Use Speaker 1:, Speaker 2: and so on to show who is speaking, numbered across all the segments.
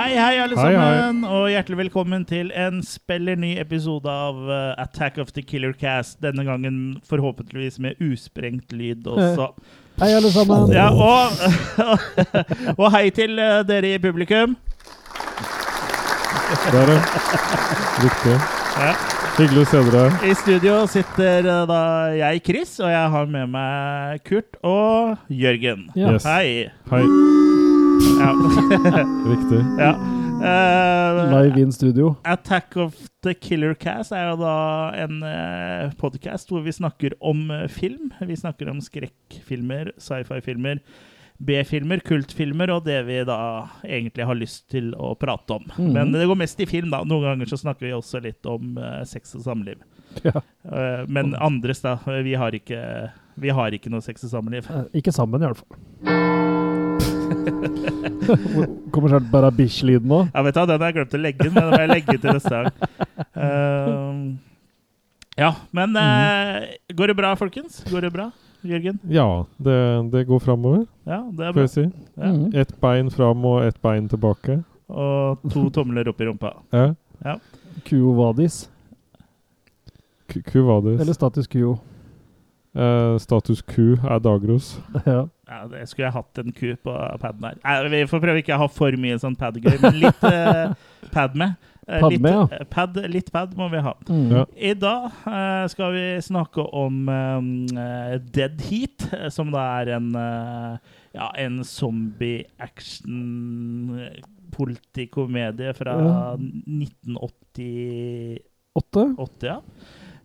Speaker 1: Hei, hei.
Speaker 2: sammen, og hjertelig velkommen til en speller ny episode av eh, Attack of the Killer Cast. Denne gangen forhåpentligvis med usprengt lyd også.
Speaker 3: Hei, alle sammen.
Speaker 2: Ja, og, og hei til eh, dere i publikum.
Speaker 1: Der, ja. Riktig.
Speaker 2: Ja.
Speaker 1: Hyggelig å se dere.
Speaker 2: I studio sitter eh, da jeg, Chris, og jeg har med meg Kurt og Jørgen.
Speaker 3: Ja.
Speaker 1: Yes.
Speaker 2: Hei.
Speaker 1: Hei.
Speaker 2: Ja.
Speaker 1: Riktig.
Speaker 2: ja. Eh,
Speaker 3: Live in studio.
Speaker 2: Attack of the Killer Cast er jo da en eh, podcast hvor vi snakker om eh, film. Vi snakker om skrekkfilmer, sci-fi-filmer, B-filmer, kultfilmer og det vi da egentlig har lyst til å prate om.
Speaker 3: Mhm.
Speaker 2: Men det går mest i film, da. Noen ganger så snakker vi også litt om eh, sex og samliv.
Speaker 3: Ja.
Speaker 2: Eh, men andres, da. Vi har ikke, vi har ikke noe sex og samliv.
Speaker 3: Eh, Ikke sammen, i alle fall. Hvor- Kommer snart bare bish-lyden nå.
Speaker 2: Ja, vet du, hva, den har jeg glemt å legge inn, men den må jeg legge til neste gang. Eh, ja, men eh, går det bra, folkens? Går det bra, Jørgen?
Speaker 1: Ja, det, det går framover,
Speaker 2: Ja, det er
Speaker 1: får
Speaker 2: bra.
Speaker 1: jeg si.
Speaker 2: Ja.
Speaker 3: Mhm.
Speaker 1: Ett bein fram og ett bein tilbake.
Speaker 2: Og to tomler opp i rumpa.
Speaker 1: Ja.
Speaker 3: Quo vadis,
Speaker 1: Ku- Kuvadis.
Speaker 3: eller status quo.
Speaker 1: Eh, status Q er dagros.
Speaker 3: Ja.
Speaker 2: Ja, det skulle jeg hatt en ku på paden her. Nei, vi får prøve ikke å ha for mye sånn padgøy, men litt eh, pad med. Eh,
Speaker 3: Pad
Speaker 2: litt,
Speaker 3: med, ja.
Speaker 2: eh, Pad, litt pad må vi ha.
Speaker 3: Mm.
Speaker 1: Ja.
Speaker 2: I dag eh, skal vi snakke om eh, Dead Heat, eh, som da er en, eh, ja, en zombie-action-politikomedie fra
Speaker 3: Ja.
Speaker 2: 1988.
Speaker 3: Åtte?
Speaker 2: ja.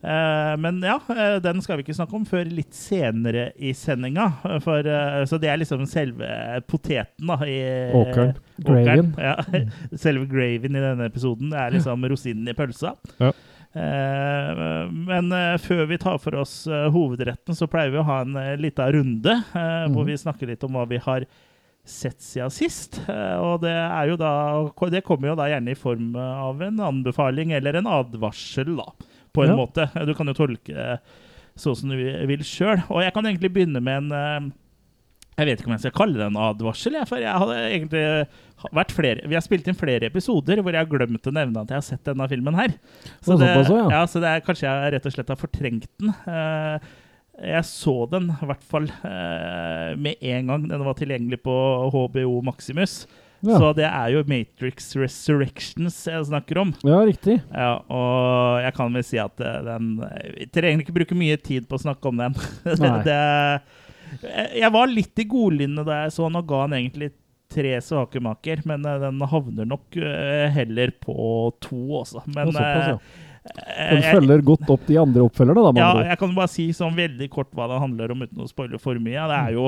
Speaker 2: Eh, men ja, eh, den skal vi ikke snakke om før litt senere i sendinga. eh, For, eh, så det er liksom selve poteten da, i
Speaker 3: Eh.
Speaker 1: Åkeren.
Speaker 3: Gravyen. Mm.
Speaker 2: Åkeren, Ja. Selve gravyen i denne episoden er liksom rosinen i pølsa.
Speaker 1: Ja.
Speaker 2: Eh, men eh, før vi tar for oss eh, hovedretten, så pleier vi å ha en uh, lita runde eh, hvor
Speaker 3: Mhm.
Speaker 2: vi snakker litt om hva vi har sett siden sist. Eh, og det er jo da Det kommer jo da gjerne i form eh, av en anbefaling eller en advarsel, da, på en
Speaker 3: Ja.
Speaker 2: måte. Du kan jo tolke det sånn som du vil sjøl. Og jeg kan egentlig begynne med en eh, jeg vet ikke om jeg skal kalle det en advarsel, jeg, for jeg hadde egentlig ha- vært flere, vi har spilt inn flere episoder hvor jeg har glemt å nevne at jeg har sett denne filmen her.
Speaker 3: Å, såpass også, ja.
Speaker 2: så det er kanskje jeg rett og slett har fortrengt den. Eh, jeg så den i hvert fall eh, med en gang den var tilgjengelig på HBO Maximus.
Speaker 3: Ja.
Speaker 2: Så det er jo Matrix Resurrections jeg snakker om.
Speaker 3: ja, riktig.
Speaker 2: Ja, og jeg kan vel si at eh, den Vi trenger ikke bruke mye tid på å snakke om den.
Speaker 3: Nei.
Speaker 2: det, eh, jeg var litt i godlynnet da jeg så den, og ga den egentlig tre svake maker. Men eh, den havner nok eh, heller på to, også. Men
Speaker 3: Og såpass, ja.
Speaker 2: eh,
Speaker 3: Den
Speaker 2: jeg-
Speaker 3: følger godt opp de andre oppfølgerne, da. med
Speaker 2: ja,
Speaker 3: andre ord.
Speaker 2: jeg kan bare si sånn veldig kort hva det handler om, uten å spoile for mye. Det
Speaker 3: Mm.
Speaker 2: er jo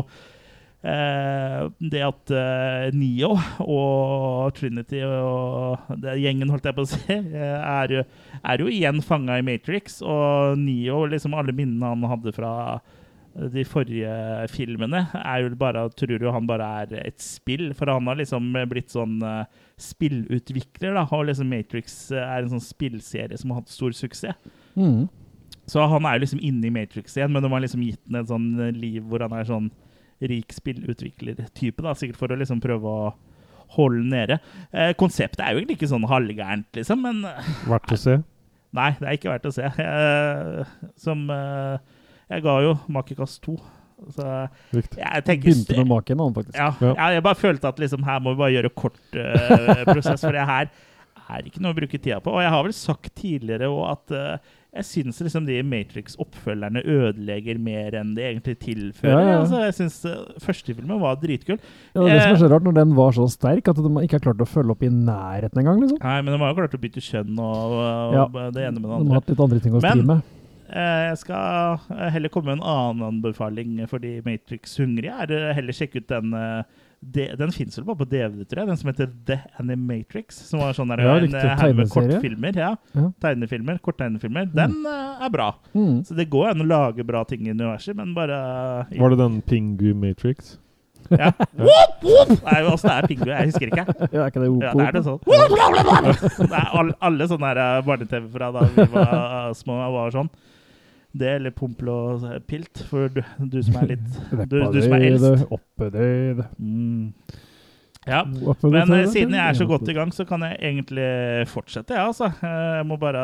Speaker 2: eh, det at eh, Neo og Trinity og det er gjengen, holdt jeg på å si, eh, er, jo- er jo igjen fanga i Matrix. Og Neo, liksom alle minnene han hadde fra de forrige filmene, er jo bare, tror jo han bare er et spill. For han har liksom blitt sånn eh, spillutvikler, da. Og liksom Matrix eh, er en sånn spillserie som har hatt stor suksess.
Speaker 3: Mhm.
Speaker 2: Så han er jo liksom inne i Matrix igjen, men de har liksom gitt ham et sånn eh, liv hvor han er sånn rik spillutvikler-type, da, sikkert for å liksom prøve å holde den nede. Eh, konseptet er jo egentlig ikke sånn halvgærent, liksom, men eh,
Speaker 1: Verdt å se.
Speaker 2: nei, det er ikke verdt å se. Jeg, som eh, Jeg ga jo Makekast 2, så
Speaker 1: Riktig.
Speaker 2: jeg tenker
Speaker 3: Begynte med maken, han, faktisk.
Speaker 2: ja,
Speaker 1: Ja.
Speaker 2: ja, jeg bare følte at liksom her må vi bare gjøre kort eh, prosess, for det her er ikke noe å bruke tida på. Og jeg har vel sagt tidligere òg at eh, jeg syns liksom de Matrix-oppfølgerne ødelegger mer enn de egentlig tilfører.
Speaker 3: Ja, ja, ja.
Speaker 2: Altså, jeg synes, eh, Første filmen var dritkul.
Speaker 3: Ja, det er det som er
Speaker 2: Eh.
Speaker 3: så rart, når den var så sterk at de ikke har klart å følge opp i nærheten engang, liksom.
Speaker 2: Nei, men de har jo klart å bytte kjønn og, og det ene med det
Speaker 3: De har
Speaker 2: andre.
Speaker 3: hatt litt andre ting å
Speaker 2: Men-
Speaker 3: stri med.
Speaker 2: Eh, Jeg skal eh, heller komme med en annen anbefaling for de Matrix-hungrige. er eh, Heller sjekke ut den eh, de- Den fins vel bare på DVD, tror jeg. Den som heter The Animatrix. Som var sånn der,
Speaker 1: Ja,
Speaker 2: en
Speaker 1: riktig.
Speaker 2: eh, haug med
Speaker 3: Tegneserie.
Speaker 2: kortfilmer. Ja.
Speaker 3: Ja.
Speaker 2: Tegnefilmer,
Speaker 1: Mm.
Speaker 2: korttegnefilmer. Den eh, er bra.
Speaker 3: Mhm.
Speaker 2: Så det går an å lage bra ting i universet, men bare eh,
Speaker 1: Var det den Pingu Matrix?
Speaker 2: ja. Whoop, whoop! Nei, åssen er pingu? Jeg husker ikke.
Speaker 3: Ja, er ikke det OK?
Speaker 2: Ja, det er det sånn. Det er all, alle sånne her, eh, barne-TV fra da vi var eh, små, var sånn. Det eller Pompel og eh, Pilt, sånn. for du, du som er litt Du, du som er eldst.
Speaker 3: Oppadøyd.
Speaker 2: Mm. Ja.
Speaker 3: Opp og
Speaker 2: Men
Speaker 3: gå,
Speaker 2: eh,
Speaker 3: da,
Speaker 2: siden jeg er så
Speaker 3: ja.
Speaker 2: godt i gang, så kan jeg egentlig fortsette, jeg, altså. Eh, Jeg må bare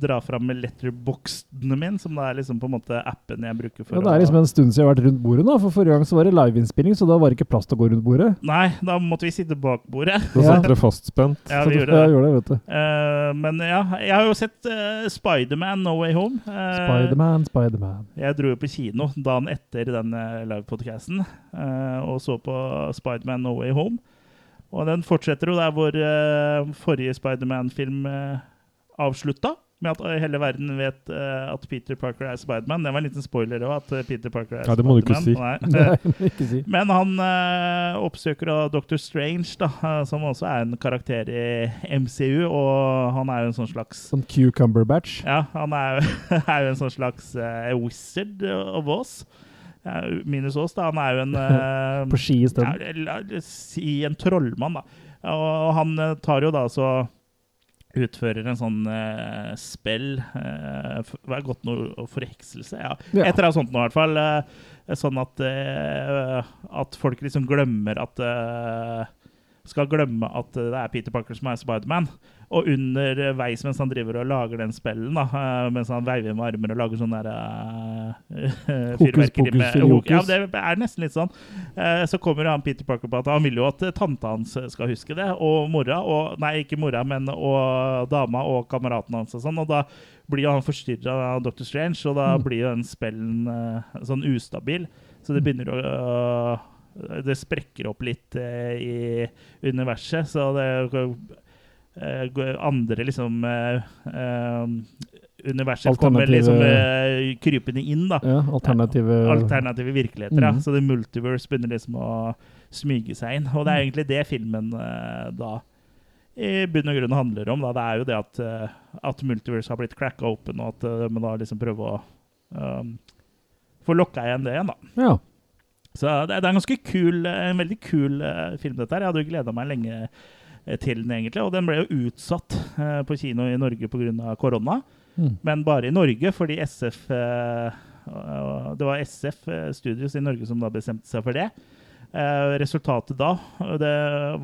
Speaker 2: dra fram med letterboxene min, som da er liksom på en måte appen jeg bruker for
Speaker 3: ja, Det er liksom en stund siden jeg har vært rundt bordet nå, for forrige gang så var det liveinnspilling, så da var det ikke plass til å gå rundt bordet.
Speaker 2: Nei, da måtte vi sitte bak bordet.
Speaker 1: Da
Speaker 3: Ja.
Speaker 1: satt dere fastspent.
Speaker 2: Ja,
Speaker 3: Så
Speaker 2: vi
Speaker 3: du-
Speaker 2: gjorde
Speaker 3: Ja,
Speaker 2: det.
Speaker 3: gjorde det, vet du.
Speaker 2: Eh, men ja, jeg har jo sett eh, Spiderman No Way Home. Eh,
Speaker 3: Spiderman, Spiderman.
Speaker 2: Jeg dro jo på kino dagen etter den eh, livepodcasten eh, og så på Spiderman No Way Home. Og den fortsetter jo der hvor eh, forrige Spiderman-film eh, avslutta. Med at hele verden vet eh, at Peter Parker er Spiderman. Det var en liten spoiler òg. at eh, Peter Parker er
Speaker 1: Ja, det må du ikke
Speaker 2: Spiderman. Nei.
Speaker 3: Nei, ikke si.
Speaker 2: Men han eh, oppsøker da Dr. Strange, da, eh, som også er en karakter i MCU. Og han er jo en sånn slags
Speaker 3: Sånn cucumber batch.
Speaker 2: ja, han er, jo- er jo en sånn slags eh, wizard of oss. Ja, minus oss, da. Han er jo en eh,
Speaker 3: På ski
Speaker 2: ja,
Speaker 3: isteden.
Speaker 2: la oss Si en trollmann, da. Og han eh, tar jo da så Utfører en sånn eh, spell eh, f- Hva er godt noe forhekselse? Ja.
Speaker 3: Ja.
Speaker 2: Et eller annet sånt nå, i hvert fall. eh, sånn at, eh, at folk liksom glemmer at eh, Skal glemme at det er Peter Parker som er Spiderman. Og underveis mens han driver og lager den spellen, da, eh, mens han veiver med armer og lager sånn der eh,
Speaker 3: Hokus
Speaker 2: fyrverkeri
Speaker 3: pokus
Speaker 2: med-
Speaker 3: filiokus.
Speaker 2: Ja, det er nesten litt sånn. Eh, så kommer han Peter Parker på at han vil jo at tanta hans eh, skal huske det, og mora, og, nei, ikke mora, men og dama og kameraten hans og sånn. Og da blir jo han forstyrra av Dr. Strange, og da
Speaker 3: Mm.
Speaker 2: blir jo den spellen eh, sånn ustabil. Så det begynner å øh, Det sprekker opp litt eh, i universet, så det eh, går- andre liksom eh, eh, Universet kommer
Speaker 3: Alternative-
Speaker 2: liksom eh, krypende inn, da.
Speaker 3: Ja, alternative
Speaker 2: Alternative virkeligheter.
Speaker 3: Mhm.
Speaker 2: Ja. Så The Multiverse begynner liksom å smyge seg inn. Og det er egentlig det filmen eh, da i bunn og grunn handler om. Da. Det er jo det at, eh, at Multiverse har blitt cracka open, og at eh, man da liksom prøver å um, få lokka igjen det igjen, da.
Speaker 3: Ja.
Speaker 2: Så det, det er en ganske kul, eh, en veldig kul eh, film, dette her. Jeg hadde jo gleda meg lenge eh, til den, egentlig. Og den ble jo utsatt eh, på kino i Norge pga. korona.
Speaker 3: Mm.
Speaker 2: Men bare i Norge, fordi SF eh, øh, Det var SF eh, Studios i Norge som da bestemte seg for det. Eh, resultatet da, og det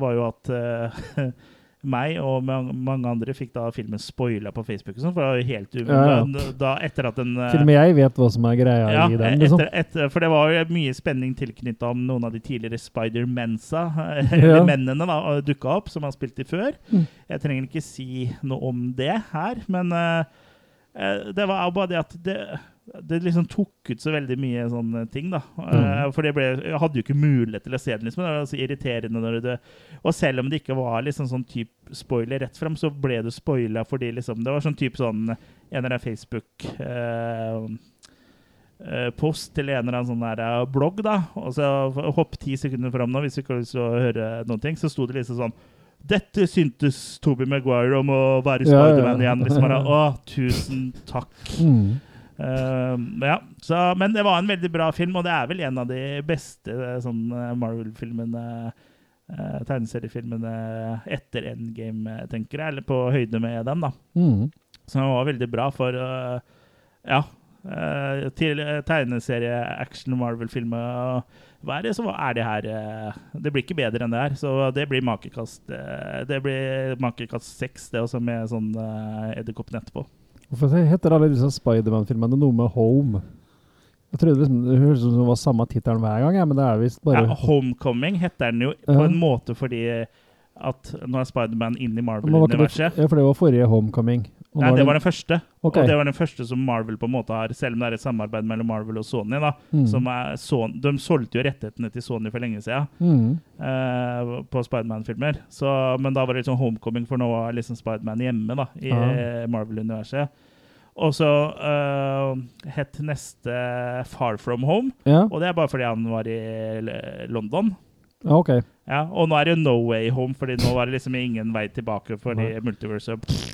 Speaker 2: var jo at eh, meg og mang- mange andre fikk da filmen spoila på Facebook og sånn, for det var jo helt
Speaker 3: Ja, ja.
Speaker 2: umulig. Da, da etter at den eh,
Speaker 3: Til og med jeg vet hva som er greia
Speaker 2: ja,
Speaker 3: i den, liksom.
Speaker 2: etter, etter, for det var jo mye spenning tilknytta om noen av de tidligere Spider-Mensa, eh,
Speaker 3: Ja.
Speaker 2: eller mennene, da, dukka opp, som har spilt i før.
Speaker 3: Mm.
Speaker 2: Jeg trenger ikke si noe om det her, men eh, eh, det var bare det at det, det liksom tok ut så veldig mye sånne ting, da. Eh,
Speaker 3: Mm.
Speaker 2: For det ble, jeg hadde jo ikke mulighet til å se den, liksom. Det var så irriterende når det Og selv om det ikke var liksom sånn type spoiler rett fram, så ble det spoila fordi liksom Det var sånn type sånn en eller annen Facebook eh, eh, post til en eller annen sånn der eh, blogg, da. Og så hopp ti sekunder fram nå, hvis du ikke har lyst til å høre noen ting. Så sto det liksom sånn Dette syntes Toby Maguire om å være
Speaker 3: Ja, ja, ja.
Speaker 2: Spiderman igjen. Liksom bare Å, tusen takk.
Speaker 3: Mm.
Speaker 2: Eh, ja, så, men det var en veldig bra film, og det er vel en av de beste eh, sånn eh, Marvel-filmene eh, Tegneseriefilmene etter Endgame, eh, tenker jeg. Eller på høyde med den, da.
Speaker 3: Mm.
Speaker 2: Så den var veldig bra for øh, Ja. øh, til øh, tegneserie, action, Marvel-film og hva er det, så hva er det her øh, Det blir ikke bedre enn det her. Så det blir makekast øh, Det blir makekast seks, det også, med sånn øh, edderkoppen etterpå.
Speaker 3: Hvorfor heter alle disse Spiderman-filmene noe med Home? Jeg trodde liksom, Det høres ut som det var samme tittelen hver gang, ja, men det er visst bare
Speaker 2: Ja, Homecoming heter den jo på
Speaker 3: Ja.
Speaker 2: en måte fordi eh, at nå er Spiderman inne i
Speaker 3: Men var ikke det-
Speaker 2: Marvel-universet.
Speaker 3: Ja, for det var forrige Homecoming. Og
Speaker 2: Nei,
Speaker 3: nå er
Speaker 2: det var den første.
Speaker 3: Ok.
Speaker 2: Og det var den første som Marvel på en måte har, selv om det er et samarbeid mellom Marvel og Sony. da.
Speaker 3: Mm.
Speaker 2: Som er Son- de solgte jo rettighetene til Sony for lenge siden.
Speaker 3: Mm.
Speaker 2: eh, på Spiderman-filmer. Så- Men da var det liksom homecoming, for nå var liksom Spiderman hjemme da, i
Speaker 3: Ja.
Speaker 2: Marvel-universet. Og så eh, het neste Far From Home,
Speaker 3: Ja,
Speaker 2: og det er bare fordi han var i L- London.
Speaker 3: ja, ok.
Speaker 2: Ja, og nå er det No Way Home, fordi nå var det liksom ingen vei tilbake fordi multiverse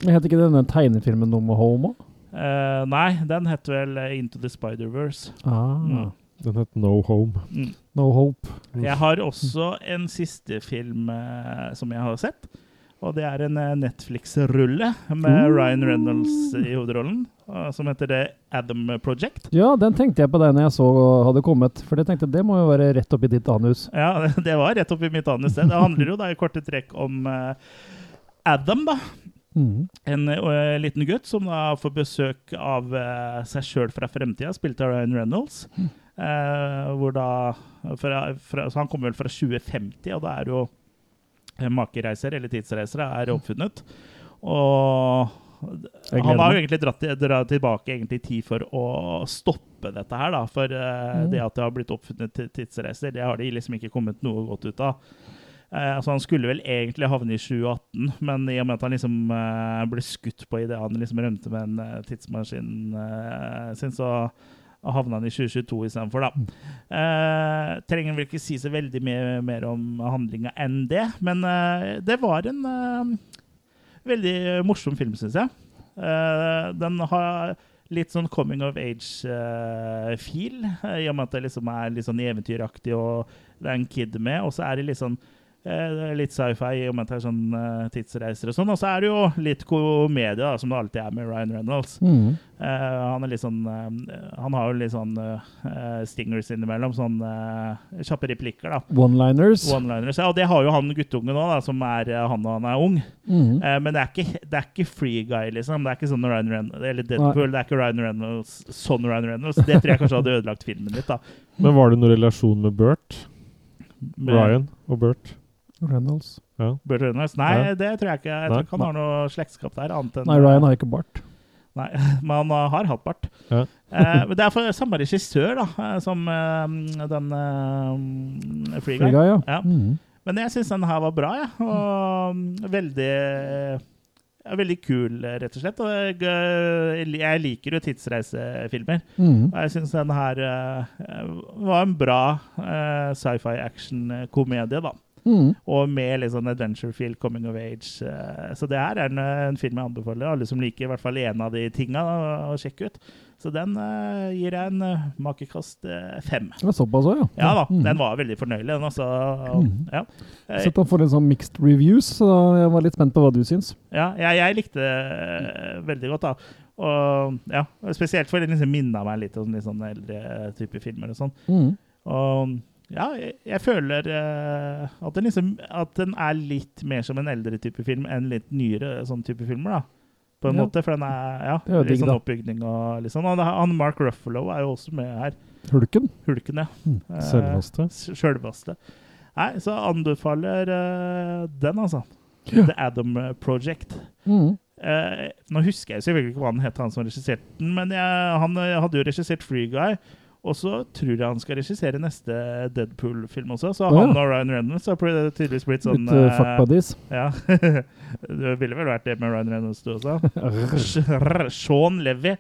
Speaker 3: Men het ikke denne tegnefilmen noe med Home òg?
Speaker 2: Eh, Nei, den het vel eh, Into the Spider-Verse.
Speaker 3: Ah.
Speaker 2: Mm.
Speaker 1: Den het No Home.
Speaker 3: No Hope.
Speaker 2: Jeg har også en siste film eh, som jeg har sett. Og det er en eh, Netflix-rulle med
Speaker 3: Mm.
Speaker 2: Ryan Reynolds i hovedrollen, eh, som heter det Adam Project.
Speaker 3: Ja, den tenkte jeg på deg når jeg så hadde kommet, for jeg tenkte det må jo være rett oppi ditt anus.
Speaker 2: Ja, det var rett oppi mitt annet sted. Det handler jo da i korte trekk om eh, Adam, da.
Speaker 3: Mhm.
Speaker 2: En eh, liten gutt som da får besøk av eh, seg sjøl fra fremtida, spilt av Ryan Reynolds.
Speaker 3: Mm.
Speaker 2: Eh, hvor da fra, fra, Så han kommer vel fra 2050, og da er jo eh, makereiser, eller tidsreiser, er oppfunnet. Og
Speaker 3: Mm. Jeg
Speaker 2: han
Speaker 3: gleder
Speaker 2: har jo
Speaker 3: meg.
Speaker 2: egentlig dratt, til- dra tilbake egentlig i tid for å stoppe dette her, da. For eh,
Speaker 3: Mm.
Speaker 2: det at det har blitt oppfunnet ti- tidsreiser, det har de liksom ikke kommet noe godt ut av. Eh, altså Han skulle vel egentlig havne i 2018, men i og med at han liksom eh, ble skutt på idet han liksom rømte med en eh, tidsmaskin eh, sin, så havna han i 2022 istedenfor, da. Eh, trenger vel ikke si så veldig mye mer om handlinga enn det, men eh, det var en eh, veldig morsom film, syns jeg. Eh, den har litt sånn coming of age-feel, i og med at det liksom er litt sånn eventyraktig, og det er en kid med, og så er det litt sånn eh, litt sci-fi, i og med at det er sånn eh, tidsreiser og sånn. Og så er det jo litt komedie, da, som det alltid er med Ryan Reynolds.
Speaker 3: Mhm.
Speaker 2: Eh, han er litt sånn eh, Han har jo litt sånn eh, stingers innimellom. Sånn eh, kjappe replikker, da.
Speaker 3: One-liners.
Speaker 2: One-liners. Ja, og det har jo han guttungen òg, som er eh, han og han er ung.
Speaker 3: Mhm.
Speaker 2: Eh, men det er, ikke, det er ikke Free Guy, liksom. Det er ikke sånn Ryan Reynolds Eller Deadpool. Det er ikke Ryan Reynolds sånn Ryan Reynolds. Det tror jeg kanskje hadde ødelagt filmen litt, da.
Speaker 1: Men var det noen relasjon med Bert?
Speaker 2: Med
Speaker 1: Ryan og Bert?
Speaker 3: Reynolds.
Speaker 2: Burt Reynolds. Nei,
Speaker 1: Nei.
Speaker 2: det tror jeg ikke. Jeg
Speaker 1: Nei.
Speaker 2: tror ikke han har noe slektskap der, annet enn
Speaker 3: Nei, Ryan har ikke bart.
Speaker 2: Nei, men han har hatt bart.
Speaker 1: Ja.
Speaker 2: Eh, men det er for samme regissør da, eh, som eh, den eh, Free Guy.
Speaker 3: Free guy, ja.
Speaker 2: Ja.
Speaker 3: Mhm.
Speaker 2: Men jeg syns den her var bra, jeg. Og mm, veldig ja, Veldig kul, rett og slett. Og jeg, eh, jeg liker jo tidsreisefilmer.
Speaker 3: Mhm.
Speaker 2: Og jeg syns den her eh, var en bra eh, sci-fi action-komedie, da.
Speaker 3: Mhm.
Speaker 2: Og med litt sånn adventure feel, coming of age. eh, Så det her er en, eh, en film jeg anbefaler alle som liker i hvert fall en av de tinga, da, å sjekke ut. Så den eh, gir jeg en eh, makekast eh, fem.
Speaker 3: Det var såpass òg, ja.
Speaker 2: Ja da,
Speaker 3: Mhm.
Speaker 2: den var veldig fornøyelig, den altså.
Speaker 3: Mhm.
Speaker 2: Ja. Eh,
Speaker 3: Sett han får litt sånn mixed reviews, så jeg var litt spent på hva du syns.
Speaker 2: Ja, jeg, jeg likte det eh, veldig godt, da. Og, ja, spesielt fordi den liksom minna meg litt om litt sånn eldre type filmer og sånn.
Speaker 3: Mhm.
Speaker 2: Og ja, jeg, jeg føler eh, at, den liksom, at den er litt mer som en eldre type film enn litt nyere sånn type filmer, da. På en
Speaker 3: Ja.
Speaker 2: måte, for den er ja,
Speaker 3: Det er jo
Speaker 2: litt
Speaker 3: digg,
Speaker 2: sånn
Speaker 3: da.
Speaker 2: oppbygning og litt sånn. Og det- han Mark Ruffalo er jo også med her.
Speaker 3: Hulken.
Speaker 2: Hulken, ja.
Speaker 3: Mm.
Speaker 2: Eh,
Speaker 1: Selveste?
Speaker 2: s- Sjølvaste. Nei, så anbefaler eh, den, altså.
Speaker 3: Ja.
Speaker 2: The Adam Project.
Speaker 3: Mhm.
Speaker 2: Eh, nå husker jeg selvfølgelig ikke hva han het, han som regisserte den, men jeg, han eh, hadde jo regissert Free Guy. Og så tror jeg han skal regissere neste Deadpool-film også. Så
Speaker 3: Å, ja.
Speaker 2: han og Ryan Reynolds har pl- tydeligvis blitt sånn
Speaker 3: Litt uh, fuck
Speaker 2: eh,
Speaker 3: buddies.
Speaker 2: ja. Det ville vel vært det med Ryan Reynolds, du også? Rrr, Sean Levy.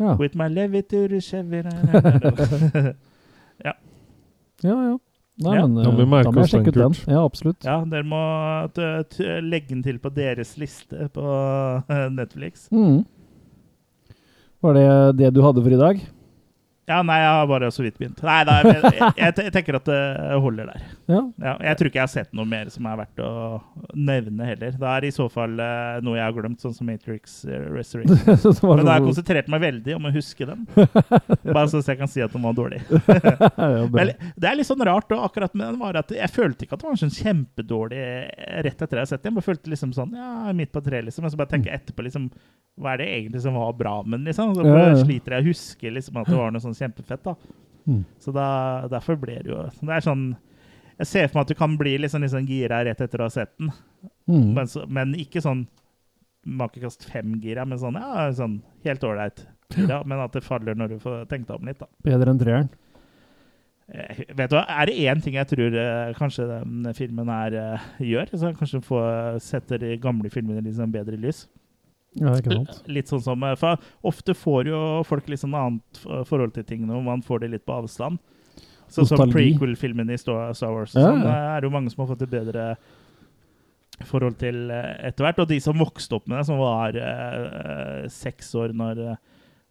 Speaker 3: Ja.
Speaker 2: With my Levy to the Chevy Ja,
Speaker 3: ja, ja. Nei,
Speaker 2: Ja.
Speaker 3: men
Speaker 1: Ja,
Speaker 3: eh,
Speaker 1: vi merker
Speaker 3: da må jeg
Speaker 1: oss den,
Speaker 3: sjekke ut den.
Speaker 1: Kurt.
Speaker 3: Ja, absolutt.
Speaker 2: dere må t t legge den til på deres liste på eh, Netflix.
Speaker 3: Mhm. Var det det du hadde for i dag?
Speaker 2: Ja, nei, jeg har bare så vidt begynt. Nei, nei jeg, jeg, jeg, jeg tenker at det holder der.
Speaker 3: Ja.
Speaker 2: Ja, jeg tror ikke jeg har sett noe mer som er verdt å nevne heller. Det er i så fall eh, noe jeg har glemt, sånn som Matrix eh, Resurrection.
Speaker 3: Så det
Speaker 2: Men
Speaker 3: var
Speaker 2: da har jeg
Speaker 3: sånn-
Speaker 2: konsentrert meg veldig om å huske dem. Bare så jeg kan si at den var dårlig.
Speaker 3: Ja, bra.
Speaker 2: Men det er litt sånn rart, og akkurat med den var at jeg følte ikke at den var sånn kjempedårlig eh, rett etter jeg hadde sett den. Jeg bare følte liksom sånn, ja, midt på tre, liksom. Men så bare tenker jeg etterpå, liksom, hva er det egentlig som var bra med den, liksom? Så bare
Speaker 3: Ja, ja.
Speaker 2: sliter jeg å huske liksom at det var noe sånn kjempefett, da.
Speaker 3: Mm.
Speaker 2: Så da, derfor ble det jo Det er sånn Jeg ser for meg at du kan bli litt sånn, litt sånn gira rett etter å ha sett den,
Speaker 3: Mhm.
Speaker 2: men, så, men ikke sånn makekast fem-gira, men sånn, ja, sånn helt ålreit. gira, Men at det faller når du får tenkt deg om litt, da.
Speaker 3: Bedre enn treeren.
Speaker 2: Eh, Vet du hva, Er det én ting jeg tror eh, kanskje den filmen her eh, gjør, så kanskje den får- setter de gamle filmene litt sånn bedre lys?
Speaker 3: Ja, ikke sant.
Speaker 2: Litt sånn som, eh, for Ofte får jo folk litt sånn annet f- forhold til tingene, og man får det litt på avstand. Sånn som
Speaker 3: Nostalgi.
Speaker 2: prequel-filmene i Star Star Wars. og
Speaker 3: Ja,
Speaker 2: Sånn,
Speaker 3: ja.
Speaker 2: eh, er det jo mange som har fått et bedre forhold til eh, etter hvert. Og de som vokste opp med det, som var eh, seks år når eh,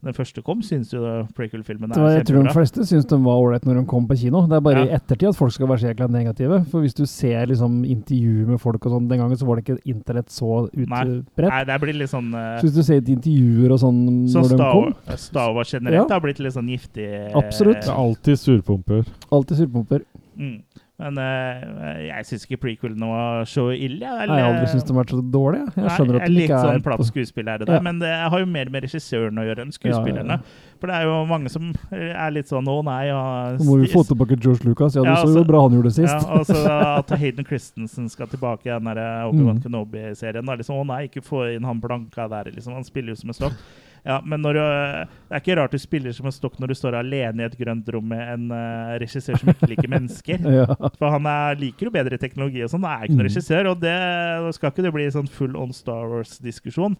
Speaker 2: den første kom, syns jo prequel-filmen
Speaker 3: Det var-
Speaker 2: er
Speaker 3: Jeg tror de
Speaker 2: kjempebra.
Speaker 3: fleste syns den var ålreit når de kom på kino. Det er
Speaker 2: Ja.
Speaker 3: bare i ettertid at folk skal være så jækla negative. For hvis du ser liksom intervjuer med folk og sånn, den gangen så var det ikke internett så utbredt.
Speaker 2: Nei, det blir litt sånn eh,
Speaker 3: Så hvis du ser et intervjuer og sånn
Speaker 2: Sånn
Speaker 3: når de
Speaker 2: Star,
Speaker 3: kom,
Speaker 2: Star Wars generelt
Speaker 3: Ja.
Speaker 2: har blitt litt sånn giftig. eh,
Speaker 3: Absolutt.
Speaker 1: Det er alltid surpumper.
Speaker 3: alltid surpumper.
Speaker 2: Mm. Men eh, jeg syns ikke prequelene var så ille. Jeg,
Speaker 3: Jeg har aldri syntes de har vært så dårlige. Jeg skjønner at de
Speaker 2: Litt
Speaker 3: ikke er
Speaker 2: sånn platt
Speaker 3: på-
Speaker 2: skuespill her og der,
Speaker 3: Ja.
Speaker 2: men det har jo mer med regissøren å gjøre enn skuespillerne.
Speaker 3: Ja, ja, ja.
Speaker 2: For det er jo mange som er litt sånn 'Å nei', ja,
Speaker 3: Nå må vi
Speaker 2: sti-
Speaker 3: få tilbake George Lucas. Ja, du
Speaker 2: Ja,
Speaker 3: så jo
Speaker 2: altså-
Speaker 3: bra han gjorde det sist.
Speaker 2: Ja, og så at Hayden Christensen skal tilbake i den der eh, Obi-Wan
Speaker 3: Mm.
Speaker 2: Kenobi-serien. da, Liksom, å nei, ikke få inn han blanka der, liksom. Han spiller jo som en stokk. Ja, men når, øh, Det er ikke rart du spiller som en stokk når du står alene i et grønt rom med en øh, regissør som ikke liker mennesker.
Speaker 3: Ja.
Speaker 2: For han er, liker jo bedre teknologi og sånn. Han er ikke noen
Speaker 3: Mm.
Speaker 2: regissør, og det nå skal ikke det bli sånn full on Star Wars-diskusjon.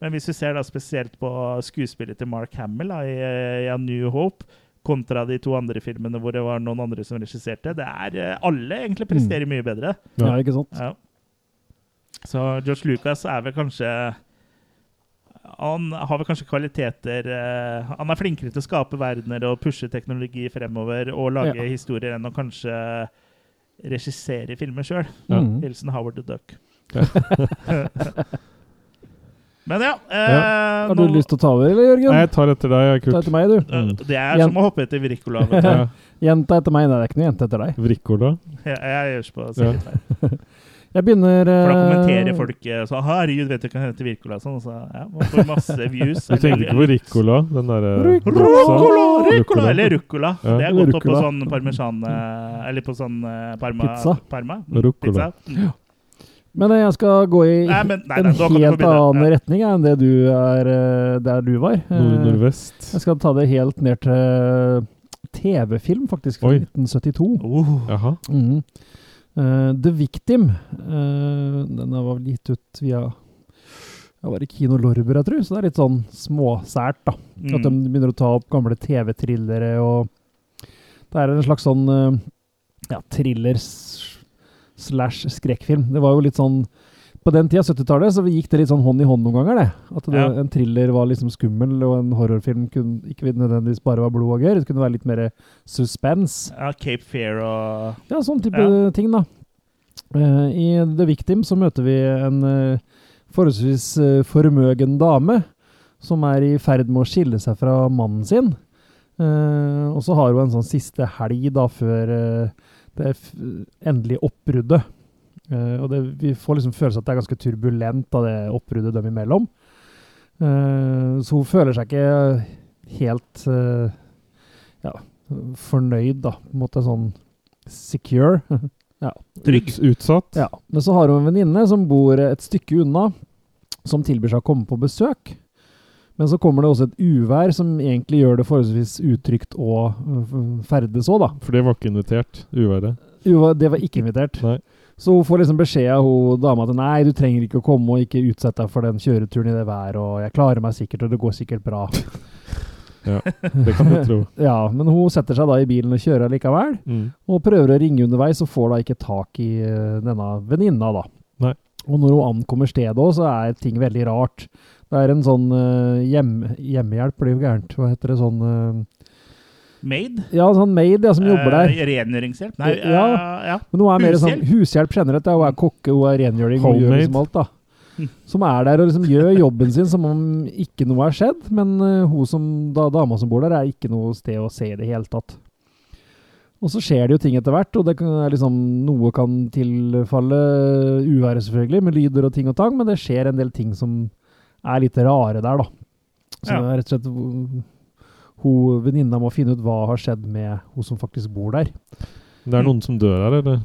Speaker 2: Men hvis vi ser da spesielt på skuespillet til Mark Hamill da, i, eh, i A New Hope, kontra de to andre filmene hvor det var noen andre som regisserte, det er eh, alle egentlig presterer mye bedre.
Speaker 3: ja, ikke sant?
Speaker 2: Ja. Så George Lucas er vel kanskje han har vel kanskje kvaliteter eh, Han er flinkere til å skape verdener og pushe teknologi fremover og lage
Speaker 3: Ja.
Speaker 2: historier enn å kanskje regissere filmer sjøl.
Speaker 1: Ja.
Speaker 3: Mm.
Speaker 2: Hilsen Howard the Duck.
Speaker 1: Ja.
Speaker 2: Men ja, eh,
Speaker 3: Har du
Speaker 2: nå-
Speaker 3: lyst til å ta over, eller, Jørgen?
Speaker 1: Nei, jeg tar etter deg, jeg,
Speaker 3: Ta
Speaker 1: Kurt.
Speaker 3: etter meg, du.
Speaker 2: Eh, Det er
Speaker 3: Jen-
Speaker 2: som å hoppe etter Wirkola. vet du.
Speaker 1: Ja.
Speaker 3: Jenta etter meg. Nei, det er ikke noe jente etter deg.
Speaker 1: Vrikkola.
Speaker 2: Jeg, jeg gjør ikke på å si
Speaker 1: Ja.
Speaker 2: litt feil.
Speaker 3: Jeg begynner
Speaker 2: For da
Speaker 3: eh,
Speaker 2: kommenterer folk eh, sånn 'Herregud, vet du hva han heter Wirkola?' Sånn, så ja, man får masse views.
Speaker 1: Du tenkte ikke på Rikkola? Den derre
Speaker 3: Rucola!
Speaker 2: Rucola!
Speaker 1: Rucola.
Speaker 2: Rucola! Eller rucola.
Speaker 1: Ja.
Speaker 2: Det er godt opp på
Speaker 3: Rucola.
Speaker 2: sånn parmesan eh, Eller på sånn eh, parma,
Speaker 3: Pizza.
Speaker 2: Parma?
Speaker 1: Rucola.
Speaker 2: Pizza. Mm.
Speaker 3: Men eh, jeg skal gå i
Speaker 2: Nei, men nei,
Speaker 3: en
Speaker 2: nei, da kan du få
Speaker 3: helt
Speaker 2: begynne.
Speaker 3: annen
Speaker 2: Ja.
Speaker 3: retning ja, enn det du er eh, der du var. Eh,
Speaker 1: Nord-nordvest.
Speaker 3: Jeg skal ta det helt ned til TV-film, faktisk, fra
Speaker 1: Oi.
Speaker 3: 1972.
Speaker 2: Oh.
Speaker 1: Jaha.
Speaker 3: Mhm. Eh, The Victim. eh, den var vel gitt ut via ja, var det Kino Lorber, jeg tror, så det er litt sånn småsært, da. At de
Speaker 2: Mm.
Speaker 3: begynner å ta opp gamle TV-thrillere og Det er en slags sånn eh, ja, thriller s- slash skrekkfilm. Det var jo litt sånn På den tida, 70-tallet, så gikk det litt sånn hånd i hånd noen ganger, det. At det,
Speaker 2: Ja.
Speaker 3: en thriller var liksom skummel, og en horrorfilm kunne ikke nødvendigvis bare være blod og gørr. Det kunne være litt mer suspense.
Speaker 2: Ja, Cape Fear og
Speaker 3: Ja, sånn type
Speaker 2: Ja.
Speaker 3: ting, da. Eh, I The Victim så møter vi en eh, forholdsvis eh, formøgen dame som er i ferd med å skille seg fra mannen sin. Eh, og så har hun en sånn siste helg da før eh, det f endelige oppbruddet. Eh, og det, vi får liksom følelsen at det er ganske turbulent da det oppbruddet dem imellom. Eh, så hun føler seg ikke helt eh, ja, fornøyd, da. På en måte sånn secure.
Speaker 2: Trygg.
Speaker 1: Ut, utsatt.
Speaker 3: Ja, men så har hun en venninne som bor et stykke unna, som tilbyr seg å komme på besøk. Men så kommer det også et uvær som egentlig gjør det forholdsvis utrygt å øh, ferdes òg, da.
Speaker 1: For det var ikke invitert. Uværet.
Speaker 3: Uva- Det var ikke invitert.
Speaker 1: Nei.
Speaker 3: Så hun får liksom beskjed av hun dama at nei, du trenger ikke å komme og ikke utsette deg for den kjøreturen i det været, og jeg klarer meg sikkert, og det går sikkert bra.
Speaker 1: Det kan du tro.
Speaker 3: Ja, men hun setter seg da i bilen og kjører likevel.
Speaker 1: Mm.
Speaker 3: og prøver å ringe underveis, og får da ikke tak i eh, denne venninna, da.
Speaker 1: Nei.
Speaker 3: Og når hun ankommer stedet òg, så er ting veldig rart. Det er en sånn eh, hjem, hjemmehjelp, blir jo gærent. Hva heter det sånn eh,
Speaker 2: Maid.
Speaker 3: Ja, sånn maid ja, som jobber
Speaker 2: Eh,
Speaker 3: der.
Speaker 2: rengjøringshjelp. Nei, eh,
Speaker 3: Ja.
Speaker 2: ja.
Speaker 3: Men hun er mer sånn
Speaker 2: Hushjelp.
Speaker 3: hushjelp generelt. Ja. Hun er kokke, hun er rengjøring, hun gjør
Speaker 1: Homemade.
Speaker 3: liksom alt, da. Som er der og liksom gjør jobben sin som om ikke noe har skjedd. Men eh, hun som, da, dama som bor der, er ikke noe sted å se i det hele tatt. Og så skjer det jo ting etter hvert, og det kan, er liksom, noe kan tilfalle uværet, selvfølgelig, med lyder og ting og tang, men det skjer en del ting som er litt rare der, da. Så
Speaker 2: Ja.
Speaker 3: det er rett og slett hun venninna må finne ut hva har skjedd med hun som faktisk bor der.
Speaker 1: Det er noen som dør her, eller?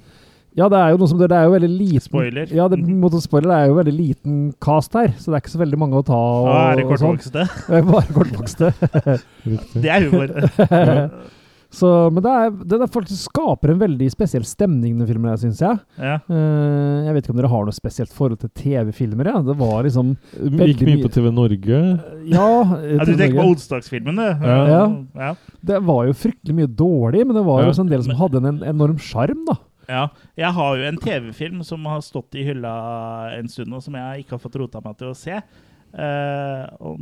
Speaker 3: Ja, det er jo noe som det, det er jo veldig liten
Speaker 2: Spoiler. Mhm. Mm.
Speaker 3: Ja, det, på en måte spoiler, det er jo veldig liten cast her, så det er ikke så veldig mange å ta. Og,
Speaker 2: Da er det
Speaker 3: og sånn.
Speaker 2: kortvokste.
Speaker 3: Det er Bare kortvokste.
Speaker 1: Riktig.
Speaker 2: Det er humor. Mhm.
Speaker 3: så, men det er, den er faktisk skaper en veldig spesiell stemning, den filmen, syns jeg.
Speaker 2: ja.
Speaker 3: Eh, jeg vet ikke om dere har noe spesielt forhold til TV-filmer? Ja. Det var liksom
Speaker 1: Gikk mye
Speaker 3: mye.
Speaker 1: på TV Norge.
Speaker 3: Ja,
Speaker 2: ja, du tenker på onsdagsfilmen, du.
Speaker 1: Ja.
Speaker 2: ja.
Speaker 3: det var jo fryktelig mye dårlig, men det var
Speaker 1: Ja.
Speaker 3: jo også en del som hadde en en enorm sjarm, da.
Speaker 2: Ja, jeg har jo en TV-film som har stått i hylla en stund, og som jeg ikke har fått rota meg til å se. Eh, og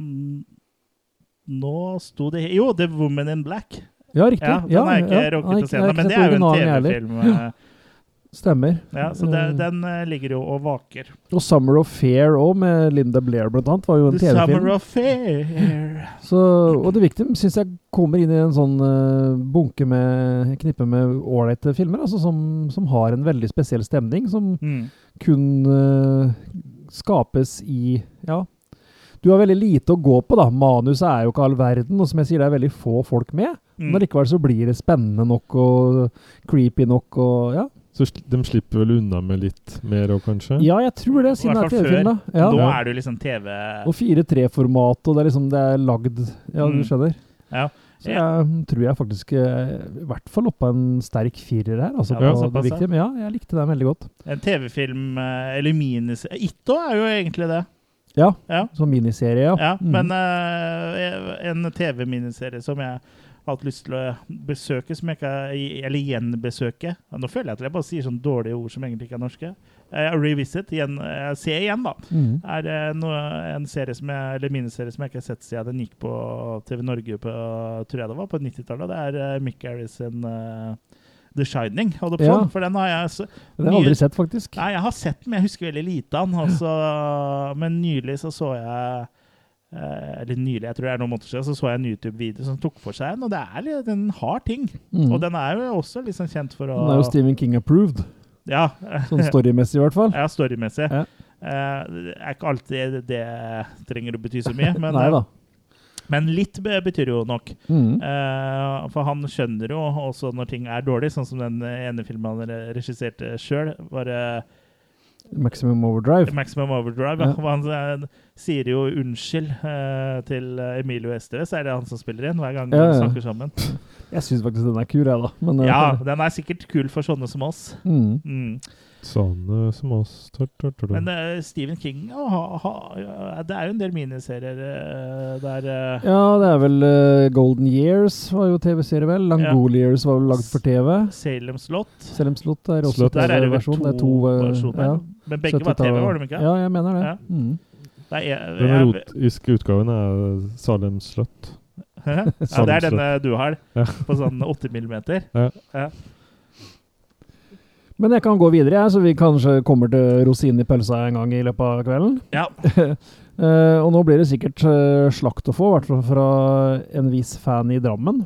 Speaker 2: Nå sto det Jo, The Woman in Black.
Speaker 3: Ja, riktig.
Speaker 2: Ja, den
Speaker 3: ja,
Speaker 2: har jeg ikke
Speaker 3: ja.
Speaker 2: rukket
Speaker 3: Nei,
Speaker 2: å se ennå,
Speaker 3: jeg har ikke
Speaker 2: men det
Speaker 3: sett
Speaker 2: er jo en
Speaker 3: originalen jeg heller.
Speaker 2: TV-film. eh,
Speaker 3: Stemmer.
Speaker 2: Ja, så det, den eh, ligger jo og vaker.
Speaker 3: Og 'Summer of Fair' òg, med Linda Blair blant annet, var jo en
Speaker 2: The Summer
Speaker 3: TV-film.
Speaker 2: of Fair.
Speaker 3: Så, og det viktige syns jeg kommer inn i en sånn eh, bunke med knippe med ålreite filmer, altså som, som har en veldig spesiell stemning, som
Speaker 2: Mm.
Speaker 3: kun eh, skapes i Ja. Du har veldig lite å gå på, da. Manuset er jo ikke all verden, og som jeg sier, det er veldig få folk med. Men
Speaker 2: Mm.
Speaker 3: likevel så blir det spennende nok og creepy nok og Ja,
Speaker 1: Så sl- de slipper vel unna med litt mer
Speaker 2: Mm.
Speaker 1: òg, kanskje?
Speaker 3: ja jeg tror det, siden
Speaker 2: Hvertfall
Speaker 3: det er TV-film, da. Ja.
Speaker 2: Nå
Speaker 1: Ja.
Speaker 2: er det jo liksom TV
Speaker 3: Og 4-3-format, og det er liksom det er lagd Ja, du
Speaker 2: Mm.
Speaker 3: skjønner.
Speaker 2: Ja.
Speaker 3: Så jeg tror jeg faktisk eh, i hvert fall oppe en sterk firer her. Altså,
Speaker 2: Ja,
Speaker 3: på
Speaker 2: såpass,
Speaker 3: det
Speaker 2: ja.
Speaker 3: viktige. Men ja, jeg likte den veldig godt.
Speaker 2: En TV-film, eh, eller minis... Itto er jo egentlig det.
Speaker 3: Ja,
Speaker 2: Ja.
Speaker 3: som miniserie, ja.
Speaker 2: Ja,
Speaker 3: Mm.
Speaker 2: men eh, en TV-miniserie som jeg har hatt lyst til å besøke, som jeg ikke Eller gjenbesøke. Ja, Nå føler jeg at jeg bare sier sånne dårlige ord som egentlig ikke er norske. Eh, revisit. Igjen, eh, se igjen, da.
Speaker 3: Mm.
Speaker 2: er eh, noe, en serie som jeg, eller miniserie som jeg ikke har sett siden den gikk på TV Norge på, tror jeg det var, på 90-tallet. Det er eh, Mick Harris sin eh, The Shining. Holdt jeg på
Speaker 3: Ja.
Speaker 2: sånn, for den har jeg så,
Speaker 3: Den har jeg aldri sett, faktisk.
Speaker 2: Nei, jeg har sett den, men jeg husker veldig lite av den. og så- Men nylig så så jeg eh, eller nylig, jeg tror det er noen måneder siden, så så jeg en YouTube-video som tok for seg den, og det er, litt- den har ting.
Speaker 3: Mm.
Speaker 2: Og den er jo også liksom kjent for å
Speaker 3: Den er jo Stephen King approved,
Speaker 2: Ja,
Speaker 3: sånn storymessig i hvert fall.
Speaker 2: ja storymessig.
Speaker 3: Ja.
Speaker 2: Eh, det er ikke alltid det trenger å bety så mye, men, eh,
Speaker 3: Nei da.
Speaker 2: men litt be- betyr jo nok.
Speaker 3: Mm.
Speaker 2: Eh, for han skjønner jo også når ting er dårlig, sånn som den ene filmen han re- regisserte sjøl, var eh,
Speaker 3: Maximum Overdrive.
Speaker 2: Maximum Overdrive.
Speaker 3: Ja.
Speaker 2: hvor Han eh, sier jo unnskyld eh, til Emilio Estevez, er det han som spiller inn hver gang
Speaker 3: Ja,
Speaker 2: de
Speaker 3: ja.
Speaker 2: snakker sammen.
Speaker 3: Jeg syns faktisk den er kul, jeg, da. Men, eh,
Speaker 2: Ja, den er sikkert kul for sånne som oss.
Speaker 3: mm.
Speaker 2: Mm.
Speaker 1: Sånn eh, som oss. Tar, tar, tar, tar.
Speaker 2: Men eh, Stephen King ja, ha, ha, ja, Det er jo en del miniserier eh, der eh,
Speaker 3: ja, det er vel eh, Golden Years var jo TV-serie, vel. Langoliers var vel lagd for TV.
Speaker 2: Salem Slott.
Speaker 3: Selv om Slott er også
Speaker 1: Slott.
Speaker 2: Der er det vel
Speaker 3: TV-versjon.
Speaker 2: to,
Speaker 3: Det er to eh,
Speaker 2: versjoner.
Speaker 3: ja.
Speaker 2: Men begge var
Speaker 3: 70-tallet.
Speaker 2: TV, var de ikke? eh,
Speaker 3: Ja, jeg mener det.
Speaker 2: Ja.
Speaker 3: Mm.
Speaker 2: Det er,
Speaker 1: Den erotiske utgaven er Salem slott.
Speaker 2: Hæ? ja, det er denne du har,
Speaker 1: Ja.
Speaker 2: på sånn 8 millimeter.
Speaker 3: Men jeg kan gå videre, jeg, så vi kanskje kommer til rosinen i pølsa en gang i løpet av kvelden.
Speaker 2: Ja.
Speaker 3: Eh, og nå blir det sikkert eh, slakt å få, i hvert fall fra en viss fan i Drammen.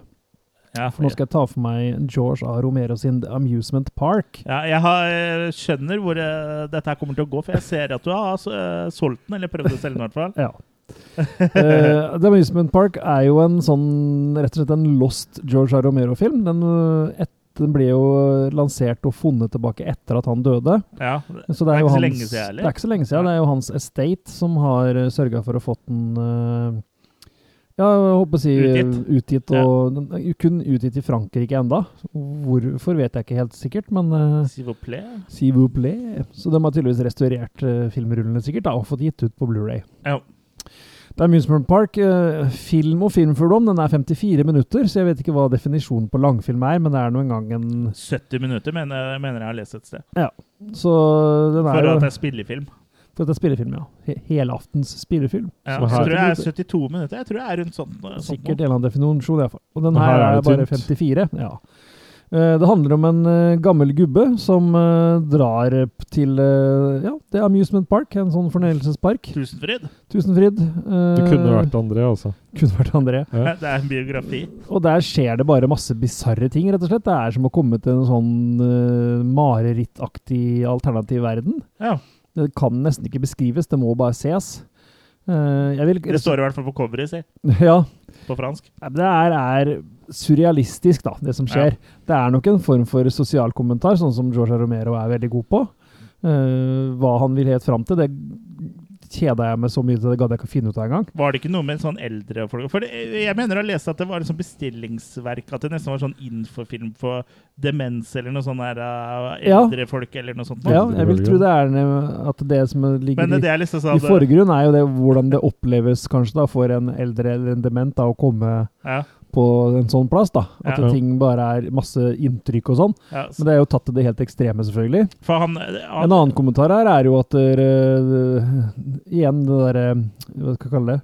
Speaker 2: ja,
Speaker 3: For nå skal jeg ta for meg George A. Romero sin The Amusement Park.
Speaker 2: ja jeg har, jeg skjønner hvor eh, dette her kommer til å gå, for jeg ser at du har eh, solgt den, eller prøvd å selge den i hvert fall.
Speaker 3: Ja. Eh, The Amusement Park er jo en sånn, rett og slett en lost George A. Romero-film. Den, eh, et- den ble jo lansert og funnet tilbake etter at han døde.
Speaker 2: Ja,
Speaker 3: Så det er,
Speaker 2: Det er
Speaker 3: jo
Speaker 2: ikke så
Speaker 3: hans,
Speaker 2: lenge siden, eller?
Speaker 3: Det er ikke så lenge siden. Det er jo hans estate som har sørga for å fått den eh, Ja, jeg håper å si
Speaker 2: Utgitt.
Speaker 3: utgitt
Speaker 2: Ja.
Speaker 3: og den er Kun utgitt i Frankrike enda. Hvorfor vet jeg ikke helt sikkert, men eh,
Speaker 2: S'il vous plaît.
Speaker 3: S'il vous plaît. Så de har tydeligvis restaurert eh, filmrullene sikkert da, og fått gitt ut på Blu-ray.
Speaker 2: Ja.
Speaker 3: Det er Amusement Park. eh, film og filmfugldom, den er 54 minutter, så jeg vet ikke hva definisjonen på langfilm er, men det er nå en gang en
Speaker 2: 70 minutter mener, mener jeg har lest et sted.
Speaker 3: Så den er
Speaker 2: For
Speaker 3: jo
Speaker 2: at det er spillefilm.
Speaker 3: For dette er spillefilm, ja. He helaftens spillefilm.
Speaker 2: Ja, jeg
Speaker 1: Så
Speaker 2: tror
Speaker 1: her-
Speaker 2: det er 72 minutter. Jeg tror det er rundt sånn. sånn
Speaker 3: Sikkert en eller annen definisjon, i hvert fall. Og den
Speaker 1: Og her
Speaker 3: her,
Speaker 1: er
Speaker 3: er
Speaker 1: det
Speaker 3: bare
Speaker 1: tynt.
Speaker 3: 54. ja. Eh, Det handler om en eh, gammel gubbe som eh, drar opp til eh, ja, The Amusement Park, en sånn fornøyelsespark.
Speaker 2: Tusenfryd.
Speaker 3: Tusenfryd. Uh,
Speaker 1: Det kunne vært André, altså.
Speaker 3: kunne vært André.
Speaker 1: Ja.
Speaker 2: Det er en biografi.
Speaker 3: Og der skjer det bare masse bisarre ting, rett og slett. Det er som å komme til en sånn eh, marerittaktig alternativ verden.
Speaker 2: Ja.
Speaker 3: Det kan nesten ikke beskrives, det må bare ses. Eh, jeg vil,
Speaker 2: Det står i hvert fall på coveret, si.
Speaker 3: Ja,
Speaker 2: På fransk.
Speaker 3: Nei, men Det her er surrealistisk, da, det som skjer. Det er nok en form for sosial kommentar, sånn som George Romero er veldig god på. Eh, hva han vil helt fram til, det kjeda jeg meg så mye til, det gadd jeg ikke å finne ut av engang.
Speaker 2: Var det ikke noe med sånn eldre folk For det, eh, jeg mener å lese at det var et sånt bestillingsverk, at det nesten var sånn infofilm for demens eller noe sånn her uh,
Speaker 3: Ja.
Speaker 2: eldre folk eller noe sånt.
Speaker 3: Ja, jeg vil tro det er ne- at det som ligger
Speaker 2: Men
Speaker 3: i,
Speaker 2: det er liksom
Speaker 3: i
Speaker 2: sånn at-
Speaker 3: forgrunnen, er jo Altså, det hvordan det oppleves kanskje da for en eldre eller en dement da, å komme
Speaker 2: ja,
Speaker 3: på en sånn plass. da. At
Speaker 1: Ja.
Speaker 3: ting bare er masse inntrykk og sånn.
Speaker 2: ja,
Speaker 3: Men det er jo tatt til det helt ekstreme, selvfølgelig.
Speaker 2: For han,
Speaker 3: En
Speaker 2: han
Speaker 3: annen eh, kommentar her er jo at dere, eh, Igjen det derre Hva skal jeg kalle det?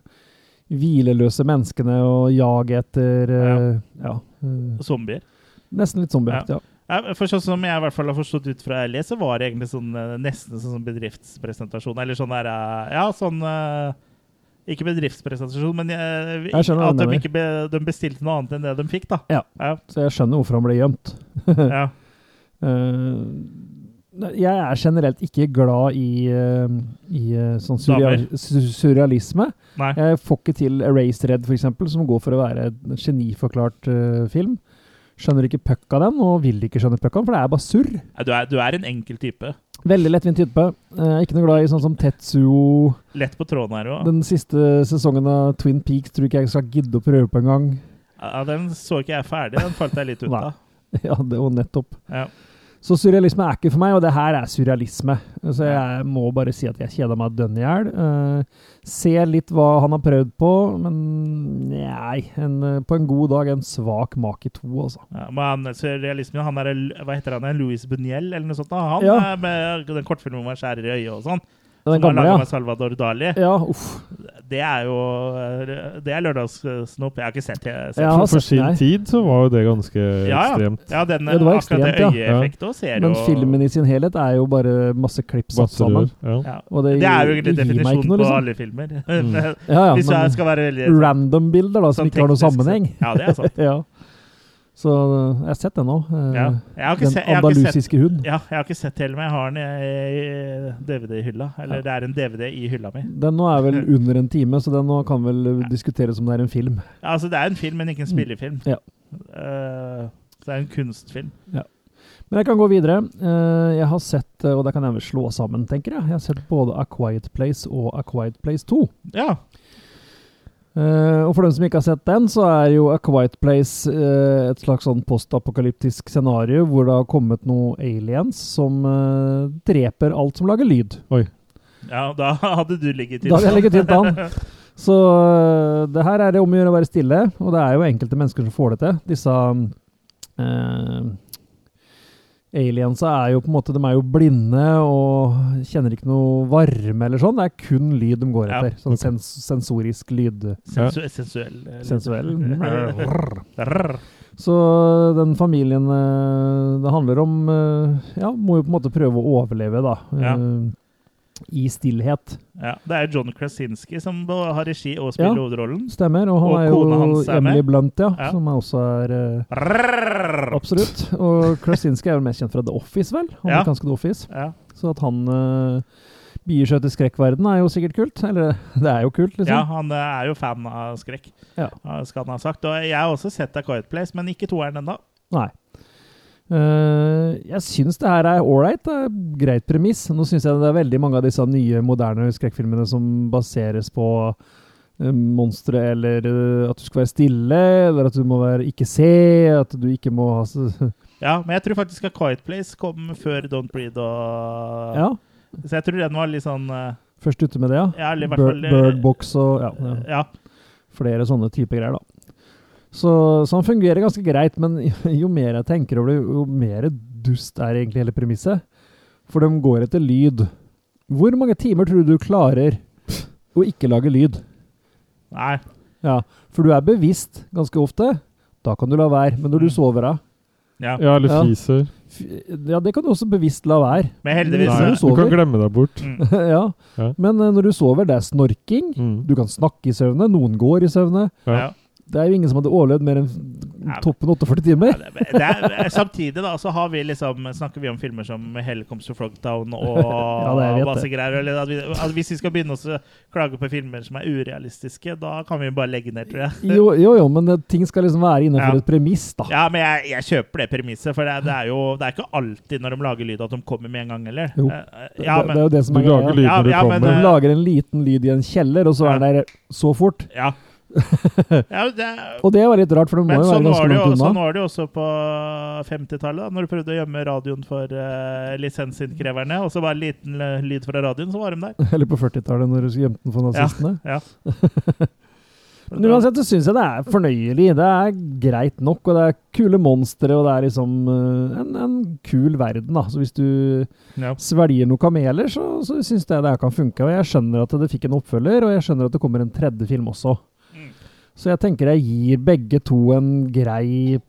Speaker 3: hvileløse menneskene og jaget etter eh, ja. eh,
Speaker 2: Zombier.
Speaker 3: Nesten litt zombieaktig, ja.
Speaker 2: Ja, For sånn som jeg i hvert fall har forstått ut fra jeg leser, var det egentlig sånn, eh, nesten sånn som bedriftspresentasjon. Eller sånn der eh, Ja, sånn eh, Ikke bedriftspresentasjon, men eh,
Speaker 3: Jeg skjønner hva
Speaker 2: at
Speaker 3: du
Speaker 2: de,
Speaker 3: mener.
Speaker 2: ikke be, de bestilte noe annet enn det de fikk, da.
Speaker 3: Ja.
Speaker 2: Ja,
Speaker 3: Så jeg skjønner hvorfor han ble gjemt.
Speaker 2: ja.
Speaker 3: Eh, nei, jeg er generelt ikke glad i, eh, i eh, sånn surreal, su- surrealisme.
Speaker 2: Nei.
Speaker 3: Jeg får ikke til Erased Red, f.eks., som går for å være en geniforklart eh, film. Skjønner ikke pucka den, og vil ikke skjønne pucka, for det er bare surr.
Speaker 2: Ja, Du, er, du er en enkel type.
Speaker 3: Veldig lettvint type. Eh, ikke noe glad i sånn som Tetsuo.
Speaker 2: Lett på tråden her òg.
Speaker 3: Den siste sesongen av Twin Peaks tror ikke jeg skal gidde å prøve på engang.
Speaker 2: Ja, den så ikke jeg ferdig. Den falt jeg litt ut av.
Speaker 3: ja, det var nettopp.
Speaker 2: Ja.
Speaker 3: Så surrealisme er ikke for meg, og det her er surrealisme. Så jeg må bare si at jeg kjeder meg dønn i hjel. Eh, ser litt hva han har prøvd på, men nei. En, eh, på en god dag en svak make to, altså.
Speaker 2: Ja, men han, surrealismen, han er, hva heter han, Louis Buniel eller noe sånt? da? Han
Speaker 3: Ja.
Speaker 2: eh, med den kortfilmen hvor han skjærer i øyet og sånn. som han
Speaker 3: Den gamle,
Speaker 2: laget
Speaker 3: ja.
Speaker 2: med Salvador Dali.
Speaker 3: Ja, uff.
Speaker 2: Det er jo eh, Det er lørdagssnop. Jeg har ikke sett det. Sett. Ja.
Speaker 3: Ja,
Speaker 1: For,
Speaker 3: altså,
Speaker 1: for sin
Speaker 3: nei.
Speaker 1: tid så var jo det ganske
Speaker 2: ja.
Speaker 1: ekstremt.
Speaker 2: den,
Speaker 3: Ja, det var
Speaker 2: akkurat det
Speaker 3: ekstremt,
Speaker 1: ja.
Speaker 2: øyeeffektet også ser
Speaker 3: Men
Speaker 2: jo
Speaker 3: filmen i sin helhet er jo bare masse klipp satt sammen.
Speaker 1: Batterør. Ja.
Speaker 2: ja.
Speaker 3: Og
Speaker 2: Det er jo egentlig
Speaker 3: gir meg ikke
Speaker 2: definisjonen
Speaker 3: noe,
Speaker 2: på
Speaker 3: liksom.
Speaker 2: alle filmer.
Speaker 1: Mm.
Speaker 3: Ja, ja,
Speaker 2: Hvis jeg
Speaker 3: men
Speaker 2: skal være veldig
Speaker 3: random-bilder da, som
Speaker 2: sånn
Speaker 3: ikke har noen
Speaker 2: teknisk sett.
Speaker 3: sammenheng.
Speaker 2: Ja, det er sant.
Speaker 3: ja. Så eh, jeg har sett den nå. eh,
Speaker 2: Ja. Jeg har ikke
Speaker 3: Den
Speaker 2: sett, jeg har ikke sett
Speaker 3: andalusiske hund.
Speaker 2: ja, jeg har ikke sett hele, men jeg har den i, i DVD-hylla. Eller
Speaker 3: Ja.
Speaker 2: det er en DVD i hylla mi.
Speaker 3: Den nå er vel under en time, så den nå kan vel eh, diskuteres om det er en film.
Speaker 2: Ja, altså, det er en film, men ikke en spillefilm.
Speaker 3: Mm. Ja.
Speaker 2: Eh, så det er en kunstfilm.
Speaker 3: Men jeg kan gå videre. Eh, Jeg har sett, eh, og det kan jeg vel slå sammen, tenker jeg, jeg har sett både A Quiet Place og A Quiet Place 2.
Speaker 2: Ja.
Speaker 3: Eh, og for dem som ikke har sett den, så er jo A Quiet Place eh, et slags sånn postapokalyptisk scenario hvor det har kommet noen aliens som eh, dreper alt som lager lyd.
Speaker 2: ja, da hadde du ligget i
Speaker 3: Da hadde jeg ligget tynt an. Så øh, det her er det om å gjøre å være stille, og det er jo enkelte mennesker som får det til. Disse øh, aliensa er jo på en måte De er jo blinde og kjenner ikke noe varme eller sånn. Det er kun lyd de går
Speaker 2: Ja.
Speaker 3: etter. Sånn
Speaker 1: Ok.
Speaker 3: sens sensorisk lyd.
Speaker 2: Sensu sensuell. eh,
Speaker 3: Sensuell.
Speaker 2: Rrr.
Speaker 3: Så den familien eh, det handler om, eh, ja, må jo på en måte prøve å overleve, da.
Speaker 2: Ja.
Speaker 3: eh, I stillhet.
Speaker 2: Ja, det er John Krasinski som har regi og spiller
Speaker 3: Ja.
Speaker 2: hovedrollen.
Speaker 3: Stemmer. Og han
Speaker 2: Og
Speaker 3: er
Speaker 2: kona
Speaker 3: jo
Speaker 2: hans er med.
Speaker 3: Emily Blunt, ja,
Speaker 2: Ja.
Speaker 3: som også er eh,
Speaker 2: Rrr.
Speaker 3: Absolutt. Og Krasinski er vel mest kjent fra The Office, vel?
Speaker 2: Ja.
Speaker 3: Amerikanske The Office.
Speaker 2: Ja.
Speaker 3: Så at han uh, bier seg til skrekkverden er jo sikkert kult. Eller det er jo kult,
Speaker 2: ja,
Speaker 3: liksom.
Speaker 2: han eh, er jo fan av skrekk,
Speaker 3: Ja.
Speaker 2: eh, skal han ha sagt. Og jeg har også sett A Quiet Place, men ikke toeren ennå.
Speaker 3: Nei. Eh, jeg syns det her er ålreit. Det er greit premiss. Nå syns jeg det er veldig mange av disse nye, moderne skrekkfilmene som baseres på eh, Monstre eller eh, at du skal være stille, eller at du må være ikke se, at du ikke må ha så-
Speaker 2: Ja, men jeg tror faktisk A Quiet Place kom før Don't Breathe og
Speaker 3: Ja,
Speaker 2: Så jeg tror den var litt sånn eh,
Speaker 3: først ute med det, ja.
Speaker 2: Ja, eller i hvert
Speaker 3: Bird,
Speaker 2: fall eh,
Speaker 3: Bird Box og ja, ja.
Speaker 2: ja.
Speaker 3: flere sånne type greier, da. Så, så han fungerer ganske greit, men jo mer jeg tenker over det, jo mer dust er egentlig hele premisset. For de går etter lyd. Hvor mange timer tror du du klarer å ikke lage lyd?
Speaker 2: Nei.
Speaker 3: Ja, For du er bevisst ganske ofte. Da kan du la være. Men når du sover av
Speaker 2: Ja.
Speaker 1: ja, eller
Speaker 3: Ja.
Speaker 1: fiser.
Speaker 3: f- Ja, det kan du også bevisst la være.
Speaker 2: Men heldigvis eh,
Speaker 3: Nei.
Speaker 1: Du kan glemme deg bort.
Speaker 2: mm.
Speaker 3: ja.
Speaker 1: Ja.
Speaker 3: Men eh, når du sover, det er snorking.
Speaker 1: Mm.
Speaker 3: Du kan snakke i søvne. Noen går i søvne.
Speaker 1: Ja.
Speaker 2: Ja.
Speaker 3: Det er jo ingen som hadde overlevd mer enn
Speaker 2: men-
Speaker 3: toppen 48 timer.
Speaker 2: Ja, det, det er, samtidig da, så har vi liksom, snakker vi om filmer som 'Hell comes to Frogtown' og
Speaker 3: Ja, det vet jeg.
Speaker 2: masse greier. Eller at vi, at hvis vi skal begynne å klage på filmer som er urealistiske, da kan vi bare legge ned, tror jeg.
Speaker 3: Jo, jo, jo, men det, ting skal liksom være innenfor
Speaker 2: Ja.
Speaker 3: et premiss, da.
Speaker 2: Ja, men jeg, jeg kjøper det premisset, for det, er- det er jo det er ikke alltid når de lager lyd, at de kommer med en gang, eller?
Speaker 3: Jo.
Speaker 2: Eh, Ja,
Speaker 3: det, det
Speaker 2: men,
Speaker 3: er jo det
Speaker 1: Du
Speaker 3: som er
Speaker 1: lager
Speaker 3: greia.
Speaker 1: lyd
Speaker 2: Ja,
Speaker 1: når du
Speaker 2: ja, men,
Speaker 1: kommer.
Speaker 3: Du
Speaker 2: eh,
Speaker 3: lager en liten lyd i en kjeller, og så er
Speaker 2: Ja.
Speaker 3: den der så fort.
Speaker 2: ja. ja det,
Speaker 3: Og det var litt rart, for den må
Speaker 2: men
Speaker 3: jo være
Speaker 2: sånn var,
Speaker 3: ganske
Speaker 2: det jo,
Speaker 3: langt
Speaker 2: sånn
Speaker 3: unna.
Speaker 2: var det jo også på 50-tallet, da, når du prøvde å gjemme radioen for uh, lisensinnkreverne, og så var det en liten eh, lyd fra radioen, så var de der.
Speaker 3: Eller på 40-tallet, når du gjemte den for nazistene.
Speaker 2: Ja.
Speaker 3: Men uansett så syns jeg det er fornøyelig. Det er greit nok, og det er kule monstre, og det er liksom eh, en, en kul verden, da. Så hvis du
Speaker 2: Ja.
Speaker 3: svelger noen kameler, så, så syns jeg det her kan funke. Og jeg skjønner at det fikk en oppfølger, og jeg skjønner at det kommer en tredje film også.
Speaker 2: Mm.
Speaker 3: Så jeg tenker jeg gir begge to en grei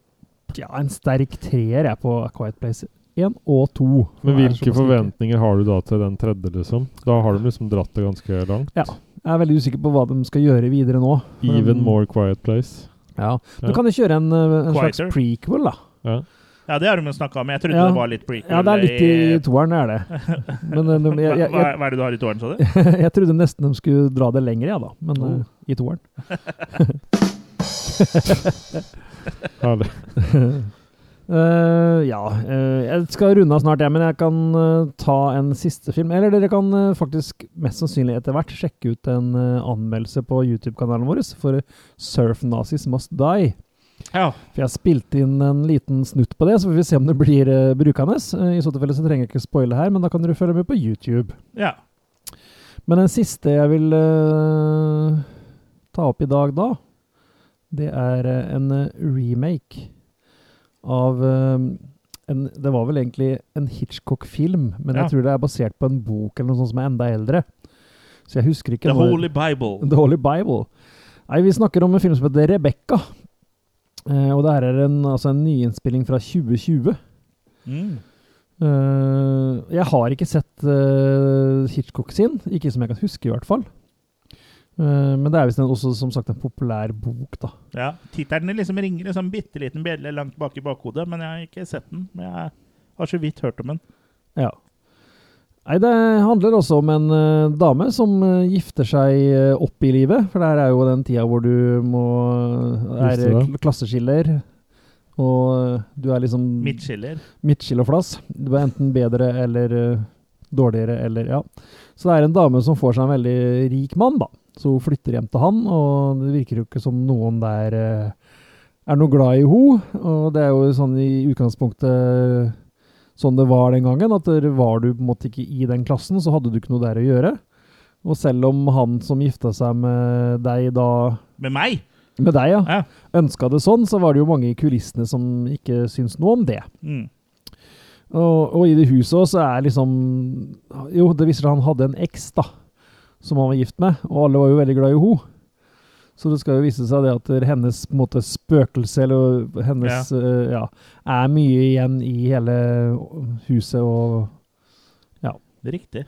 Speaker 3: Ja, en sterk treer jeg på A Quiet Place 1 og 2.
Speaker 1: Men
Speaker 3: Det er
Speaker 1: hvilke
Speaker 3: såpass mye.
Speaker 1: forventninger har du da til den tredje, liksom? Da har de liksom dratt det ganske langt.
Speaker 3: Jeg er veldig usikker på hva de skal gjøre videre nå.
Speaker 1: Even
Speaker 3: Mm.
Speaker 1: more quiet place.
Speaker 3: Ja. Du
Speaker 1: Ja.
Speaker 3: kan jo kjøre en, eh, en slags
Speaker 2: Quieter.
Speaker 3: prequel, da.
Speaker 1: Ja.
Speaker 2: Ja, det har de jo snakka om. Jeg trodde
Speaker 3: Ja.
Speaker 2: det var litt prequel. eh,
Speaker 3: Ja, det er litt i toeren, er det. Men eh, de- jeg, jeg,
Speaker 2: hva,
Speaker 3: jeg,
Speaker 2: hva er det du har i tåren, sa du?
Speaker 3: jeg trodde nesten de skulle dra det lenger, ja da. Men
Speaker 1: Oh.
Speaker 3: eh, i toeren.
Speaker 1: Herlig.
Speaker 3: Eh, ja, eh, jeg skal runde av snart, jeg, men jeg kan eh, ta en siste film. Eller dere kan eh, faktisk mest sannsynlig etter hvert sjekke ut en eh, anmeldelse på YouTube-kanalen vår for Surf Nazis Must Die.
Speaker 2: Ja.
Speaker 3: For jeg spilte inn en liten snutt på det, så får vi se om det blir eh, brukende. Eh, I så tilfelle så trenger jeg ikke spoile her, men da kan dere følge med på YouTube.
Speaker 2: ja.
Speaker 3: Men den siste jeg vil eh, ta opp i dag, da, det er eh, en eh, remake av eh, en, Det var vel egentlig en Hitchcock-film, men
Speaker 2: Ja.
Speaker 3: jeg tror det er basert på en bok eller noe sånt som er enda eldre. Så jeg husker ikke
Speaker 2: The
Speaker 3: når-
Speaker 2: Holy Bible.
Speaker 3: The Holy Bible. Nei, vi snakker om en film som heter Rebecca. Eh, og det her er en, altså en nyinnspilling fra 2020.
Speaker 2: Mm.
Speaker 3: Eh, jeg har ikke sett eh, Hitchcock sin, ikke som jeg kan huske i hvert fall. Eh, men det er visst en- også som sagt en populær bok, da.
Speaker 2: Ja. Tittelen liksom ringer en sånn bitte liten bjelle langt bak i bakhodet, men jeg har ikke sett den. Men jeg har så vidt hørt om den.
Speaker 3: Ja. Nei, det handler også om en eh, dame som eh, gifter seg eh, opp i livet. For det her er jo den tida hvor du må eh, er
Speaker 1: Gifte deg.
Speaker 3: kl- klasseskiller. Og eh, du er liksom
Speaker 2: Midtskiller.
Speaker 3: midtskilleflass. Du er enten bedre eller eh, dårligere eller ja. Så det er en dame som får seg en veldig rik mann, da. Så hun flytter hjem til han, og det virker jo ikke som noen der eh, er noe glad i ho. Og det er jo sånn i utgangspunktet sånn det var den gangen, at der var du på en måte ikke i den klassen, så hadde du ikke noe der å gjøre. Og selv om han som gifta seg med deg da
Speaker 2: Med meg!
Speaker 3: Med deg, ja.
Speaker 2: Ja.
Speaker 3: Ønska det sånn, så var det jo mange i kulissene som ikke syns noe om det.
Speaker 2: Mm.
Speaker 3: Og, og i det huset også så er liksom Jo, det viser seg at han hadde en eks, da, som han var gift med, og alle var jo veldig glad i ho. Så det skal jo vise seg det at hennes på en måte, spøkelse, eller hennes eh, ja, er mye igjen i hele huset og
Speaker 2: Riktig.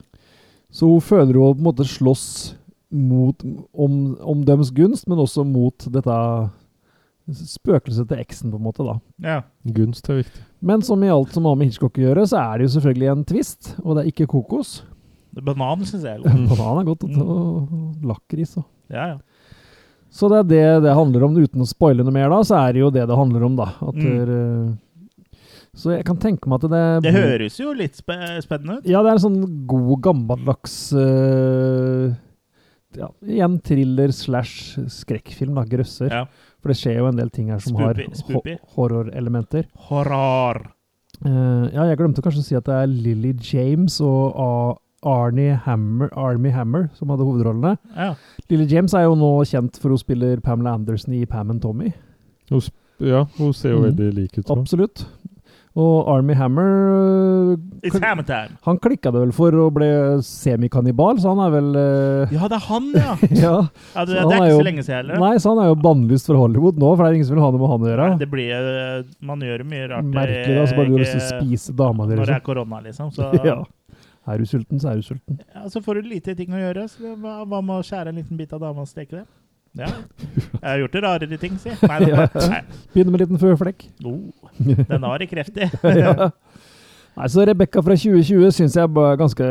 Speaker 3: Så hun føler jo på en måte slåss mot, om, om deres gunst, men også mot dette spøkelset til eksen, på en måte, da.
Speaker 2: Ja.
Speaker 1: Gunst er viktig.
Speaker 3: Men som i alt som har med Hitchcock å gjøre, så er det jo selvfølgelig en twist, og det er ikke kokos.
Speaker 2: Banan syns jeg er god.
Speaker 3: Banan er godt, og,
Speaker 2: Mm.
Speaker 3: og og lakris og
Speaker 2: Ja, ja.
Speaker 3: Så det er det det handler om. Uten å spoile noe mer, da, så er det jo det det handler om, da. At
Speaker 2: Mm.
Speaker 3: det er, eh, så jeg kan tenke meg at det
Speaker 2: Det høres jo litt spe spennende ut.
Speaker 3: Mm. Ja, det er en sånn god, gammeldags eh, ja, Igjen thriller slash skrekkfilm, da. Grøsser.
Speaker 2: Ja.
Speaker 3: For det skjer jo en del ting her som
Speaker 2: Spoopy-
Speaker 3: har ho
Speaker 2: spoopy.
Speaker 3: horrorelementer.
Speaker 2: Horror.
Speaker 3: Eh, ja, jeg glemte kanskje å si at det er Lily James og A Arnie Hammer, Army Hammer som hadde hovedrollene.
Speaker 2: Ja.
Speaker 3: Lille James er jo nå kjent for hun spiller Pamela Anderson i Pam and Tommy.
Speaker 1: Hun sp ja, hun ser jo
Speaker 3: Mhm.
Speaker 1: veldig lik ut. da.
Speaker 3: Absolutt. Og Army Hammer øh,
Speaker 2: It's
Speaker 3: kan-
Speaker 2: hammer time.
Speaker 3: Han klikka det vel for og ble semikannibal, så han er vel øh,
Speaker 2: Ja, det er han, ja!
Speaker 3: ja.
Speaker 2: ja det,
Speaker 3: Så han
Speaker 2: det
Speaker 3: er
Speaker 2: er ikke
Speaker 3: jo-
Speaker 2: så lenge siden heller.
Speaker 3: Nei, så han er jo bannlyst fra Hollywood nå, for det er ingen som vil ha noe med han å gjøre.
Speaker 2: Nei, Det blir, eh, man gjør mye rart.
Speaker 3: Merkelig, da. Så bare du har lyst til å
Speaker 2: ikke-
Speaker 3: spise dama di,
Speaker 2: Når det er
Speaker 3: liksom.
Speaker 2: korona, liksom. Så,
Speaker 3: Ja.
Speaker 2: ja.
Speaker 3: Er du sulten, så er du sulten.
Speaker 2: så får du lite ting å gjøre. Så det- hva, hva med å skjære en liten bit av dama og steke det? Ja. Jeg har gjort det rarere ting, si. Nei, det,
Speaker 3: Ja.
Speaker 2: nei.
Speaker 3: Begynner med en liten føflekk.
Speaker 2: Oh, den var kreftig.
Speaker 3: ja. Nei, så Rebekka fra 2020 syns jeg var en ganske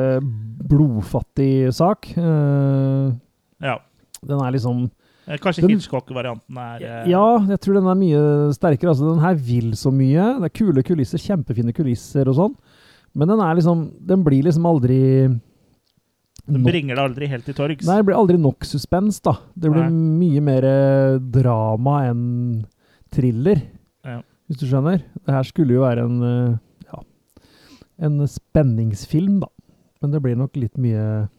Speaker 3: blodfattig sak. Eh,
Speaker 2: Ja.
Speaker 3: den er liksom
Speaker 2: Eh, Kanskje
Speaker 3: Den-
Speaker 2: Hitchcock-varianten er eh,
Speaker 3: Ja, jeg tror den er mye sterkere. Altså, den her vil så mye. Det er kule kulisser, kjempefine kulisser og sånn. Men den er liksom Den blir liksom aldri
Speaker 2: Den
Speaker 3: nok-
Speaker 2: bringer det aldri helt til torgs.
Speaker 3: Nei, det blir aldri nok suspens, da. Det blir
Speaker 2: Nei.
Speaker 3: mye mer eh, drama enn thriller,
Speaker 2: Ja.
Speaker 3: hvis du skjønner. Det her skulle jo være en eh, ja, en spenningsfilm, da. Men det blir nok litt mye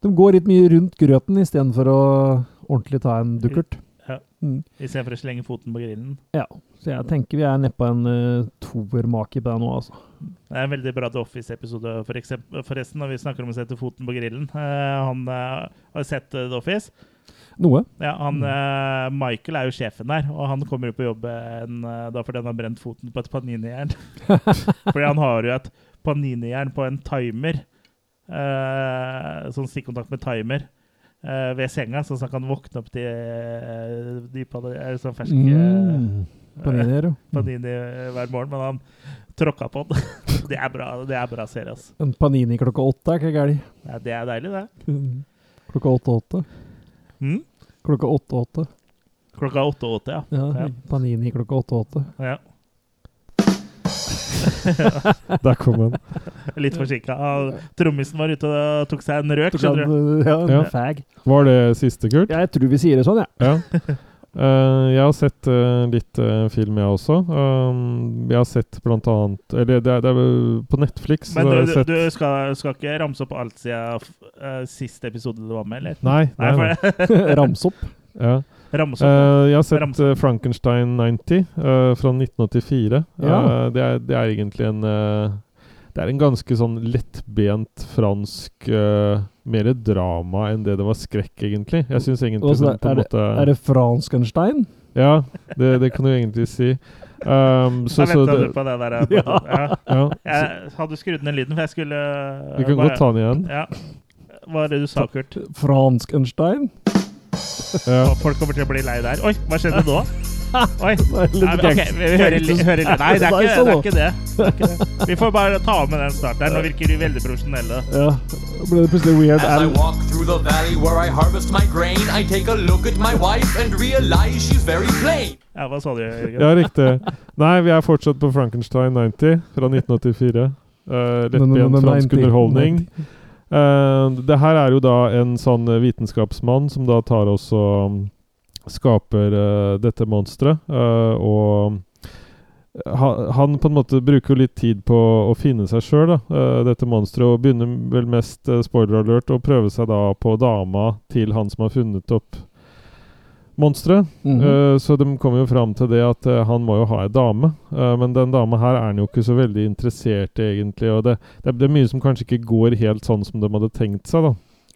Speaker 3: De går litt mye rundt grøten istedenfor å ordentlig ta en dukkert.
Speaker 2: Ja.
Speaker 3: Mm.
Speaker 2: Istedenfor å slenge foten på grillen.
Speaker 3: Ja, så jeg tenker vi er nede på en uh, toermake på deg nå, altså.
Speaker 2: Det er en veldig bra The Office-episode, for eksempel- forresten, når vi snakker om å sette foten på grillen. Eh, han eh, har sett eh, The Office.
Speaker 3: Noe.
Speaker 2: Ja, han, eh, Michael er jo sjefen der, og han kommer jo på jobb en, eh, da fordi han har brent foten på et paninijern. fordi han har jo et paninijern på en timer, eh, sånn stikkontakt med timer, eh, ved senga, sånn at han kan våkne opp til eh, nypadde- eh, sånn ferske
Speaker 3: Mm.
Speaker 2: eh,
Speaker 3: Paniner, jo.
Speaker 2: panini hver morgen, men han tråkka på den. det er bra, det er bra serie, altså.
Speaker 3: En panini klokka åtte er ikke galt.
Speaker 2: Ja, det er deilig, det.
Speaker 3: Klokka åtte-åtte.
Speaker 2: Mm?
Speaker 3: Klokka åtte-åtte.
Speaker 2: Klokka åtte og åtte, ja.
Speaker 3: Ja,
Speaker 2: Ja.
Speaker 3: Panini klokka åtte-åtte.
Speaker 2: ja.
Speaker 1: Der kom den.
Speaker 2: Litt forsinka. Ja, Trommisen var ute og tok seg en røk,
Speaker 3: Du kan,
Speaker 2: skjønner du.
Speaker 3: uh, Ja,
Speaker 1: Ja.
Speaker 3: en fag.
Speaker 1: Var det siste, Kurt?
Speaker 3: Ja, jeg tror vi sier det sånn, jeg.
Speaker 1: Ja. Eh, jeg har sett eh, litt eh, film, jeg også. Um, jeg har sett blant annet Eller det er, det er vel på Netflix. så
Speaker 2: Men
Speaker 1: har jeg
Speaker 2: du,
Speaker 1: sett,
Speaker 2: du skal, skal ikke ramse opp alt siden eh, siste episode du var med, eller?
Speaker 1: Nei. nei,
Speaker 2: Nei,
Speaker 1: nei.
Speaker 2: for
Speaker 3: Ramse opp.
Speaker 1: Ja.
Speaker 2: ramse opp.
Speaker 1: Eh, jeg har sett
Speaker 2: Ramse.
Speaker 1: eh, Frankenstein 90 eh, fra 1984.
Speaker 3: Ja.
Speaker 1: Eh, det, er, det er egentlig en eh, Det er en ganske sånn lettbent fransk eh, Mer drama enn det det var skrekk, egentlig. Jeg syns egentlig
Speaker 3: Og så
Speaker 1: den på en måte
Speaker 3: Er det Franskenstein?
Speaker 1: Ja, det, det kan du egentlig si. Um, så,
Speaker 2: Jeg
Speaker 1: så
Speaker 2: venta
Speaker 1: det,
Speaker 2: du på det der. eh,
Speaker 3: Ja.
Speaker 2: ja.
Speaker 1: ja, så,
Speaker 2: Jeg hadde skrudd ned lyden, for jeg skulle eh,
Speaker 1: vi kan
Speaker 2: bare-
Speaker 1: godt ta den igjen.
Speaker 2: Ja. Hva er det du sa, Kurt?
Speaker 3: Franskenstein?
Speaker 1: Ja.
Speaker 2: Folk kommer til å bli lei der. Oi, hva skjedde nå? Oi.
Speaker 3: Nei, litt
Speaker 2: Nei, men ok,
Speaker 3: gangst-
Speaker 2: vi hører, li-
Speaker 3: gangsters-
Speaker 2: hører litt. Nei, det er ikke det. Er
Speaker 3: Nice,
Speaker 2: ikke det. det er ikke det. Vi får bare ta med den starteren. Nå virker de veldig profesjonelle.
Speaker 3: Ja. Ble det plutselig Weird
Speaker 4: As I
Speaker 3: Al?
Speaker 4: walk through the valley where I harvest my grain, I take a look at my wife and realize she's very plain.
Speaker 2: Ja, hva sa du, Jørgen?
Speaker 1: ja, riktig. Nei, vi er fortsatt på Frankenstein 90 fra 1984. Uh, Lettbent fransk
Speaker 3: 90.
Speaker 1: underholdning. Eh, det her er jo da en sånn vitenskapsmann som da tar oss og mm, skaper eh, dette monsteret. eh, og ha- han på en måte bruker jo litt tid på å finne seg sjøl, uh, dette monsteret, og begynner vel mest, eh, spoiler alert, å prøve seg da på dama til han som har funnet opp monsteret.
Speaker 3: Mhm.
Speaker 1: Eh, Så de kom jo fram til det at eh, han må jo ha ei dame. Eh, men den dama her er han jo ikke så veldig interessert i, egentlig. Og det, det, er- det er mye som kanskje ikke går helt sånn som de hadde tenkt seg, da.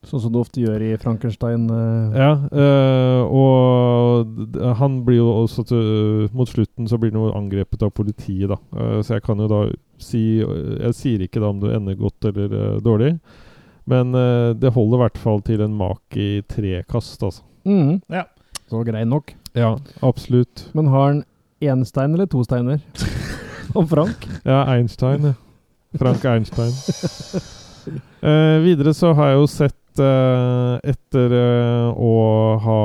Speaker 3: Sånn som du ofte gjør i Frankenstein. eh,
Speaker 1: Ja, eh, og d- han blir jo også til, eh, Mot slutten så blir han jo angrepet av politiet, da. Eh, så jeg kan jo da si eh, Jeg sier ikke da om det ender godt eller eh, dårlig. Men eh, det holder i hvert fall til en mak i tre kast, altså.
Speaker 3: mhm.
Speaker 2: Ja.
Speaker 3: Så grei nok.
Speaker 1: Ja, absolutt.
Speaker 3: Men har han én stein eller to steiner? Og Frank?
Speaker 1: Ja, Einstein. ja. Frank Einstein. Eh, videre så har jeg jo sett eh, Etter eh, å ha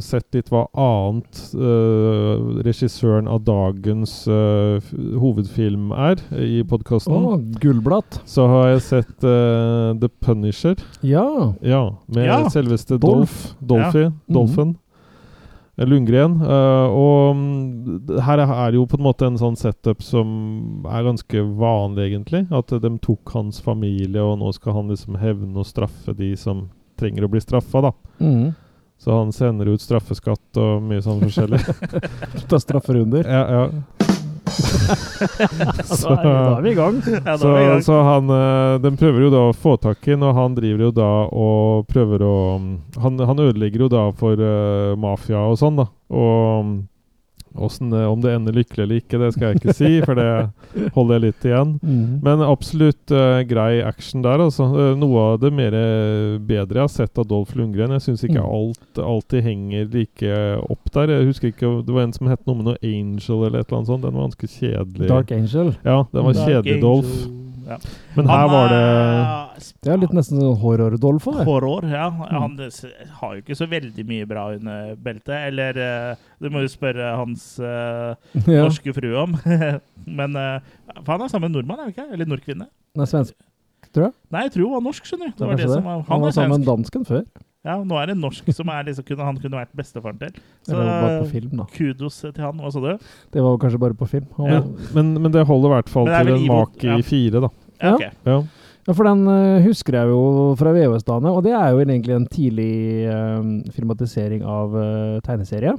Speaker 1: sett litt hva annet eh, regissøren av dagens eh, f- hovedfilm er i
Speaker 3: Å,
Speaker 1: podkasten,
Speaker 3: gullblatt.
Speaker 1: så har jeg sett eh, The Punisher.
Speaker 3: Ja.
Speaker 1: Ja, med
Speaker 2: Ja.
Speaker 1: selveste
Speaker 3: Dolph.
Speaker 1: Dolph. Dolphy. Dolphin. Eh, Lundgren. Eh, og mm, d- her er jo på en måte en sånn setup som er ganske vanlig, egentlig. At eh, de tok hans familie, og nå skal han liksom hevne og straffe de som trenger å bli straffa, da.
Speaker 3: Mhm.
Speaker 1: Så han sender ut straffeskatt og mye sånn forskjellig.
Speaker 3: Ta strafferunder.
Speaker 1: ja, ja.
Speaker 3: Altså, da er vi i gang.
Speaker 2: Ja, da
Speaker 1: Så,
Speaker 2: var vi i gang.
Speaker 1: så han eh, Den prøver jo da å få tak i den, og han driver jo da og prøver å mm, Han, han ødelegger jo da for eh, mafia og sånn, da. Og mm, åssen det- om det ender lykkelig eller ikke, det skal jeg ikke si, for det holder jeg litt igjen.
Speaker 3: Mhm.
Speaker 1: Men absolutt eh, grei action der, altså. Eh, noe av det mer eh, bedre jeg har sett av Dolph Lundgren. Jeg syns ikke
Speaker 3: Mm.
Speaker 1: alt alltid henger like opp der. Jeg husker ikke, Det var en som het noe med noe Angel eller et eller annet sånt. Den var ganske kjedelig.
Speaker 3: Dark Angel.
Speaker 1: Ja, den var
Speaker 3: Dark
Speaker 1: kjedelig, Dolph.
Speaker 2: Ja.
Speaker 1: Men her
Speaker 2: Han
Speaker 1: var det Mm.
Speaker 2: er-
Speaker 3: Det er litt nesten sånn horror-Dolph. det.
Speaker 2: Horror, ja. Han s- har jo ikke så veldig mye bra under beltet. Eller eh, du må jo spørre hans eh,
Speaker 3: Ja.
Speaker 2: norske frue om. Men eh, For han er sammen med en nordmann, er han ikke? Eller nordkvinne?
Speaker 3: Nei, svensk.
Speaker 2: Nei, jeg tror hun var norsk, skjønner du.
Speaker 3: Det
Speaker 2: Det var det som var,
Speaker 3: Han var
Speaker 2: han er
Speaker 3: sammen
Speaker 2: svensk.
Speaker 3: med dansken før.
Speaker 2: Ja, nå er det en norsk som er liksom, kunne, han kunne vært bestefaren til. Så
Speaker 3: Eller bare på film, da.
Speaker 2: kudos til han. Hva sa du?
Speaker 3: Det var jo kanskje bare på film. Han
Speaker 2: Ja.
Speaker 3: var-
Speaker 1: men, men det holder i hvert fall
Speaker 2: Men det er
Speaker 1: til
Speaker 2: vel
Speaker 1: en
Speaker 2: imot-
Speaker 1: make
Speaker 2: ja.
Speaker 1: i fire, da.
Speaker 2: Ja,
Speaker 3: Ja.
Speaker 2: ok.
Speaker 1: Ja.
Speaker 3: Ja, for den eh, husker jeg jo fra VHS-dagene, og det er jo egentlig en tidlig eh, filmatisering av eh, tegneserie.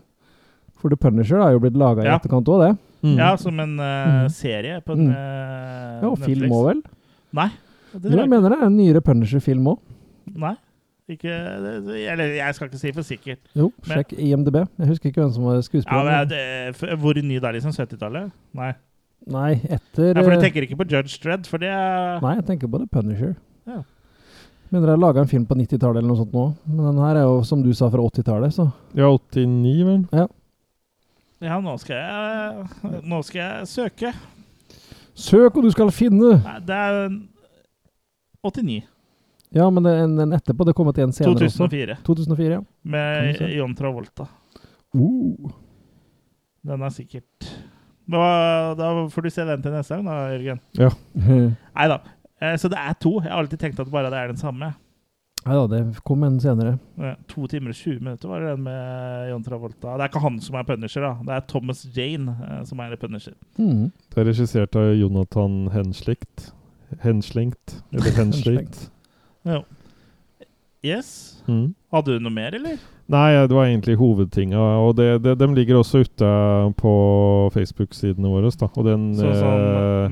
Speaker 3: For The Punisher er jo blitt laga i
Speaker 2: Ja.
Speaker 3: etterkant òg, det.
Speaker 1: Mm.
Speaker 2: ja som en eh,
Speaker 3: Mm.
Speaker 2: serie på en,
Speaker 3: Mm.
Speaker 2: eh,
Speaker 3: Ja, og film
Speaker 2: Netflix.
Speaker 3: òg, vel?
Speaker 2: Nei. Det
Speaker 3: Jo,
Speaker 2: tror
Speaker 3: jeg
Speaker 2: jeg ikke.
Speaker 3: mener det er en nyere Punisher-film òg.
Speaker 2: Nei. Ikke, eller jeg skal ikke si for sikkert.
Speaker 3: Jo,
Speaker 2: Men-
Speaker 3: sjekk IMDb. Jeg husker ikke hvem som var
Speaker 2: Ja,
Speaker 3: skuespiller.
Speaker 2: men det, for- hvor ny det er liksom? 70-tallet? Nei.
Speaker 3: Nei, etter
Speaker 2: Ja, for du
Speaker 3: eh,
Speaker 2: tenker ikke på Judge Dredd, for det er
Speaker 3: Nei, jeg tenker på The Punisher.
Speaker 2: Ja.
Speaker 3: Mener jeg laga en film på 90-tallet eller noe sånt nå. Men den her er jo, som du sa, fra 80-tallet, så
Speaker 1: Ja, 89, vel?
Speaker 2: Ja, nå skal jeg Nå skal jeg søke.
Speaker 3: Søk, og du skal finne!
Speaker 2: Nei, det er 89.
Speaker 3: Ja, men det er en, en etterpå. Det kom et en senere også.
Speaker 2: 2004.
Speaker 3: 2004, ja.
Speaker 2: Med
Speaker 3: Kan du se.
Speaker 2: John Travolta.
Speaker 3: Uh.
Speaker 2: Den er sikkert da, da får du se den til neste gang, da, Jørgen.
Speaker 3: Nei
Speaker 2: Nei da. Eh, Så det er to. Jeg har alltid tenkt at bare det er den samme.
Speaker 3: da, det kom en senere.
Speaker 2: Eh, To timer og 20 minutter var det den med John Travolta. Det er ikke han som er punisher, da. Det er Thomas Jane eh, som er punisher.
Speaker 3: Mm.
Speaker 1: Det er regissert av Jonathan Henslikt. Henslingt. Eller Henslikt.
Speaker 2: Yes.
Speaker 1: Mm.
Speaker 2: Hadde du noe mer, eller?
Speaker 1: Nei, det var egentlig hovedtinga. Og det, det, dem ligger også ute på Facebook-sidene våre. Da. Og den
Speaker 2: Sånn
Speaker 1: eh,
Speaker 2: som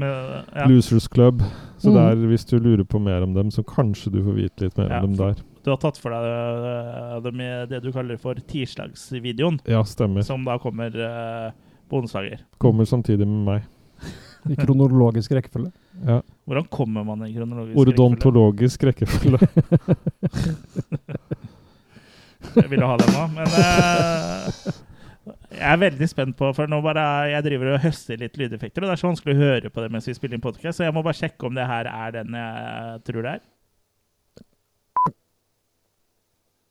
Speaker 2: med, ja. Mm.
Speaker 1: Losers Club. Så
Speaker 3: Mhm.
Speaker 1: der, hvis du lurer på mer om dem, så kanskje du får vite litt mer
Speaker 2: Ja.
Speaker 1: om dem der.
Speaker 2: Du har tatt for deg eh, det med det du kaller for tirsdagsvideoen,
Speaker 1: Ja, stemmer.
Speaker 2: som da kommer eh, på onsdager.
Speaker 1: Kommer samtidig med meg.
Speaker 3: I kronologisk rekkefølge.
Speaker 1: Ja.
Speaker 2: Hvordan kommer man i kronologisk rekkefølge?
Speaker 1: Ordontologisk rekkefølge.
Speaker 2: Jeg ville ha den nå, men eh, jeg er veldig spent på For nå bare jeg driver og høster litt lydeffekter, og det er så vanskelig å høre på det mens vi spiller inn podkast, så jeg må bare sjekke om det her er den jeg tror det er.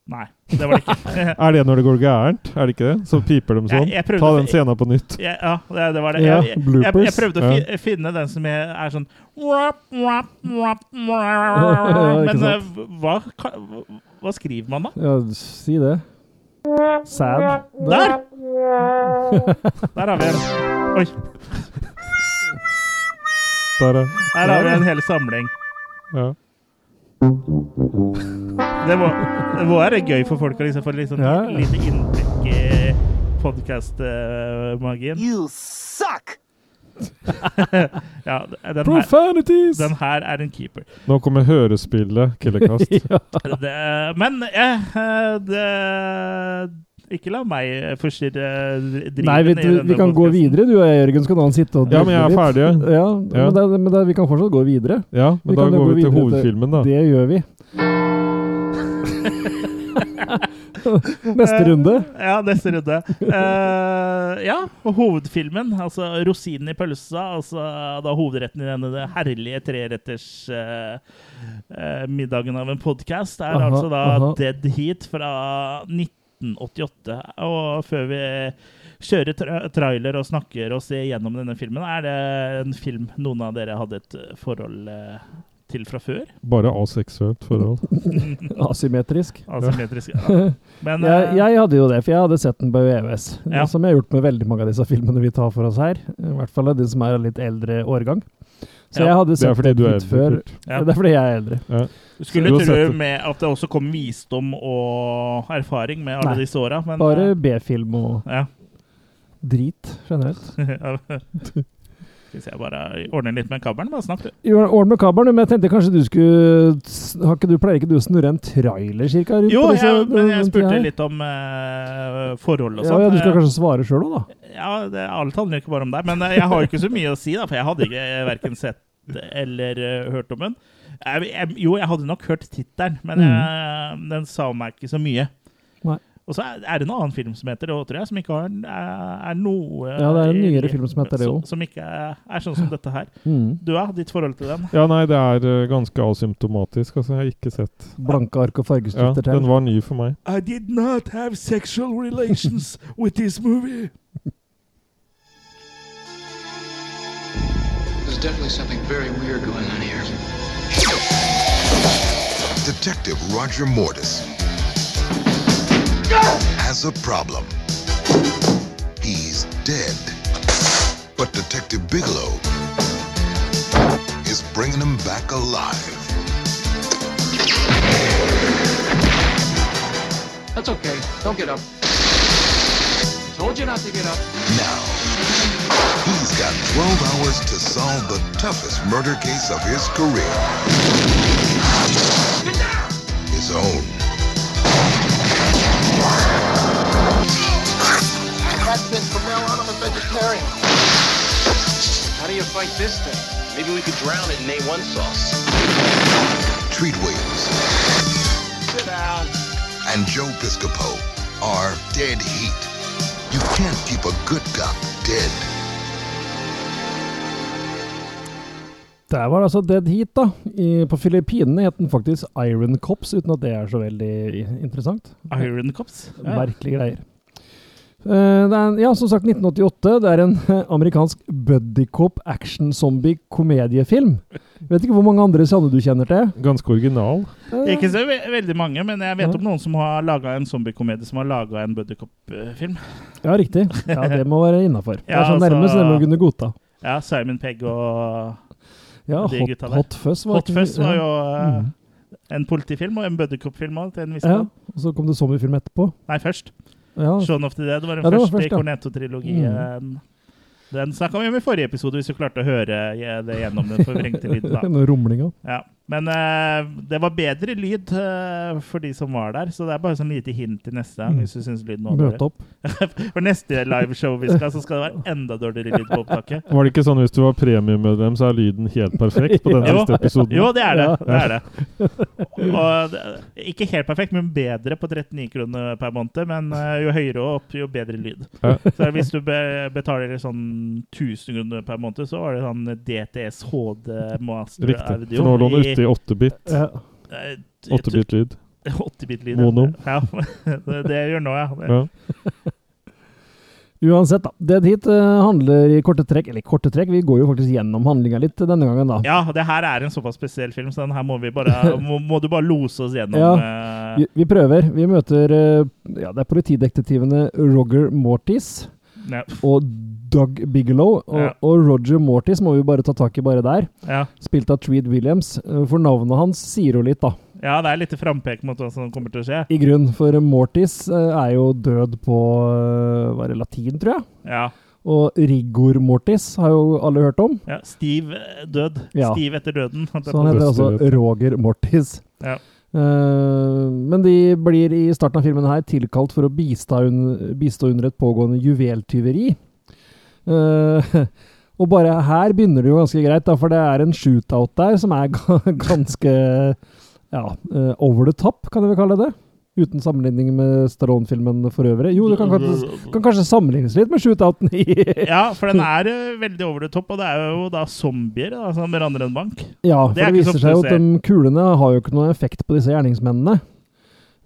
Speaker 2: Nei, det var det ikke.
Speaker 1: er det når det går gærent? Er det ikke det? Så piper de
Speaker 2: Jeg-
Speaker 1: sånn.
Speaker 2: jeg prøvde-
Speaker 1: Ta den scena på nytt.
Speaker 2: Ja, ja, det, det var det.
Speaker 3: Ja,
Speaker 2: Jeg, jeg, jeg, jeg
Speaker 3: bloopers.
Speaker 2: prøvde å fi, finne den som jeg er sånn wap, wap, wap,
Speaker 3: Ja, ikke
Speaker 2: Men eh,
Speaker 3: sant?
Speaker 2: hva, hva, hva skriver man da?
Speaker 3: Ja, si det. Sad.
Speaker 2: Der! Der har vi en. Oi,
Speaker 1: Der, er-
Speaker 2: der har vi en hel samling.
Speaker 1: ja.
Speaker 2: Det må, det må være gøy for folk å liksom få litt sånn
Speaker 3: Ja.
Speaker 2: lite inntrykk i podkast-magien.
Speaker 4: You suck!
Speaker 2: Ja, den her,
Speaker 3: Profanities!
Speaker 2: den her er en keeper.
Speaker 1: Nå kommer hørespillet Killerkast.
Speaker 3: ja.
Speaker 2: Det, men eh, eh, det, ikke la meg forstyrre driven
Speaker 3: Nei, vi,
Speaker 2: i
Speaker 3: vi,
Speaker 2: denne
Speaker 3: vi kan gå
Speaker 2: podcasten.
Speaker 3: videre, du og jeg, Jørgen. Så kan han sitte og
Speaker 1: Ja, men jeg er
Speaker 3: drodle litt.
Speaker 1: ferdig. Ja.
Speaker 3: Ja, Men, det, men det, vi kan fortsatt gå videre.
Speaker 1: Ja, men
Speaker 3: Vi
Speaker 1: da
Speaker 3: kan jo
Speaker 1: går
Speaker 3: gå
Speaker 1: vi til
Speaker 3: videre til-
Speaker 1: hovedfilmen, da.
Speaker 3: Det gjør vi. Neste runde.
Speaker 2: Ja, neste runde. Eh, ja, og hovedfilmen, altså rosinen i pølsa, altså da hovedretten i denne herlige treretters eh, eh, middagen av en podkast, er
Speaker 3: Aha,
Speaker 2: altså da
Speaker 3: aha.
Speaker 2: Dead Heat fra 1988. Og før vi kjører tra trailer og snakker oss igjennom denne filmen, er det en film noen av dere hadde et forhold eh, til fra før?
Speaker 1: Bare aseksuelt forhold.
Speaker 3: Asymmetrisk.
Speaker 2: Asymmetrisk. Ja. Men
Speaker 3: Jeg,
Speaker 2: eh,
Speaker 3: jeg hadde jo det, for jeg hadde sett den på VVS.
Speaker 2: Ja.
Speaker 3: Som jeg har gjort med veldig mange av disse filmene vi tar for oss her. I hvert fall de som er av litt eldre årgang. Så
Speaker 2: Ja.
Speaker 3: jeg hadde
Speaker 1: Det er
Speaker 3: sett
Speaker 1: fordi
Speaker 3: den
Speaker 1: du er
Speaker 3: litt før.
Speaker 1: eldre. Kurt.
Speaker 2: eh, Ja.
Speaker 3: Det er fordi jeg er eldre.
Speaker 1: Ja.
Speaker 2: Du skulle
Speaker 1: Du har sett
Speaker 2: tro
Speaker 1: det.
Speaker 2: med at det også kom visdom og erfaring med alle
Speaker 3: Nei.
Speaker 2: disse åra, men
Speaker 3: Bare B-film og
Speaker 2: eh, ja.
Speaker 3: drit generelt.
Speaker 2: Hvis jeg bare ordner litt med kabelen, bare snakk, du.
Speaker 3: Jo, Ordn med kabelen, men jeg tenkte kanskje du skulle s- har ikke du, Pleier ikke du å snurre en trailer cirka? rundt
Speaker 2: Jo,
Speaker 3: på disse-
Speaker 2: jeg, men jeg
Speaker 3: rundt de
Speaker 2: spurte
Speaker 3: her?
Speaker 2: litt om eh, forhold og
Speaker 3: ja,
Speaker 2: sånn.
Speaker 3: ja, Du skal kanskje svare sjøl òg, da?
Speaker 2: Ja, det, alt handler ikke bare om deg, men eh, jeg har jo ikke så mye å si, da, for jeg hadde ikke verken sett eller eh, hørt om den. Jeg, jeg, jo, jeg hadde nok hørt tittelen, men eh, den sa meg ikke så mye.
Speaker 3: Mm. Nei.
Speaker 2: Og så er, er det en annen film som heter det òg, tror jeg, som ikke har, eh, er, er noe eh,
Speaker 3: Ja, det er en nyere film som heter det
Speaker 2: som-
Speaker 3: også.
Speaker 2: Som ikke er, er sånn som dette her.
Speaker 3: Mm.
Speaker 2: Du, ja, ditt forhold til den?
Speaker 1: Ja, nei, det er eh, ganske asymptomatisk. Altså, jeg har ikke sett
Speaker 3: Blanke ark og
Speaker 1: Ja,
Speaker 3: fargestifter
Speaker 1: Den
Speaker 3: til.
Speaker 1: var ny for meg.
Speaker 2: I did not have sexual relations with this movie.
Speaker 5: There's definitely something very weird going on here.
Speaker 6: Detective Roger Mortis has a problem. He's dead. But Detective Bigelow is bringing him back alive.
Speaker 5: That's okay. Don't get up. Told you not to get up.
Speaker 6: Now, he's got 12 hours to solve the toughest murder case of his career. His own.
Speaker 5: vegetarian. How do you fight this thing?
Speaker 7: Maybe we could drown it in A1 sauce.
Speaker 6: Treat Williams
Speaker 5: Sit down.
Speaker 6: and Joe Piscopo are dead heat. You can't keep a good cop dead.
Speaker 3: Der var det altså Dead Heat, da. I, på Filippinene het den faktisk Iron Cops, uten at det er så veldig i- interessant.
Speaker 2: Iron Cops. Ja.
Speaker 3: Merkelige greier. Eh, det er, en- ja, som sagt, 1988. Det er en eh, amerikansk buddycop action-zombie-komediefilm. Vet ikke hvor mange andre sånne du kjenner til?
Speaker 1: Ganske original.
Speaker 3: Eh,
Speaker 2: Ikke så ve veldig mange, men jeg vet
Speaker 3: Ja.
Speaker 2: om noen som har laga en zombiekomedie som har laga en buddycop-film.
Speaker 3: Ja, riktig. Ja, Det må være innafor. Det er
Speaker 2: Ja,
Speaker 3: så nærme,
Speaker 2: altså-
Speaker 3: så det må vi kunne godta.
Speaker 2: Ja, Simon Pegg og
Speaker 3: Ja,
Speaker 2: De
Speaker 3: Hot,
Speaker 2: gutta der.
Speaker 3: hot Fuzz var,
Speaker 2: Hot Fuzz var jo eh,
Speaker 3: Mm.
Speaker 2: en politifilm og en buddycop-film også, til en viss
Speaker 3: Ja,
Speaker 2: grad.
Speaker 3: og så kom det zombiefilm etterpå.
Speaker 2: Nei, først.
Speaker 3: Ja,
Speaker 2: Shaun of the Dead var den
Speaker 3: Ja, det var
Speaker 2: første i
Speaker 3: først, ja. Mm.
Speaker 2: Cornetto-trilogien. Den snakka vi om i forrige episode, hvis du klarte å høre eh, det gjennom den forvrengte lyden. da.
Speaker 3: den rumlinga.
Speaker 2: Ja. Men eh, det var bedre lyd eh, for de som var der, så det er bare sånn lite hint til neste gang.
Speaker 3: Mm.
Speaker 2: hvis du synes lyden var dårlig.
Speaker 3: Møte opp.
Speaker 2: For neste liveshow vi skal, så skal det være enda dårligere lyd på opptaket.
Speaker 1: Var det ikke sånn hvis du var premiemedlem, så er lyden helt perfekt på den
Speaker 2: Jo.
Speaker 1: neste episoden?
Speaker 2: Jo, det er det. det, er det. Og det- ikke helt perfekt, men bedre på 39 kroner per måned. Men eh, jo høyere opp, jo bedre lyd.
Speaker 1: Ja.
Speaker 2: Så hvis du be betaler sånn 1000 kroner per måned, så var det sånn DTS HD Master
Speaker 1: Riktig.
Speaker 2: Audio.
Speaker 1: For nå lå den
Speaker 2: i-
Speaker 1: ute i 8-bit.
Speaker 3: Ja.
Speaker 2: eh, t-
Speaker 1: 8-bit-lyd.
Speaker 2: 8-bit-lyd.
Speaker 1: Mono.
Speaker 2: Ja, det, det gjør nå, ja.
Speaker 1: Ja.
Speaker 3: Uansett, da. Dead Heat eh, handler i korte trekk Eller korte trekk, vi går jo faktisk gjennom handlinga litt denne gangen, da.
Speaker 2: Ja, det her er en såpass spesiell film, så den her må, vi bare, må, må du bare lose oss gjennom. eh,
Speaker 3: Vi, vi prøver. Vi møter eh, ja, det er politidetektivene Roger Mortis
Speaker 2: ja.
Speaker 3: og Doug Bigelow. Og,
Speaker 2: Ja.
Speaker 3: og Roger Mortis må vi bare ta tak i bare der.
Speaker 2: Ja.
Speaker 3: Spilt av Treed Williams. eh, For navnet hans sier jo litt, da.
Speaker 2: ja, det er litt frampek mot hva som kommer til å skje.
Speaker 3: I grunn, for Mortis eh, er jo død på eh, Var det latin, tror jeg?
Speaker 2: Ja.
Speaker 3: Og Rigor Mortis har jo alle hørt om.
Speaker 2: ja. Stiv eh, død.
Speaker 3: Ja.
Speaker 2: Stiv etter døden. holdt jeg
Speaker 3: Så
Speaker 2: på å
Speaker 3: han
Speaker 2: si.
Speaker 3: heter
Speaker 1: Røster
Speaker 3: altså Roger Mortis.
Speaker 2: Ja.
Speaker 3: Eh, men de blir i starten av filmen her tilkalt for å bistå, un bistå under et pågående juveltyveri. Eh, og bare her begynner det jo ganske greit, da, for det er en shootout der som er ga- ganske ja, eh, over the top, kan jeg vel kalle det. Uten sammenligning med Stallone-filmen for øvrig. Jo, det kan kanskje, kan kanskje sammenlignes litt med shootouten i
Speaker 2: ja, for den er eh, veldig over det topp, og det er jo da zombier da, som ranner en bank.
Speaker 3: Ja, for
Speaker 2: Det
Speaker 3: det,
Speaker 2: er ikke så
Speaker 3: viser seg jo at
Speaker 2: ofte du
Speaker 3: de kulene har jo ikke noen effekt på disse gjerningsmennene.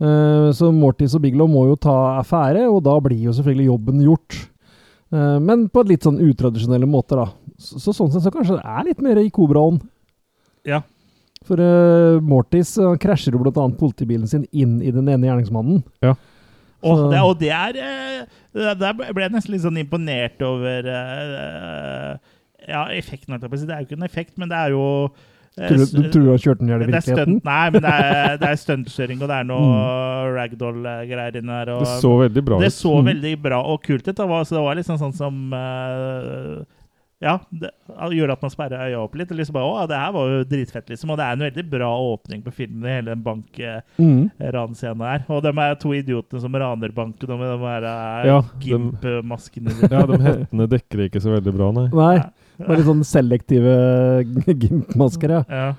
Speaker 3: Eh, så Mortis og Bigelow må jo ta affære, og da blir jo selvfølgelig jobben gjort. Eh, men på litt sånn utradisjonelle måter, da. Så, så sånn sett så kanskje det er litt mer i kobraånd.
Speaker 2: Ja.
Speaker 3: For eh, Mortis eh, krasjer jo bl.a. politibilen sin inn i den ene gjerningsmannen.
Speaker 2: Og
Speaker 3: Så-
Speaker 2: det, og det er eh, Der ble jeg nesten litt sånn imponert over eh, Ja, effekten, holdt jeg på å si. Det er jo ikke en effekt, men det er jo eh,
Speaker 3: Tror du, du tror du har kjørt den i hjel i
Speaker 2: det er
Speaker 3: virkeligheten?
Speaker 2: stunt, nei, men det er, det er stuntkjøring, og det er noe ragdoll-greier inni her. Og,
Speaker 1: Det så veldig bra
Speaker 2: Det
Speaker 1: ut.
Speaker 2: så
Speaker 3: Mm.
Speaker 2: veldig bra og kult ut. Det var, så det var liksom sånn som eh, Ja, det gjorde at man sperra øya opp litt. Og liksom bare, å, det her var jo dritfett, liksom. Og det er en veldig bra åpning på filmen, i hele den bankranscenen
Speaker 3: Mm.
Speaker 2: her. Og de er to idiotene som raner banken, og med de her eh,
Speaker 1: Ja,
Speaker 2: gimp-maskene
Speaker 1: Ja, de hettene dekker ikke så veldig bra, nei.
Speaker 3: Nei. Det var litt sånn selektive gimpmasker, ja.
Speaker 2: Ja.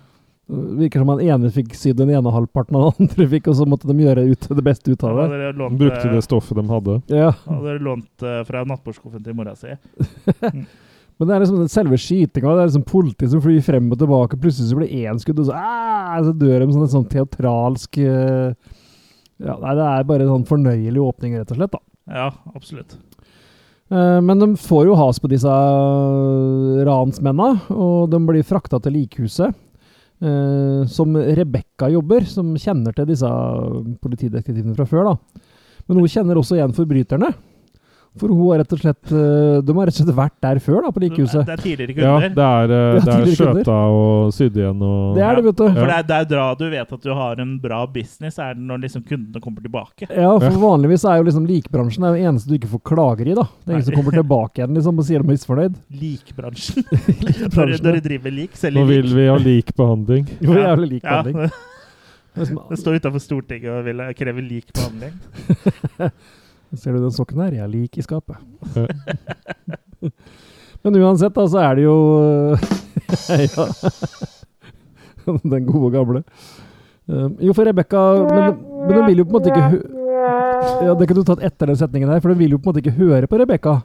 Speaker 3: Det Virker som han ene fikk sydd den ene halvparten, og den andre fikk, og så måtte de gjøre ut, det beste ut av
Speaker 2: Hadde
Speaker 3: det.
Speaker 2: dere
Speaker 1: De
Speaker 2: lånt,
Speaker 1: brukte
Speaker 2: eh,
Speaker 1: det stoffet de hadde.
Speaker 3: Ja,
Speaker 2: hadde dere lånt eh, fra nattbordskuffen til mora si.
Speaker 3: Men det er liksom den selve skytinga. Det er liksom politi som flyr frem og tilbake. Plutselig så blir det én skudd, og så, ah, så dør de sånn en sånn teatralsk eh, ja, Nei, det er bare en sånn fornøyelig åpning, rett og slett. da.
Speaker 2: Ja, absolutt.
Speaker 3: Eh, Men de får jo has på disse eh, ransmennene, og de blir frakta til likhuset. eh, som Rebekka jobber, som kjenner til disse eh, politidetektivene fra før. da. Men hun kjenner også igjen forbryterne. For hun har rett og slett, eh, de har rett og slett vært der før, da, på
Speaker 2: Det
Speaker 3: likehuset.
Speaker 2: er tidligere
Speaker 1: Ja,
Speaker 2: kunder.
Speaker 1: det er, eh,
Speaker 3: Ja,
Speaker 1: det er
Speaker 3: tidligere kunder.
Speaker 1: skjøta og sydd igjen og
Speaker 3: Det er det, vet du.
Speaker 2: For det er, det er da du vet at du har en bra business, er det når liksom kundene kommer tilbake.
Speaker 3: Ja, for vanligvis er jo liksom likbransjen det eneste du ikke får klager i. da. Det er ingen som kommer tilbake igjen liksom, og sier de er misfornøyd.
Speaker 2: Likbransjen. Når
Speaker 3: Likbransjen,
Speaker 2: når
Speaker 3: ja.
Speaker 2: du driver lik,
Speaker 1: Nå
Speaker 2: selger
Speaker 1: vil
Speaker 2: lik.
Speaker 1: vi ha lik behandling.
Speaker 3: Jo, jævlig lik
Speaker 2: Ja,
Speaker 3: behandling. Liksom,
Speaker 2: det står utafor Stortinget og vil kreve lik behandling.
Speaker 3: Ser du den sokken her? Jeg liker i skapet. Men uansett, da, så er det jo eh, Ja. Den gode gamle. Um, Jo, for Rebekka men, men hun vil jo på en måte ikke hø Ja, Det kunne du tatt etter den setningen her, for hun vil jo på en måte ikke høre på Rebekka.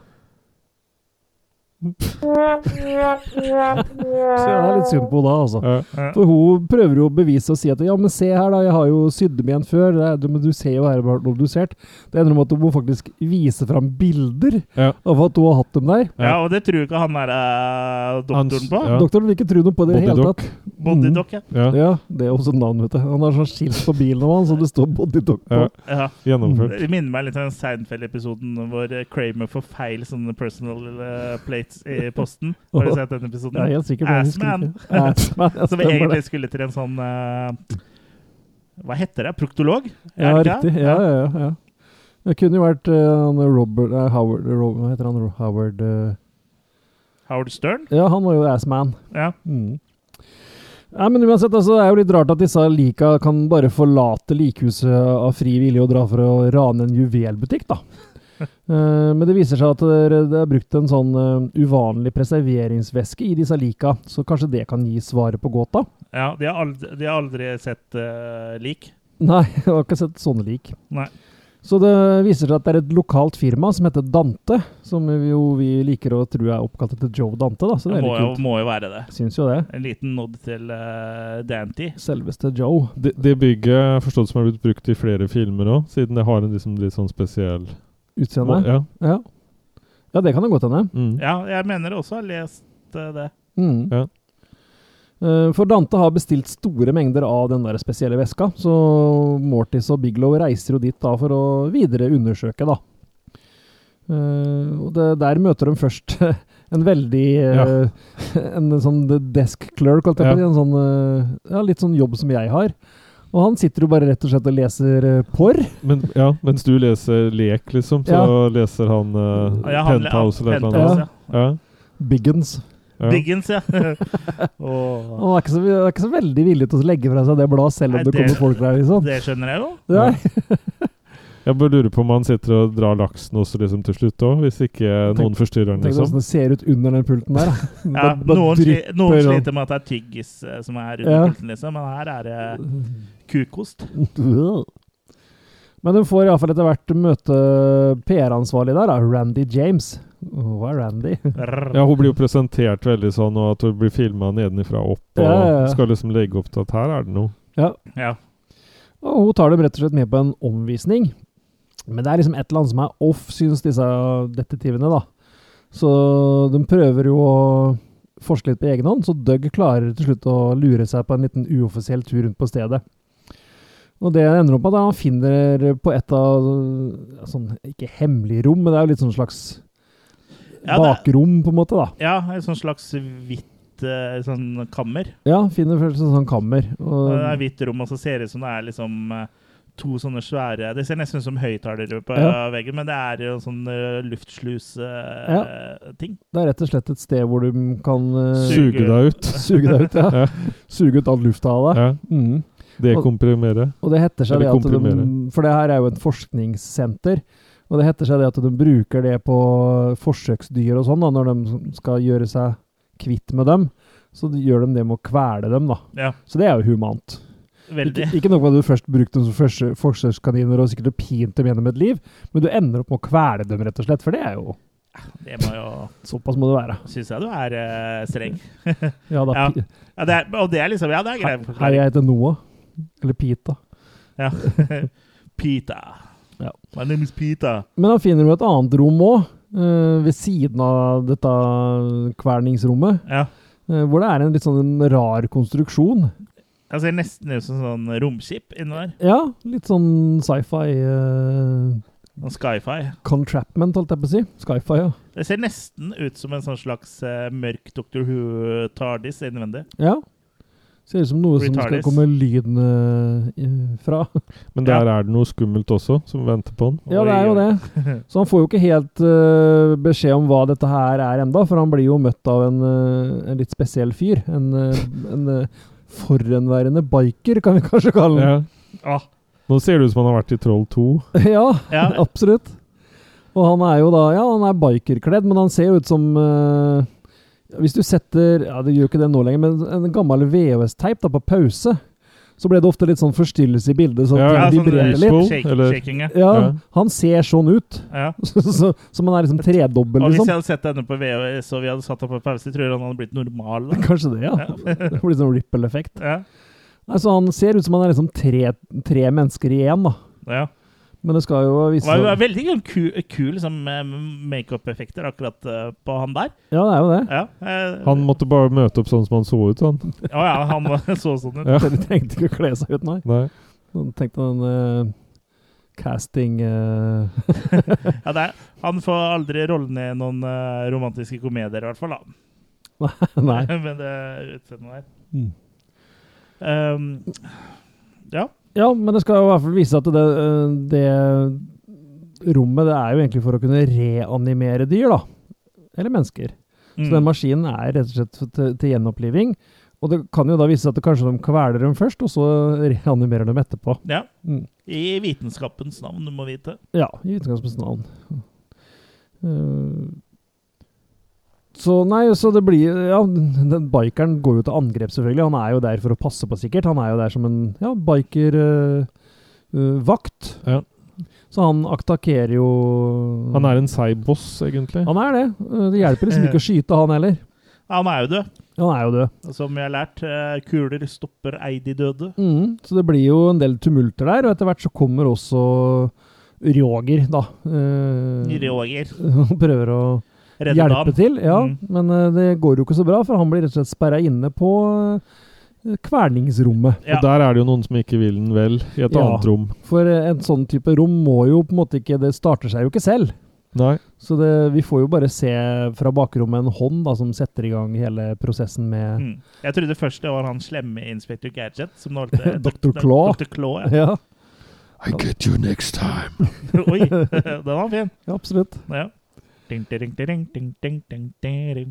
Speaker 3: Så det er litt synd på henne da, altså.
Speaker 1: Ja.
Speaker 3: For hun prøver jo å bevise og si at ja, men se her, da, jeg har jo sydd meg igjen før. Det er, men du ser jo her hvor obdusert. Det ender med at hun må faktisk vise fram bilder
Speaker 1: Ja.
Speaker 3: av at hun har hatt dem der.
Speaker 2: Ja, og det tror jeg ikke han der eh, doktoren
Speaker 1: Hans-
Speaker 2: på.
Speaker 1: Ja.
Speaker 3: Doktoren vil ikke tro noe på det i det hele
Speaker 1: Bodydoc.
Speaker 3: tatt. Mm.
Speaker 2: Bodydoc, ja.
Speaker 1: Ja.
Speaker 3: Ja, Det er også et navn, vet du. Han har sånn skilt på bilen og han, så det står Bodydoc på.
Speaker 1: Ja.
Speaker 2: ja.
Speaker 1: Gjennomført.
Speaker 2: Det minner meg litt om Seinfeld-episoden hvor eh, Kramer får feil sånne personal eh, plates i posten. Har du sett den episoden?
Speaker 3: Jeg er helt sikker på det. jeg husker
Speaker 2: Assman.
Speaker 3: ikke. Assman, ja,
Speaker 2: Som
Speaker 3: stemmer det.
Speaker 2: egentlig skulle til en sånn eh, Hva heter det? Proktolog? Er
Speaker 3: Ja,
Speaker 2: det ikke det?
Speaker 3: riktig. Ja, ja, ja, ja. Det kunne jo vært eh, han Robert eh, Howard, Ro- Hva heter han? Ro- Howard eh,
Speaker 2: Howard Stern?
Speaker 3: Ja, han var jo Assman.
Speaker 2: Ja.
Speaker 3: Mm. Nei, men uansett, altså, det er jo litt rart at disse lika kan bare forlate likhuset av fri vilje og dra for å rane en juvelbutikk, da. Eh, men det viser seg at det er- det er brukt en sånn eh, uvanlig preserveringsvæske i disse lika, så kanskje det kan gi svaret på gåta?
Speaker 2: ja de, har aldri, de har aldri sett eh, lik.
Speaker 3: Nei, jeg har ikke sett sånne lik.
Speaker 2: Nei.
Speaker 3: Så det viser seg at det er et lokalt firma som heter Dante, som vi jo vi liker å tro er oppkalt etter Joe Dante, da, så det
Speaker 2: Det
Speaker 3: er
Speaker 2: må jo,
Speaker 3: litt kult.
Speaker 2: må jo være det.
Speaker 3: Syns jo det.
Speaker 2: En liten nod til eh, Dante.
Speaker 3: Selveste Joe.
Speaker 1: Det, det bygget jeg forstått som har blitt brukt i flere filmer òg, siden det har en liksom, litt sånn spesiell
Speaker 3: Utseende.
Speaker 1: Ja.
Speaker 3: Ja. ja, det kan det godt hende.
Speaker 1: Mm.
Speaker 2: Ja, jeg mener også har lest eh, det.
Speaker 3: Mm.
Speaker 1: Ja.
Speaker 3: Eh, For Dante har bestilt store mengder av den der spesielle veska, så Mortis og Biglow reiser jo dit da for å videre undersøke, da. Eh, og det, der møter de først en veldig eh, En sånn desk clerk, holdt jeg på å si. En sånn, eh, ja, litt sånn jobb som jeg har. Og han sitter jo bare rett og slett og leser eh, porr.
Speaker 1: Men, ja, mens du leser lek, liksom, så
Speaker 3: Ja.
Speaker 1: leser han eh,
Speaker 2: Ja, han-
Speaker 1: Penthouse eller et eller
Speaker 3: Penthouse,
Speaker 1: annet. Ja.
Speaker 3: Biggins.
Speaker 1: Ja.
Speaker 2: Diggins, ja. Åh.
Speaker 3: Han er ikke, så, er ikke så veldig villig til å legge fra seg det bladet, selv om
Speaker 2: Nei,
Speaker 3: det,
Speaker 2: det-
Speaker 3: kommer folk der, liksom.
Speaker 2: Det skjønner jeg jo.
Speaker 3: Nei.
Speaker 1: Jeg bare lurer på om han sitter og drar laksen også liksom til slutt òg, hvis ikke noen forstyrrer han,
Speaker 3: Tenk deg
Speaker 1: liksom.
Speaker 3: hvordan det ser ut under den pulten der. da.
Speaker 2: Ja,
Speaker 3: Bare- bare
Speaker 2: noen, sli,
Speaker 3: drypper
Speaker 2: noen
Speaker 3: og-
Speaker 2: sliter med at det er tyggis eh, som er under
Speaker 3: Ja.
Speaker 2: pulten, liksom, men her er det kukost.
Speaker 3: Men hun får iallfall etter hvert møte PR-ansvarlig der, da. Randy James. Åh, Hva er Randy? sånn-
Speaker 1: Ja, hun blir jo presentert veldig sånn, og at hun blir filma nedenfra og opp, og
Speaker 3: Ja, ja, ja.
Speaker 1: skal liksom legge opp til at her er det noe.
Speaker 2: Ja.
Speaker 3: Og hun tar dem rett og slett med på en omvisning. Men det er liksom et eller annet som er off, syns disse detektivene, da. Så de prøver jo å forske litt på egen hånd, så Doug klarer til slutt å lure seg på en liten uoffisiell tur rundt på stedet. Og det ender opp med at han finner på et av ja, sånn, ikke hemmelig rom, men det er jo litt sånn slags
Speaker 2: Ja, det-
Speaker 3: bakrom, på en måte, da.
Speaker 2: ja, en sånn slags hvitt eh, sånn kammer.
Speaker 3: Ja, finner først en sånn kammer. Og,
Speaker 2: Og Det er hvitt rom, og så ser det ut som det er liksom eh, to sånne svære Det ser nesten ut som høyttalere på
Speaker 3: Ja.
Speaker 2: eh, veggen, men det er jo en sånn eh, luftsluse-ting.
Speaker 3: det er rett og slett et sted hvor du kan eh,
Speaker 2: Suge.
Speaker 1: Suge deg ut.
Speaker 3: suge deg ut, ja.
Speaker 1: Ja.
Speaker 3: Suge ut all lufta av deg.
Speaker 1: Ja.
Speaker 3: Mm.
Speaker 1: Dekomprimere.
Speaker 3: Og det heter seg det
Speaker 1: Eller
Speaker 3: at de,
Speaker 1: komprimere.
Speaker 3: For det her er jo et forskningssenter. Og det heter seg det at de bruker det på forsøksdyr og sånn, da, når de skal gjøre seg kvitt med dem. Så de- gjør de det med å kvele dem, da.
Speaker 2: Ja,
Speaker 3: Så det er jo humant. Ikke,
Speaker 2: veldig.
Speaker 3: ikke nok med at du først brukte dem som første- forsøkskaniner og sikkert har pint dem gjennom et liv, men du ender opp med å kvele dem, rett og slett. For det er jo
Speaker 2: Det må jo
Speaker 3: Såpass må det være.
Speaker 2: Syns jeg du er eh, streng.
Speaker 3: Ja, da,
Speaker 2: Ja,
Speaker 3: pi-
Speaker 2: Ja, det er, og det er liksom Ja, det er greit.
Speaker 3: Hei, jeg heter Noah. Eller Pita.
Speaker 2: Ja. Pita.
Speaker 3: Ja.
Speaker 2: My name is Pita.
Speaker 3: Men han finner jo et annet rom òg, ved siden av dette kverningsrommet.
Speaker 2: Ja.
Speaker 3: Eh, Hvor det er en litt sånn en rar konstruksjon.
Speaker 2: Jeg ser nesten ut som sånn romskip inni der.
Speaker 3: Ja, litt sånn sci-fi eh,
Speaker 2: Sånn skyfi.
Speaker 3: contrapment, holdt jeg på å si. Sci-fi, ja.
Speaker 2: Det ser nesten ut som en sånn slags eh, mørk Dr. Who-tardis innvendig.
Speaker 3: ja. Ser ut som noe som skal
Speaker 2: Retardis.
Speaker 3: komme lyden eh, fra.
Speaker 1: Men
Speaker 2: Ja.
Speaker 1: der er det noe skummelt også, som venter på han.
Speaker 3: Ja, det er jo det. Så han får jo ikke helt eh, beskjed om hva dette her er enda, for han blir jo møtt av en, eh, en litt spesiell fyr. En, eh, en eh, forhenværende biker, kan vi Mm. kanskje kalle han.
Speaker 1: Ja.
Speaker 2: Ah,
Speaker 1: Nå ser det ut som han har vært i Troll 2.
Speaker 3: Ja,
Speaker 2: ja.
Speaker 3: absolutt. Og han er jo da Ja, han er bikerkledd, men han ser jo ut som eh, Hvis du setter Ja, det gjør jo ikke det nå lenger, men en gammel VHS-teip da på pause, så ble det ofte litt sånn forstyrrelse i bildet, så
Speaker 1: Ja,
Speaker 3: ja,
Speaker 1: ja,
Speaker 3: de
Speaker 1: sånn
Speaker 3: brenner
Speaker 1: der-
Speaker 3: litt.
Speaker 2: eh,
Speaker 1: Litt.
Speaker 2: Shake,
Speaker 1: Eller-
Speaker 2: shaking, ja.
Speaker 3: Ja,
Speaker 1: Ja.
Speaker 3: han ser sånn ut.
Speaker 2: ja.
Speaker 3: Så, så, som han er liksom tredobbel,
Speaker 2: Og hvis jeg
Speaker 3: liksom.
Speaker 2: hadde sett denne på VHS og vi hadde satt opp på pause, tror jeg han hadde blitt normal. da.
Speaker 3: Kanskje det, ja. Det blir sånn ripple-effekt.
Speaker 2: Ja,
Speaker 3: Nei, så han ser ut som han er liksom tre, tre mennesker igjen, da.
Speaker 2: ja.
Speaker 3: Men det skal jo
Speaker 2: Det
Speaker 3: vise
Speaker 2: var,
Speaker 3: seg
Speaker 2: var veldig kul, kul liksom, eh, makeup-effekter akkurat eh, på han der.
Speaker 3: Ja, det er jo det.
Speaker 2: Ja, eh,
Speaker 1: Han måtte bare møte opp sånn som han så ut, han.
Speaker 2: å ja, han var- så sånn ut.
Speaker 1: Ja.
Speaker 3: De trengte ikke å kle seg ut, nei.
Speaker 1: Nei.
Speaker 3: De tenkte den eh, casting eh,
Speaker 2: Ja, det er, han får aldri rolle ned noen eh, romantiske komedier, i hvert fall. da.
Speaker 3: Nei.
Speaker 2: Men det utseendet der.
Speaker 1: Mm.
Speaker 2: Um, ja.
Speaker 3: Ja, men det skal jo i hvert fall vise at det, eh, det rommet det er jo egentlig for å kunne reanimere dyr, da. Eller mennesker. Så den
Speaker 2: Mm.
Speaker 3: maskinen er rett og slett til, til gjenoppliving. Og det kan jo da vise seg at det kanskje de kveler dem først, og så reanimerer dem etterpå.
Speaker 2: ja.
Speaker 3: Mm.
Speaker 2: I vitenskapens navn, du må vite.
Speaker 3: Ja, i utgangspunktets navn. Eh, Så nei, så det blir Ja, den bikeren går jo til angrep, selvfølgelig. Han er jo der for å passe på, sikkert. Han er jo der som en ja, bikervakt. vakt
Speaker 1: Ja.
Speaker 3: Så han attakkerer jo
Speaker 1: Han er en seig boss, egentlig.
Speaker 3: Han er det. Eh, Det hjelper liksom ikke å skyte han heller.
Speaker 2: Ja, han er jo død,
Speaker 3: Han er jo død.
Speaker 2: som vi har lært. eh, Kuler stopper ei de døde.
Speaker 3: Mm, så det blir jo en del tumulter der, og etter hvert så kommer også Roger, da. eh,
Speaker 2: Roger.
Speaker 3: og prøver å
Speaker 2: Redder
Speaker 3: hjelpe
Speaker 2: dagen.
Speaker 3: til. Ja,
Speaker 2: Mm.
Speaker 3: men eh, det går jo ikke så bra, for han blir rett og slett sperra inne på eh, kverningsrommet.
Speaker 2: Ja.
Speaker 1: Og der er det jo noen som ikke vil den vel, i et
Speaker 3: Ja.
Speaker 1: annet rom.
Speaker 3: For eh, en sånn type rom må jo på en måte ikke Det starter seg jo ikke selv.
Speaker 1: Nei.
Speaker 3: Så det, vi får jo bare se fra bakrommet en hånd da, som setter i gang hele prosessen med
Speaker 2: Mm. Jeg trodde først det var han slemme Inspector Gadget. Som nå heter
Speaker 3: Dr. Claw.
Speaker 2: Dr. Claw ja.
Speaker 3: ja.
Speaker 6: I get you next time.
Speaker 2: Oi, den var fin.
Speaker 3: ja, absolutt.
Speaker 2: Ja. Ding, ding, ding, ding, ding, ding, ding.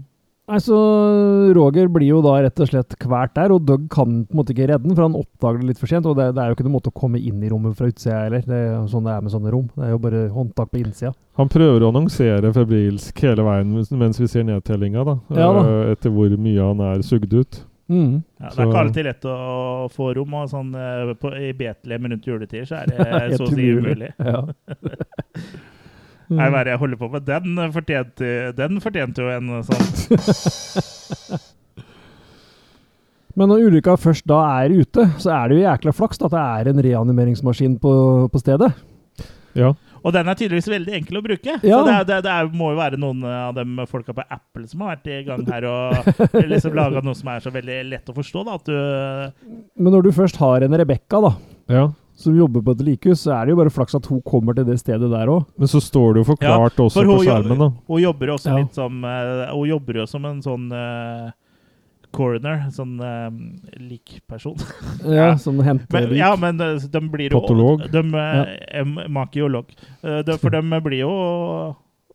Speaker 3: Nei, så eh, Roger blir jo da rett og slett kvært der, og Doug kan på en måte ikke redde den, for han oppdager det litt for sent. Og det, det er jo ikke noen måte å komme inn i rommet fra utsida heller. Det er jo sånn det er med sånne rom. Det er jo bare håndtak på innsida.
Speaker 1: Han prøver å annonsere febrilsk hele veien mens- mens vi ser nedtellinga, da.
Speaker 3: Ja da.
Speaker 1: Eh, Etter hvor mye han er sugd ut.
Speaker 3: Mm.
Speaker 2: Ja, det
Speaker 1: Så-
Speaker 2: er ikke alltid lett å få rom. Og sånn, eh, på, I Betlehem rundt juletider så er det
Speaker 3: Helt
Speaker 2: Eh, så å si umulig.
Speaker 3: Ja. Mm.
Speaker 2: Nei, hva er det jeg holder på med? Den fortjente, den fortjente jo en sånn
Speaker 3: Men når ulykka først da er ute, så er det jo jækla flaks da, at det er en reanimeringsmaskin på, på stedet.
Speaker 1: Ja.
Speaker 2: Og den er tydeligvis veldig enkel å bruke. Så
Speaker 3: Ja.
Speaker 2: det, er, det, er- det er, må jo være noen av dem folka på Apple som har vært i gang her og liksom laga noe som er så veldig lett å forstå. da, at du...
Speaker 3: Men når du først har en Rebekka, da,
Speaker 1: ja.
Speaker 3: som jobber på et likhus, så er det jo bare flaks at hun kommer til det stedet der òg.
Speaker 1: Men så står det jo forklart også
Speaker 2: for
Speaker 1: på
Speaker 2: hun jo-
Speaker 1: skjermen, da.
Speaker 2: Hun jobber jo også
Speaker 3: Ja.
Speaker 2: litt som eh, Hun jobber jo som en sånn eh, coroner, sånn eh, likperson.
Speaker 3: Ja, som henter
Speaker 2: Men,
Speaker 3: lik.
Speaker 2: ja, men eh, de blir jo
Speaker 1: Patolog.
Speaker 2: De, eh, em- Makiolog. Eh, de- For de blir jo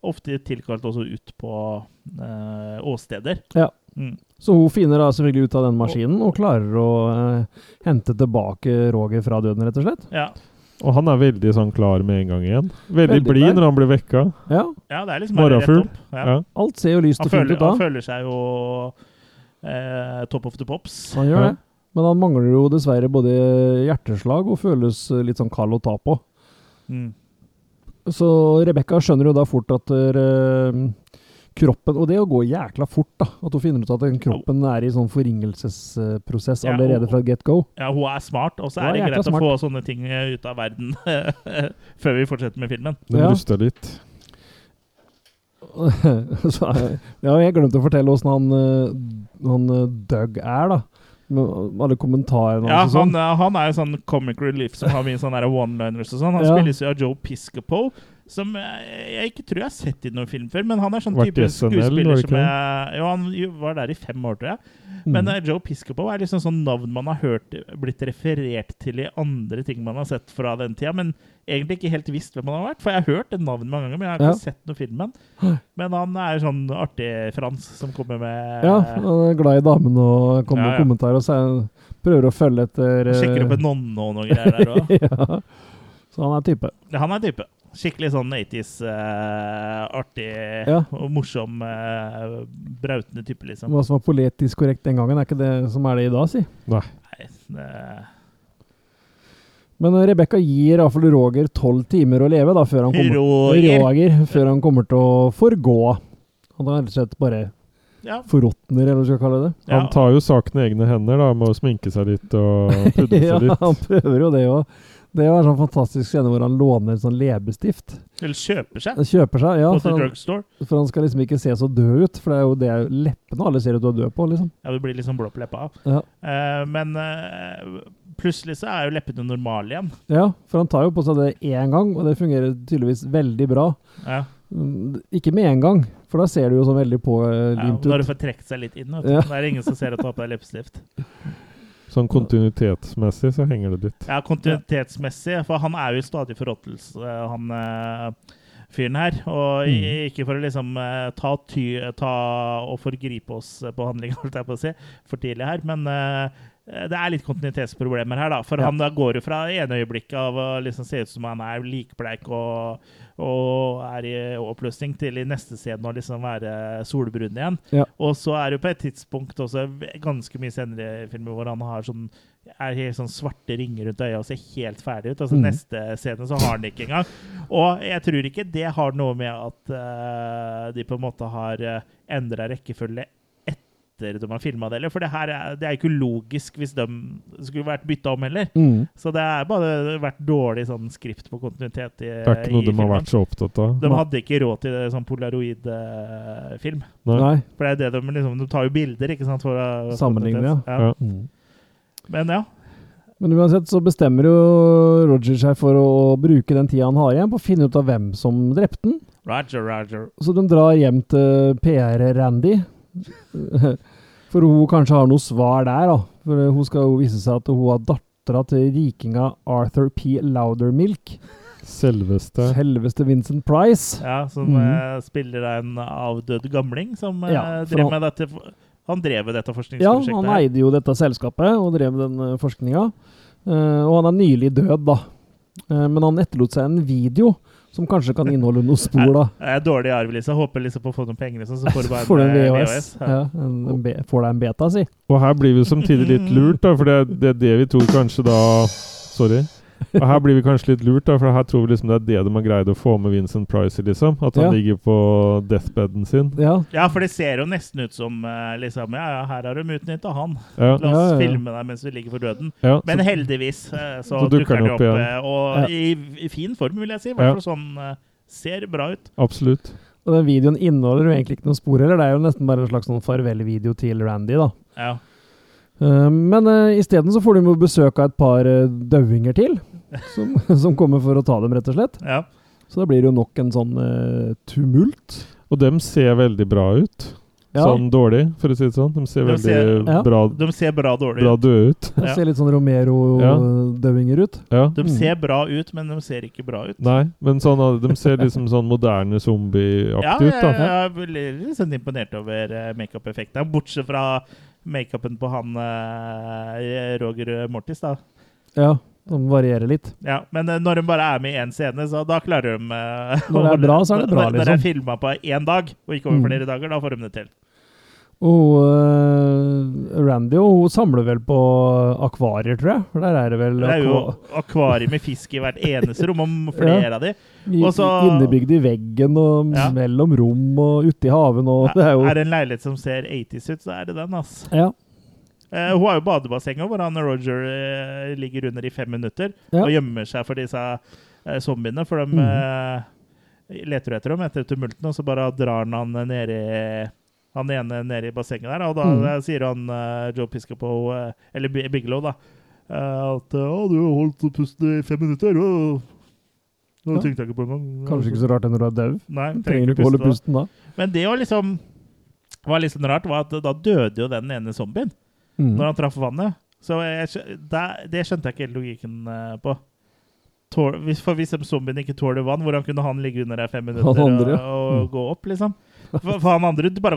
Speaker 2: ofte tilkalt også ut på eh, åsteder.
Speaker 3: Ja.
Speaker 2: Mm.
Speaker 3: Så hun finner da selvfølgelig ut av den maskinen og klarer å eh, hente tilbake Roger fra døden, rett og slett.
Speaker 2: Ja.
Speaker 1: Og han er veldig sånn klar med en gang igjen. Veldig,
Speaker 3: Veldig
Speaker 1: blid
Speaker 3: klar.
Speaker 1: når han blir vekka.
Speaker 3: Ja,
Speaker 2: ja, det er liksom bare rett
Speaker 1: Morgenfugl.
Speaker 2: opp.
Speaker 1: Ja.
Speaker 2: Ja.
Speaker 3: alt ser jo lyst
Speaker 2: Han,
Speaker 3: og fint
Speaker 2: føler,
Speaker 3: ut da.
Speaker 2: han føler seg jo eh, top of the pops.
Speaker 3: Han gjør
Speaker 1: Ja.
Speaker 3: det. Men han mangler jo dessverre både hjerteslag og føles eh, litt sånn kald å ta på.
Speaker 2: Mm.
Speaker 3: Så Rebekka skjønner jo da fort at eh, kroppen Og det å gå jækla fort, da. At hun finner ut at den kroppen er i sånn forringelsesprosess
Speaker 2: Ja,
Speaker 3: allerede
Speaker 2: og-
Speaker 3: fra get go.
Speaker 2: Ja, hun er smart, og så
Speaker 3: Hun
Speaker 2: er
Speaker 3: er
Speaker 2: det
Speaker 3: jækla
Speaker 2: greit å
Speaker 3: smart.
Speaker 2: få sånne ting eh, ut av verden før vi fortsetter med filmen.
Speaker 1: Den
Speaker 3: Ja.
Speaker 1: rusta litt.
Speaker 3: Så, eh, ja, jeg glemte å fortelle åssen han, eh, han eh, Doug er, da. Med alle kommentarene
Speaker 2: Ja,
Speaker 3: hans og
Speaker 2: han,
Speaker 3: sånn.
Speaker 2: eh, han er jo sånn comic relief som har mye sånne der one-liners og sånn. Han
Speaker 3: Ja.
Speaker 2: spilles jo av Joe Piscopo, som jeg, jeg ikke tror jeg har sett i noen film før, men han er sånn
Speaker 1: Vært i
Speaker 2: type
Speaker 1: SNL, var
Speaker 2: skuespiller
Speaker 1: det Mm. ikke
Speaker 2: som jeg Jo, han jo var der i fem år, tror jeg. Men
Speaker 3: Mm.
Speaker 2: eh, Joe Piscopo er liksom sånn navn man har hørt blitt referert til i andre ting man har sett fra den tida, men egentlig ikke helt visst hvem han har vært. For jeg har hørt det navnet mange ganger, men jeg har ikke sett noe film med han. Men han er sånn artig Frans som kommer med
Speaker 3: Ja, han er glad i damene og kommer
Speaker 2: eh, Ja,
Speaker 3: med
Speaker 2: ja.
Speaker 3: kommentarer og sier, prøver å følge etter eh,
Speaker 2: Sjekker opp en nonne og noe greier der òg.
Speaker 3: ja. Så han er type.
Speaker 2: Han er type. Skikkelig sånn 80s, eh, artig
Speaker 3: Ja.
Speaker 2: og morsom, eh, brautende type, liksom.
Speaker 3: Hva som var politisk korrekt den gangen, er ikke det som er det i dag, si.
Speaker 1: Nei.
Speaker 2: Nei, det-
Speaker 3: Men Rebekka gir iallfall Roger tolv timer å leve da, før han kommer,
Speaker 2: Roger.
Speaker 3: Roger, før han kommer til å forgå. Han har rett og slett bare
Speaker 2: Ja.
Speaker 3: forråtner, eller hva du skal kalle det.
Speaker 2: Ja.
Speaker 1: Han tar jo saken i egne hender, da. Med å sminke seg litt og pudre
Speaker 3: ja,
Speaker 1: seg
Speaker 3: han
Speaker 1: litt.
Speaker 3: prøver jo det òg. Det er en sånn fantastisk scene hvor han låner en sånn leppestift.
Speaker 2: Eller kjøper seg
Speaker 3: Han kjøper seg, ja,
Speaker 2: på The
Speaker 3: for han,
Speaker 2: Drugstore.
Speaker 3: for han skal liksom ikke se så død ut. For det er jo det er jo leppene alle ser ut til å dø på, liksom.
Speaker 2: Ja, det blir liksom blå på leppa.
Speaker 3: Ja.
Speaker 2: Eh, men eh, plutselig så er jo leppene normale igjen.
Speaker 3: ja, for han tar jo på seg det én gang, og det fungerer tydeligvis veldig bra.
Speaker 2: Ja.
Speaker 3: Mm, Ikke med en gang, for da ser du jo sånn veldig
Speaker 2: Ja, når
Speaker 3: pålimt
Speaker 2: du
Speaker 3: ut.
Speaker 2: får trukket seg litt inn. Vet du.
Speaker 3: Ja.
Speaker 2: Det er ingen som ser at du har på deg leppestift.
Speaker 1: Sånn kontinuitetsmessig så henger det litt.
Speaker 2: Ja, kontinuitetsmessig, for han er jo i stadig forråtelse, han eh, fyren her. Og i-
Speaker 3: Mm.
Speaker 2: ikke for å liksom eh, ta, ty, ta og forgripe oss på handlinga, holdt jeg på å si, for tidlig her, men eh, det er litt kontinuitetsproblemer her, da. For
Speaker 3: Ja.
Speaker 2: han da går jo fra det ene øyeblikket av å liksom se ut som han er likbleik og, og er i oppløsning, til i neste scene å liksom være solbrun igjen.
Speaker 3: Ja.
Speaker 2: Og så er det jo på et tidspunkt også v- ganske mye senere i filmer hvor han har sånn er helt sånn svarte ringer rundt øya og ser helt ferdig ut. Altså
Speaker 3: Mm.
Speaker 2: Neste scene så har han det ikke engang. Og jeg tror ikke det har noe med at eh, de på en måte har uh, endra rekkefølge etter de har filma det, eller? For det her er, det er ikke logisk hvis de skulle vært bytta om heller.
Speaker 3: Mm.
Speaker 2: Så det er bare vært dårlig sånn skript på kontinuitet i,
Speaker 1: Det er ikke
Speaker 2: i
Speaker 1: noe de har
Speaker 2: filmen.
Speaker 1: vært så opptatt av.
Speaker 2: De hadde ikke råd til det, sånn polaroid-film.
Speaker 1: Nei.
Speaker 3: Nei.
Speaker 2: For det er det de liksom De tar jo bilder, ikke sant? For, å-
Speaker 3: Sammenligne, ja.
Speaker 2: ja.
Speaker 1: Ja.
Speaker 3: Mm.
Speaker 2: Men ja.
Speaker 3: Men uansett så bestemmer jo Roger seg for å bruke den tida han har igjen på å finne ut av hvem som drepte den.
Speaker 2: Roger, Roger.
Speaker 3: Så de drar hjem til PR-Randy. For hun kanskje har noe svar der, da. For hun skal jo vise seg at hun har dattera til rikinga Arthur P. Loudermilk.
Speaker 1: Selveste
Speaker 3: Selveste Vincent Price.
Speaker 2: Ja, som
Speaker 3: Mhm.
Speaker 2: eh, spiller en avdød gamling som eh,
Speaker 3: Ja, for
Speaker 2: drev
Speaker 3: han-
Speaker 2: med dette Han drev med dette
Speaker 3: Ja,
Speaker 2: forskningsprosjektet.
Speaker 3: han
Speaker 2: her.
Speaker 3: eide jo dette selskapet og drev med den eh, forskninga. Eh, og han er nylig død, da. Eh, men han etterlot seg en video som kanskje kan inneholde noe spor, da.
Speaker 2: Det er dårlig arv, liksom. Håper liksom på å få noen penger, liksom. Så får du bare
Speaker 3: Får du en
Speaker 2: eh,
Speaker 3: VHS?
Speaker 2: Ja.
Speaker 3: Ja, en, en be, får deg en beta, si.
Speaker 1: Og her blir vi samtidig litt lurt, da, for det er det, er det vi tror kanskje da Sorry. Og her blir vi kanskje litt lurt, da, for her tror vi liksom det er det de har greid å få med Vincent Price i, liksom. At han
Speaker 3: Ja.
Speaker 1: ligger på deathbeden sin.
Speaker 3: Ja,
Speaker 2: ja, for det ser jo nesten ut som eh, liksom Ja, ja, her har de utnytta han. La
Speaker 1: Ja,
Speaker 2: oss
Speaker 3: Ja, ja, ja.
Speaker 2: filme deg mens vi ligger for døden.
Speaker 1: ja,
Speaker 2: Men
Speaker 1: så,
Speaker 2: heldigvis eh, så,
Speaker 1: Så
Speaker 2: dukker han jo opp,
Speaker 1: igjen.
Speaker 2: eh, og
Speaker 3: Ja.
Speaker 2: i, i fin form, vil jeg si. I
Speaker 1: Ja.
Speaker 2: hvert fall sånn eh, ser bra ut.
Speaker 1: absolutt.
Speaker 3: og den videoen inneholder jo egentlig ikke noen spor heller. Det er jo nesten bare en slags sånn farvel-video til Randy, da.
Speaker 2: Ja.
Speaker 3: Eh, men uh, isteden så får de jo besøk av et par uh, dauinger til, som, som kommer for å ta dem, rett og slett.
Speaker 2: ja.
Speaker 3: Så da blir det jo nok en sånn eh, tumult.
Speaker 1: Og dem ser veldig bra ut.
Speaker 3: Ja,
Speaker 1: Sånn dårlig, for å si det sånn. De ser
Speaker 2: De
Speaker 1: veldig
Speaker 2: ser-
Speaker 3: ja.
Speaker 1: bra,
Speaker 2: De ser bra dårlig
Speaker 1: bra
Speaker 2: ut.
Speaker 1: døde ut.
Speaker 3: det
Speaker 2: ja.
Speaker 3: ser litt sånn Romero-dauinger ut.
Speaker 1: Ja.
Speaker 2: De ser bra ut, men de ser ikke bra ut.
Speaker 1: Nei, men sånn, at de ser liksom sånn moderne
Speaker 2: Ja,
Speaker 1: zombieaktig
Speaker 2: jeg,
Speaker 1: ut, da.
Speaker 2: jeg ble litt sånn imponert over eh, makeup-effekten. Bortsett fra makeupen på han eh, Roger Mortis, da.
Speaker 3: Ja, de varierer litt.
Speaker 2: Ja, men eh, når de bare er med i én scene, så da klarer de eh,
Speaker 3: Når det er
Speaker 2: å holde-
Speaker 3: bra, så er det bra,
Speaker 2: Når, når det
Speaker 3: liksom.
Speaker 2: er filma på én dag, og ikke over
Speaker 3: Mm.
Speaker 2: flere dager, da får de det til.
Speaker 3: Og eh, Randy og hun samler vel på akvarier, tror jeg. For der er det vel
Speaker 2: Det er jo
Speaker 3: akva-
Speaker 2: akvarium med fisk i hvert eneste rom, om flere av de.
Speaker 3: I-
Speaker 2: Og så-
Speaker 3: Innebygd i veggen og
Speaker 2: Ja.
Speaker 3: mellom rom og ute i haven og Det er jo
Speaker 2: Er det en leilighet som ser 80s ut, så er det den, ass.
Speaker 3: Ja.
Speaker 2: Eh, hun har jo badebassenget hvor han Roger eh, ligger under i fem minutter
Speaker 3: Ja. Mhm.
Speaker 2: og gjemmer seg for disse eh, zombiene, for de eh, leter jo etter dem etter tumulten, og så bare drar han han nedi han ene nede i bassenget der, og da
Speaker 3: Mhm.
Speaker 2: sier han eh, Joe Piscopo, eh, eller Bi- Bigelow, da, eh, at eh, «Å, du har holdt pusten i fem minutter, og
Speaker 3: Ja.
Speaker 2: nå tenkte jeg ikke på engang.
Speaker 3: Kanskje ikke så rart det når du er dau.
Speaker 2: Nei,
Speaker 3: Trenger du ikke holde
Speaker 2: da.
Speaker 3: pusten da.
Speaker 2: Men det å liksom var litt sånn rart, var at da døde jo den ene zombien
Speaker 3: Mm.
Speaker 2: når han traff vannet. Så jeg, skjø- da, det skjønte jeg ikke helt logikken eh, på. Tål, hvis, for hvis de zombiene ikke tåler vann, hvordan kunne han ligge under der fem minutter
Speaker 3: Han andre, mm.
Speaker 2: og, og gå opp, liksom? For, for han andre bare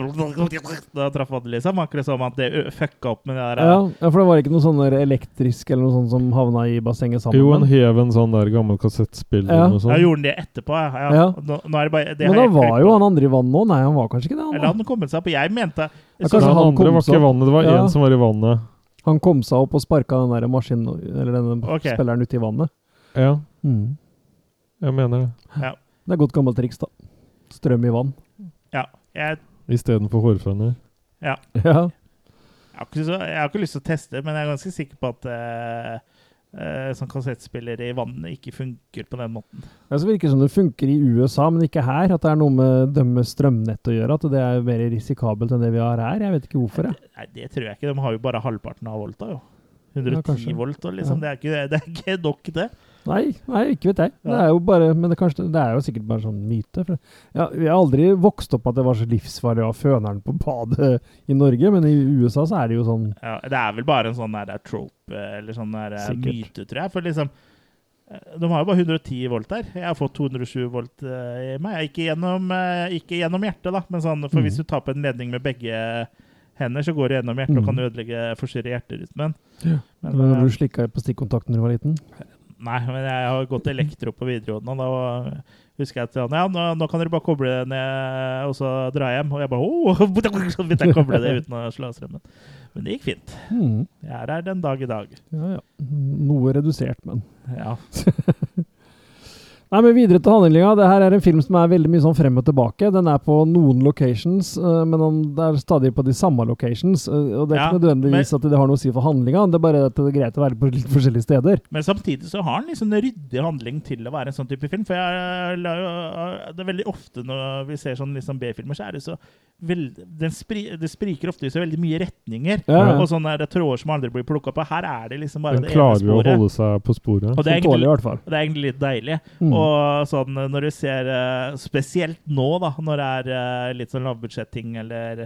Speaker 2: Da traff han liksom. Akkurat som at det ø- fucka opp med det der.
Speaker 3: Ja, ja, for det var ikke noe sånn der elektrisk eller noe sånt som havna i bassenget sammen?
Speaker 1: Jo, han
Speaker 3: men-
Speaker 1: hev en sånn der gammel kassettspiller
Speaker 3: Ja.
Speaker 1: eller noe
Speaker 2: Jeg
Speaker 1: sånt.
Speaker 2: gjorde han det etterpå, ja. ja.
Speaker 3: sånn. Ja.
Speaker 2: Nå, nå er det bare, det
Speaker 3: men
Speaker 2: har
Speaker 3: da
Speaker 2: jeg
Speaker 3: var
Speaker 2: glemt.
Speaker 3: jo han andre i vann nå. Nei, han var kanskje ikke
Speaker 2: Eller
Speaker 3: det. Han, da.
Speaker 2: hadde han kommet seg opp? Jeg mente
Speaker 3: Ja,
Speaker 2: så,
Speaker 3: kanskje-
Speaker 1: Nei, han
Speaker 3: han
Speaker 1: andre
Speaker 3: kom
Speaker 1: var ikke
Speaker 3: seg-
Speaker 1: i vannet, det var
Speaker 3: Ja.
Speaker 1: én som var i vannet.
Speaker 3: han kom seg opp og sparka den der maskinen, eller denne
Speaker 2: Ok.
Speaker 3: spilleren ut i vannet.
Speaker 1: Ja,
Speaker 3: Mm.
Speaker 1: jeg mener det.
Speaker 3: Det er godt gammelt triks, da. Strøm i vann.
Speaker 2: ja, jeg,
Speaker 1: Istedenfor hårføner.
Speaker 3: Ja.
Speaker 2: jeg, har ikke så, jeg har ikke lyst til å teste, men jeg er ganske sikker på at eh, eh, sånn kassettspiller i vannet ikke funker på den måten.
Speaker 3: Det virker som det funker i USA, men ikke her. At det er noe med dømme strømnett å gjøre. At det er mer risikabelt enn det vi har her. Jeg vet ikke hvorfor, jeg.
Speaker 2: Nei, det tror jeg ikke. De har jo bare halvparten av volta, jo. 110
Speaker 3: kanskje.
Speaker 2: volt, og liksom. Det, er ikke, det er ikke nok, det.
Speaker 3: Nei, nei, ikke vet jeg. Det er jo bare, men det, kanskje, det er jo sikkert bare sånn myte. For ja, jeg har aldri vokst opp at det var så livsfarlig å ha føneren på badet i Norge, men i USA så er det jo sånn
Speaker 2: Ja, det er vel bare en sånn der trope, eller sånn der eh,
Speaker 3: Sikkert.
Speaker 2: myte, tror jeg. For liksom eh, de har jo bare 110 volt der. Jeg har fått 207 volt eh, i meg. Ikke gjennom, eh, ikke gjennom hjertet, da, men sånn, for
Speaker 3: Mhm.
Speaker 2: hvis du tar på en ledning med begge hender, så går det gjennom
Speaker 3: Mhm.
Speaker 2: hjertet og kan ødelegge forstyrre hjerterytmen. Men,
Speaker 3: Når du
Speaker 2: eh,
Speaker 3: slikka på stikkontakten da du var liten?
Speaker 2: nei, men jeg har gått elektro på videregående, og da husker jeg til han ja, nå, nå kan dere bare koble det ned og så dra hjem. Og jeg bare åh, så begynte jeg å koble det uten å slå av strømmen. Men det gikk fint.
Speaker 3: Mhm.
Speaker 2: Jeg er her den dag i dag.
Speaker 3: Ja, ja. Noe redusert, men.
Speaker 2: Ja.
Speaker 3: Nei, men Videre til handlinga. Det her er en film som er veldig mye sånn frem og tilbake. Den er på noen locations, eh, men den- det er stadig på de samme locations. eh, Og det er ikke
Speaker 2: Ja,
Speaker 3: nødvendigvis at det har noe å si for handlinga, det er bare at det er greit å være på litt forskjellige steder.
Speaker 2: Men samtidig så har han liksom en ryddig handling til å være en sånn type film. For jeg la jo Det er veldig ofte når vi ser sånn liksom B-filmer, så er det så veld, den spri, Det spriker ofte i så veldig mye retninger.
Speaker 3: Ja, ja.
Speaker 2: Og sånne der tråder som aldri blir plukka på. Her er det liksom bare
Speaker 1: Den
Speaker 2: det ene
Speaker 1: klarer jo å
Speaker 2: sporet.
Speaker 1: holde seg på sporet.
Speaker 2: Og det er
Speaker 3: Som tåler i
Speaker 2: egentlig,
Speaker 3: hvert fall.
Speaker 2: det er egentlig litt deilig.
Speaker 3: Mm.
Speaker 2: Og sånn eh, når du ser eh, Spesielt nå, da, når det er eh, litt sånn lavbudsjetting eller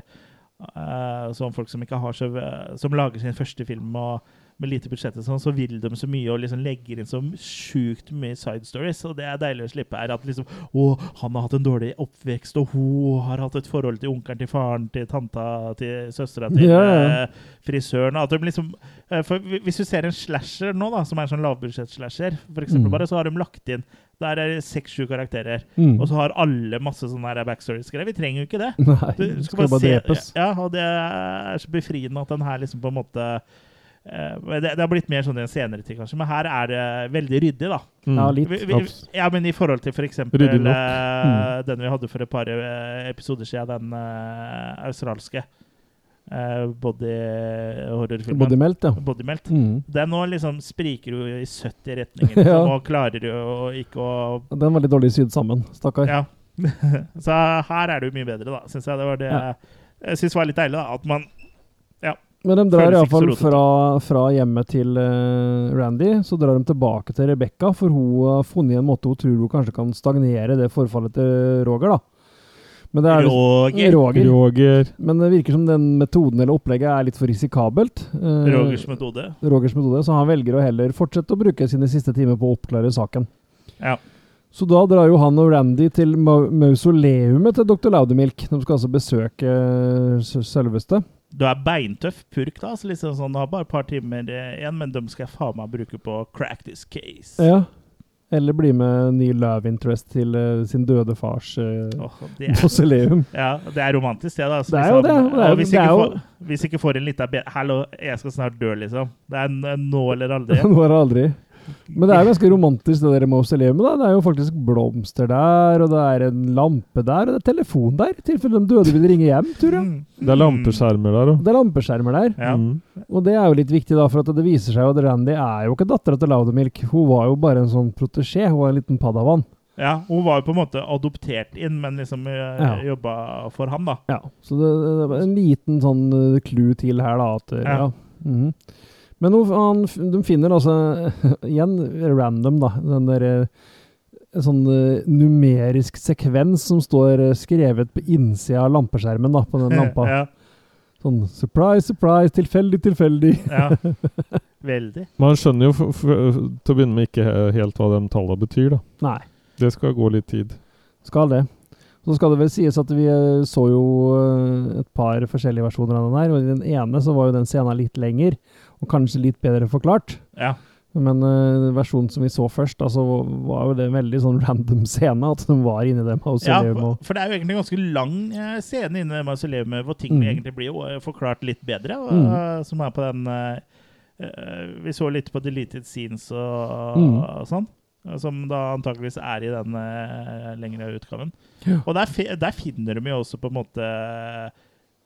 Speaker 2: eh, sånn folk som ikke har så eh, Som lager sin første film og med lite budsjett og sånn, så vil de så mye og liksom legger inn så sjukt mye side stories. Og det er deilig å slippe her. At liksom Å, han har hatt en dårlig oppvekst, og hun har hatt et forhold til onkelen til faren til tanta til søstera til
Speaker 3: Ja, ja.
Speaker 2: eh, frisøren. og At de liksom Eh, For hvi- hvis du ser en slasher nå, da, som er en sånn lavbudsjett-slasher, for eksempel
Speaker 3: Mm.
Speaker 2: bare, så har de lagt inn Der er det seks-sju karakterer,
Speaker 3: Mm.
Speaker 2: og så har alle masse sånne her backstories-greier. Vi trenger jo ikke det.
Speaker 3: Nei,
Speaker 2: Du
Speaker 3: du
Speaker 2: skal
Speaker 3: Mm, skal bare
Speaker 2: se-
Speaker 3: drepes.
Speaker 2: Ja, og det er så befriende at den her liksom på en måte eh, men det, det har blitt mer sånn i den senere tid, kanskje, men her er det veldig ryddig, da.
Speaker 1: Mm.
Speaker 3: Ja, litt.
Speaker 2: Vi, vi,
Speaker 1: Abs-
Speaker 2: ja, men i forhold til f.eks.
Speaker 1: Ryddig nok.
Speaker 3: Mm.
Speaker 2: Uh, den vi hadde for et par eh, episoder siden, den eh, australske uh, body-horrorfilmen.
Speaker 3: Bodymelt, ja.
Speaker 2: Bodymelt.
Speaker 3: Mm.
Speaker 2: Den nå liksom spriker jo i 70 retninger,
Speaker 3: Ja.
Speaker 2: så nå klarer du jo ikke å
Speaker 3: Den var litt dårlig sydd sammen, stakkar.
Speaker 2: Ja. så her er det jo mye bedre, da, syns jeg. Det var det
Speaker 3: Ja.
Speaker 2: jeg syns var litt deilig, da. At man
Speaker 3: Men de
Speaker 2: Føles
Speaker 3: drar
Speaker 2: ikke så
Speaker 3: iallfall
Speaker 2: rotete.
Speaker 3: fra, fra hjemmet til eh, Randy, så drar de tilbake til Rebekka, for hun har funnet en måte hun tror hun kanskje kan stagnere det forfallet til Roger, da. Men det er liksom-
Speaker 2: Roger.
Speaker 3: Roger.
Speaker 1: Roger.
Speaker 3: Men det virker som den metoden eller opplegget er litt for risikabelt. eh,
Speaker 2: Rogers metode.
Speaker 3: Rogers metode, så han velger å heller fortsette å bruke sine siste timer på å oppklare saken.
Speaker 2: Ja.
Speaker 3: Så da drar jo han og Randy til ma- mausoleumet til dr. Laudemilk. De skal altså besøke eh, s- selveste.
Speaker 2: Du er beintøff purk, da. Så liksom sånn, du har bare et par timer eh, igjen, men dem skal jeg faen meg bruke på crack this case.
Speaker 3: Ja. Eller bli med ny love interest til eh, sin døde fars eh,
Speaker 2: Åh, det, er,
Speaker 3: mausoleum.
Speaker 2: ja, det er romantisk, det, da. Så
Speaker 3: Det er jo det, og det er jo-
Speaker 2: og hvis
Speaker 3: det er
Speaker 2: ikke,
Speaker 3: jo-
Speaker 2: får, hvis ikke får en lita be... Hallo, jeg skal snart dø, liksom. Det er n- nå eller aldri.
Speaker 3: Nå er det aldri. Men det er jo ganske romantisk, det der mausoleumet. da. Det er jo faktisk blomster der, og det er en lampe der, og det er telefon der, i tilfelle de døde vil ringe hjem, tror jeg.
Speaker 2: Mm.
Speaker 1: Det er lampeskjermer der òg.
Speaker 3: Det er lampeskjermer der.
Speaker 2: Ja.
Speaker 1: Mm.
Speaker 3: Og det er jo litt viktig, da, for at det viser seg jo at Randy er jo ikke dattera til Laudemilk. Hun var jo bare en sånn protesjé. Hun var en liten padawan.
Speaker 2: Ja, hun var jo på en måte adoptert inn, men liksom eh,
Speaker 3: Ja.
Speaker 2: jobba for ham, da.
Speaker 3: Ja, så det, det var en liten sånn eh, clue til her, da. At, eh,
Speaker 2: Ja.
Speaker 3: ja. mhm. Men hun, han, de finner altså Igjen random, da. Den derre en sånn eh, numerisk sekvens som står eh, skrevet på innsida av lampeskjermen. da, på den lampa.
Speaker 2: ja,
Speaker 3: Sånn surprise, surprise, tilfeldig, tilfeldig.
Speaker 2: ja. Veldig.
Speaker 1: Man skjønner jo f- f- til å begynne med ikke he- helt hva de tallene betyr, da.
Speaker 3: Nei.
Speaker 1: Det skal gå litt tid.
Speaker 3: Skal det. Så skal det vel sies at vi eh, så jo eh, et par forskjellige versjoner av den her, og i den ene så var jo den scenen litt lengre, og kanskje litt bedre forklart.
Speaker 2: Ja.
Speaker 3: Men eh, versjonen som vi så først, altså, var jo det en veldig sånn random scene, at de var inni det mausoleum.
Speaker 2: Ja,
Speaker 3: og-
Speaker 2: for det er jo egentlig en ganske lang eh, scene inne i mausoleumet hvor ting
Speaker 3: Mm.
Speaker 2: egentlig blir jo, eh, forklart litt bedre. og,
Speaker 3: Mm.
Speaker 2: eh, Som er på den eh, eh, Vi så litt på deleted scenes og,
Speaker 3: Mm.
Speaker 2: og sånn. eh, Som da antakeligvis er i den eh, lengre utgaven.
Speaker 3: Ja.
Speaker 2: Og der, fi- der finner de jo også på en måte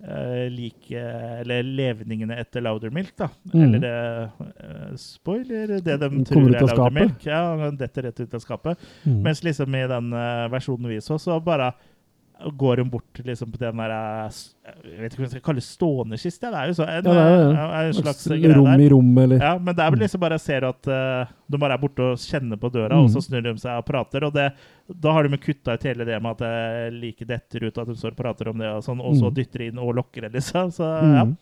Speaker 2: eh, like Eller levningene etter Loudermilk, da.
Speaker 3: Mm.
Speaker 2: Eller det eh, Spoiler, det de
Speaker 3: Kommer
Speaker 2: tror
Speaker 3: ut
Speaker 2: er
Speaker 3: av skapet.
Speaker 2: Loudermilk. Ja, den detter rett ut av skapet.
Speaker 3: Mm.
Speaker 2: Mens liksom i den eh, versjonen vi så, så bare går hun bort liksom på den der eh, s- Jeg vet ikke hva jeg skal kalle det, stående kiste. Det er jo så, en,
Speaker 3: Ja, det er det.
Speaker 2: eh, en slags
Speaker 3: Slags
Speaker 2: greie
Speaker 3: rom
Speaker 2: der.
Speaker 3: i Mm. rom, eller
Speaker 2: Ja, men der liksom bare ser du at eh, de bare er borte og kjenner på døra,
Speaker 3: Mm.
Speaker 2: og så snur de seg og prater. Og det, da har de jo kutta ut hele det med at det like detter ut at de står og prater om det, og sånn, og så
Speaker 3: Mm.
Speaker 2: dytter de inn og lokker det, liksom. Så ja.
Speaker 3: Mm.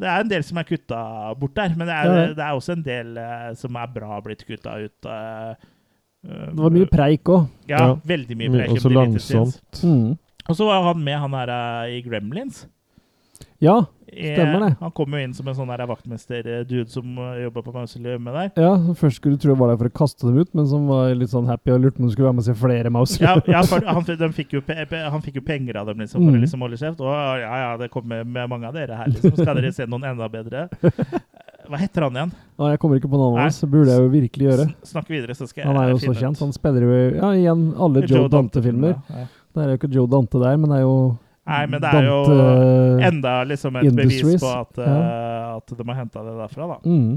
Speaker 2: Det er en del som er kutta bort der, men det er,
Speaker 3: Ja, ja.
Speaker 2: det er også en del eh, som er bra blitt kutta ut. eh, eh,
Speaker 3: Det var mye preik òg.
Speaker 2: ja,
Speaker 1: Ja.
Speaker 2: veldig mye
Speaker 1: My-
Speaker 2: preik.
Speaker 1: Mm, Og så
Speaker 2: om de lite scenes.
Speaker 1: langsomt.
Speaker 3: Mm.
Speaker 2: Og så var han med han her eh, i Gremlins.
Speaker 3: Ja,
Speaker 2: I-
Speaker 3: Stemmer det.
Speaker 2: Han kom jo inn som en sånn her vaktmester-dude som eh, jobba på mausoleumet der.
Speaker 3: ja, som først skulle du tro jeg var der for å kaste dem ut, men som var litt sånn happy og lurte på om du skulle være med og se flere
Speaker 2: Ja,
Speaker 3: mausoleum.
Speaker 2: ja for han, f- de fikk jo, pe- pe- han fikk jo penger av dem liksom, for å
Speaker 3: Mm.
Speaker 2: liksom holde kjeft. Og ja, ja, det kommer med mange av dere her, liksom. Skal dere se noen enda bedre? Hva heter han igjen?
Speaker 3: Nei, jeg kommer ikke på navnet
Speaker 2: Nei.
Speaker 3: hans, det burde jeg jo virkelig gjøre.
Speaker 2: Sn- Snakk videre, så skal jeg
Speaker 3: Han er jo så
Speaker 2: finne ut.
Speaker 3: kjent. Han spiller jo i- ja, igjen alle Joe, Dante-filmer.
Speaker 2: Ja, ja.
Speaker 3: Det er jo ikke Joe Dante der, men det er jo
Speaker 2: Nei, men det er jo
Speaker 3: Dante
Speaker 2: enda liksom et
Speaker 3: eh, Industries.
Speaker 2: bevis på at, eh, at de har henta det derfra, da.
Speaker 3: mm,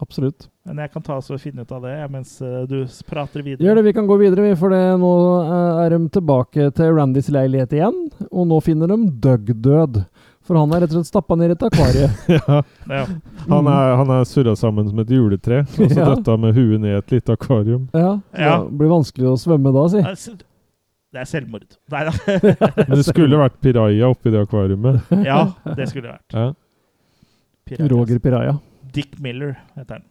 Speaker 3: Absolutt.
Speaker 2: Men jeg kan ta oss og finne ut av det jeg, mens eh, du s- prater videre.
Speaker 3: Gjør det, vi kan gå videre, vi, for det, nå eh, er de tilbake til Randys leilighet igjen. Og nå finner de Doug død. For han er rett og slett stappa ned i et akvarie.
Speaker 1: ja.
Speaker 2: Ja.
Speaker 1: Han
Speaker 2: Mm.
Speaker 1: er, han er surra sammen som et juletre, og så
Speaker 3: Ja.
Speaker 1: døtta han med huet ned i et lite akvarium.
Speaker 3: Ja, så
Speaker 2: Ja.
Speaker 3: Det blir vanskelig å svømme da, si.
Speaker 2: Det er s- Det er selvmord. Nei da.
Speaker 1: Men det skulle vært piraja oppi det akvariumet.
Speaker 2: Ja, det skulle det vært.
Speaker 1: Ja.
Speaker 2: Pirat,
Speaker 3: Roger Piraya.
Speaker 2: altså. Dick Miller heter han.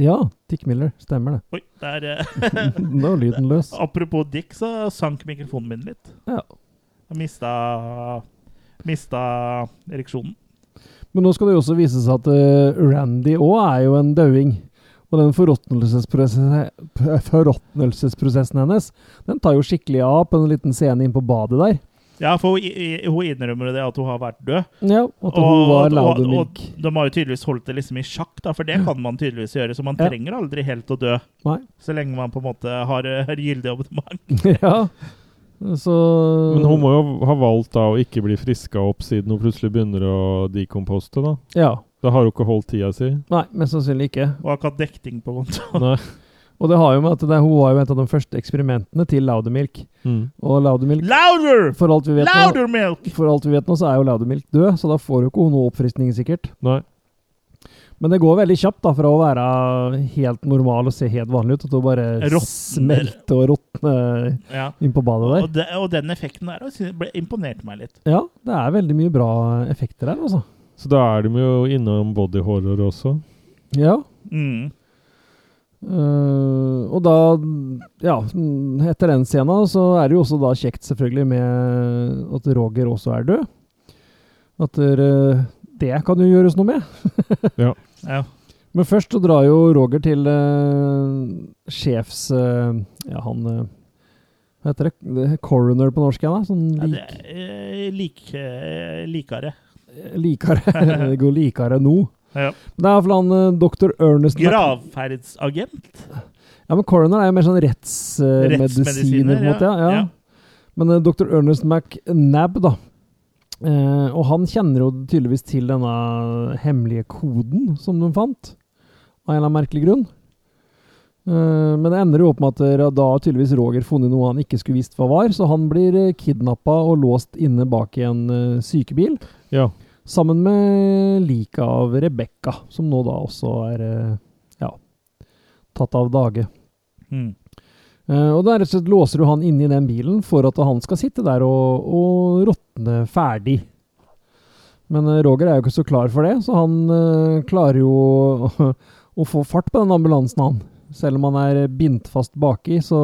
Speaker 3: Ja, Dick Miller. Stemmer det.
Speaker 2: Oi, der eh,
Speaker 3: Nå er lyden løs.
Speaker 2: Apropos Dick, så sank mikrofonen min litt.
Speaker 3: Ja.
Speaker 2: Jeg mista Mista ereksjonen.
Speaker 3: Men nå skal det jo også vise seg at eh, Randy òg er jo en dauing. Og den forråtnelsesprosesse- p- forråtnelsesprosessen hennes den tar jo skikkelig av på en liten scene inn på badet der.
Speaker 2: Ja, for hun, i- i- hun innrømmer jo det at hun har vært død.
Speaker 3: Ja, At hun var
Speaker 2: og-
Speaker 3: Loudermilk.
Speaker 2: og de har jo tydeligvis holdt det liksom i sjakk, da, for det kan man tydeligvis gjøre. Så man
Speaker 3: Mm. Ja.
Speaker 2: trenger aldri helt å dø.
Speaker 3: Nei.
Speaker 2: Så lenge man på en måte har, eh, gyldig abonnement.
Speaker 3: ja. Så
Speaker 1: Men hun må jo ha valgt da å ikke bli friska opp siden hun plutselig begynner å dekomposte, da.
Speaker 3: Ja.
Speaker 1: Da har hun ikke holdt tida si.
Speaker 3: Nei, mest sannsynlig ikke.
Speaker 2: Og har ikke hatt dekning på konto.
Speaker 1: Nei.
Speaker 3: Og det har jo med at det, hun var jo et av de første eksperimentene til Loudermilk.
Speaker 1: Mm.
Speaker 3: Og Loudermilk
Speaker 2: Louder!
Speaker 3: for alt, vi vet nå,
Speaker 2: Louder milk!
Speaker 3: for alt vi vet nå, så er jo Loudermilk død, så da får hun ikke noe oppfriskning, sikkert.
Speaker 1: Nei.
Speaker 3: Men det går veldig kjapt da, fra å være helt normal og se helt vanlig ut, til å bare
Speaker 2: Råtner.
Speaker 3: smelte og råtne
Speaker 2: Ja.
Speaker 3: inn på badet der.
Speaker 2: Og, de, og den effekten der også ble- imponerte meg litt.
Speaker 3: Ja, det er veldig mye bra effekter der, altså.
Speaker 1: Så da er de jo innom body horror også.
Speaker 3: Ja.
Speaker 2: Mm.
Speaker 3: øh, og da, ja, mm, etter den scenen så er det jo også da kjekt selvfølgelig med at Roger også er død. At øh, det kan jo gjøres noe med.
Speaker 2: Ja.
Speaker 3: Men først så drar jo Roger til eh, sjefs... eh, ja, han eh, Hva heter det? det? er Coroner på norsk igjen, da? Sånn
Speaker 2: Ja, det
Speaker 3: lik,
Speaker 2: er, eh, like, eh, likere.
Speaker 3: likere. det går likere nå.
Speaker 2: Ja.
Speaker 3: Det er iallfall han eh, dr. Ernest Mc-
Speaker 2: Gravferdsagent?
Speaker 3: Ja, men Coroner er jo mer sånn rettsmedisiner,
Speaker 2: Rettsmedisiner,
Speaker 3: på en måte. Ja. Ja. Men eh, dr. Ernest McNab, da. Eh, og han kjenner jo tydeligvis til denne hemmelige koden som de fant, av en eller annen merkelig grunn. Eh, men det ender jo opp med at eh, da har tydeligvis Roger funnet noe han ikke skulle visst hva var, så han blir kidnappa og låst inne bak i en eh, sykebil,
Speaker 1: Ja.
Speaker 3: sammen med liket av Rebekka, som nå da også er eh, ja, tatt av dage.
Speaker 2: Mm.
Speaker 3: Eh, og der rett og slett låser du han inne i den bilen for at han skal sitte der og, og råtne ferdig. Men eh, Roger er jo ikke så klar for det, så han eh, klarer jo å, å få fart på den ambulansen, han. Selv om han er bindt fast baki, så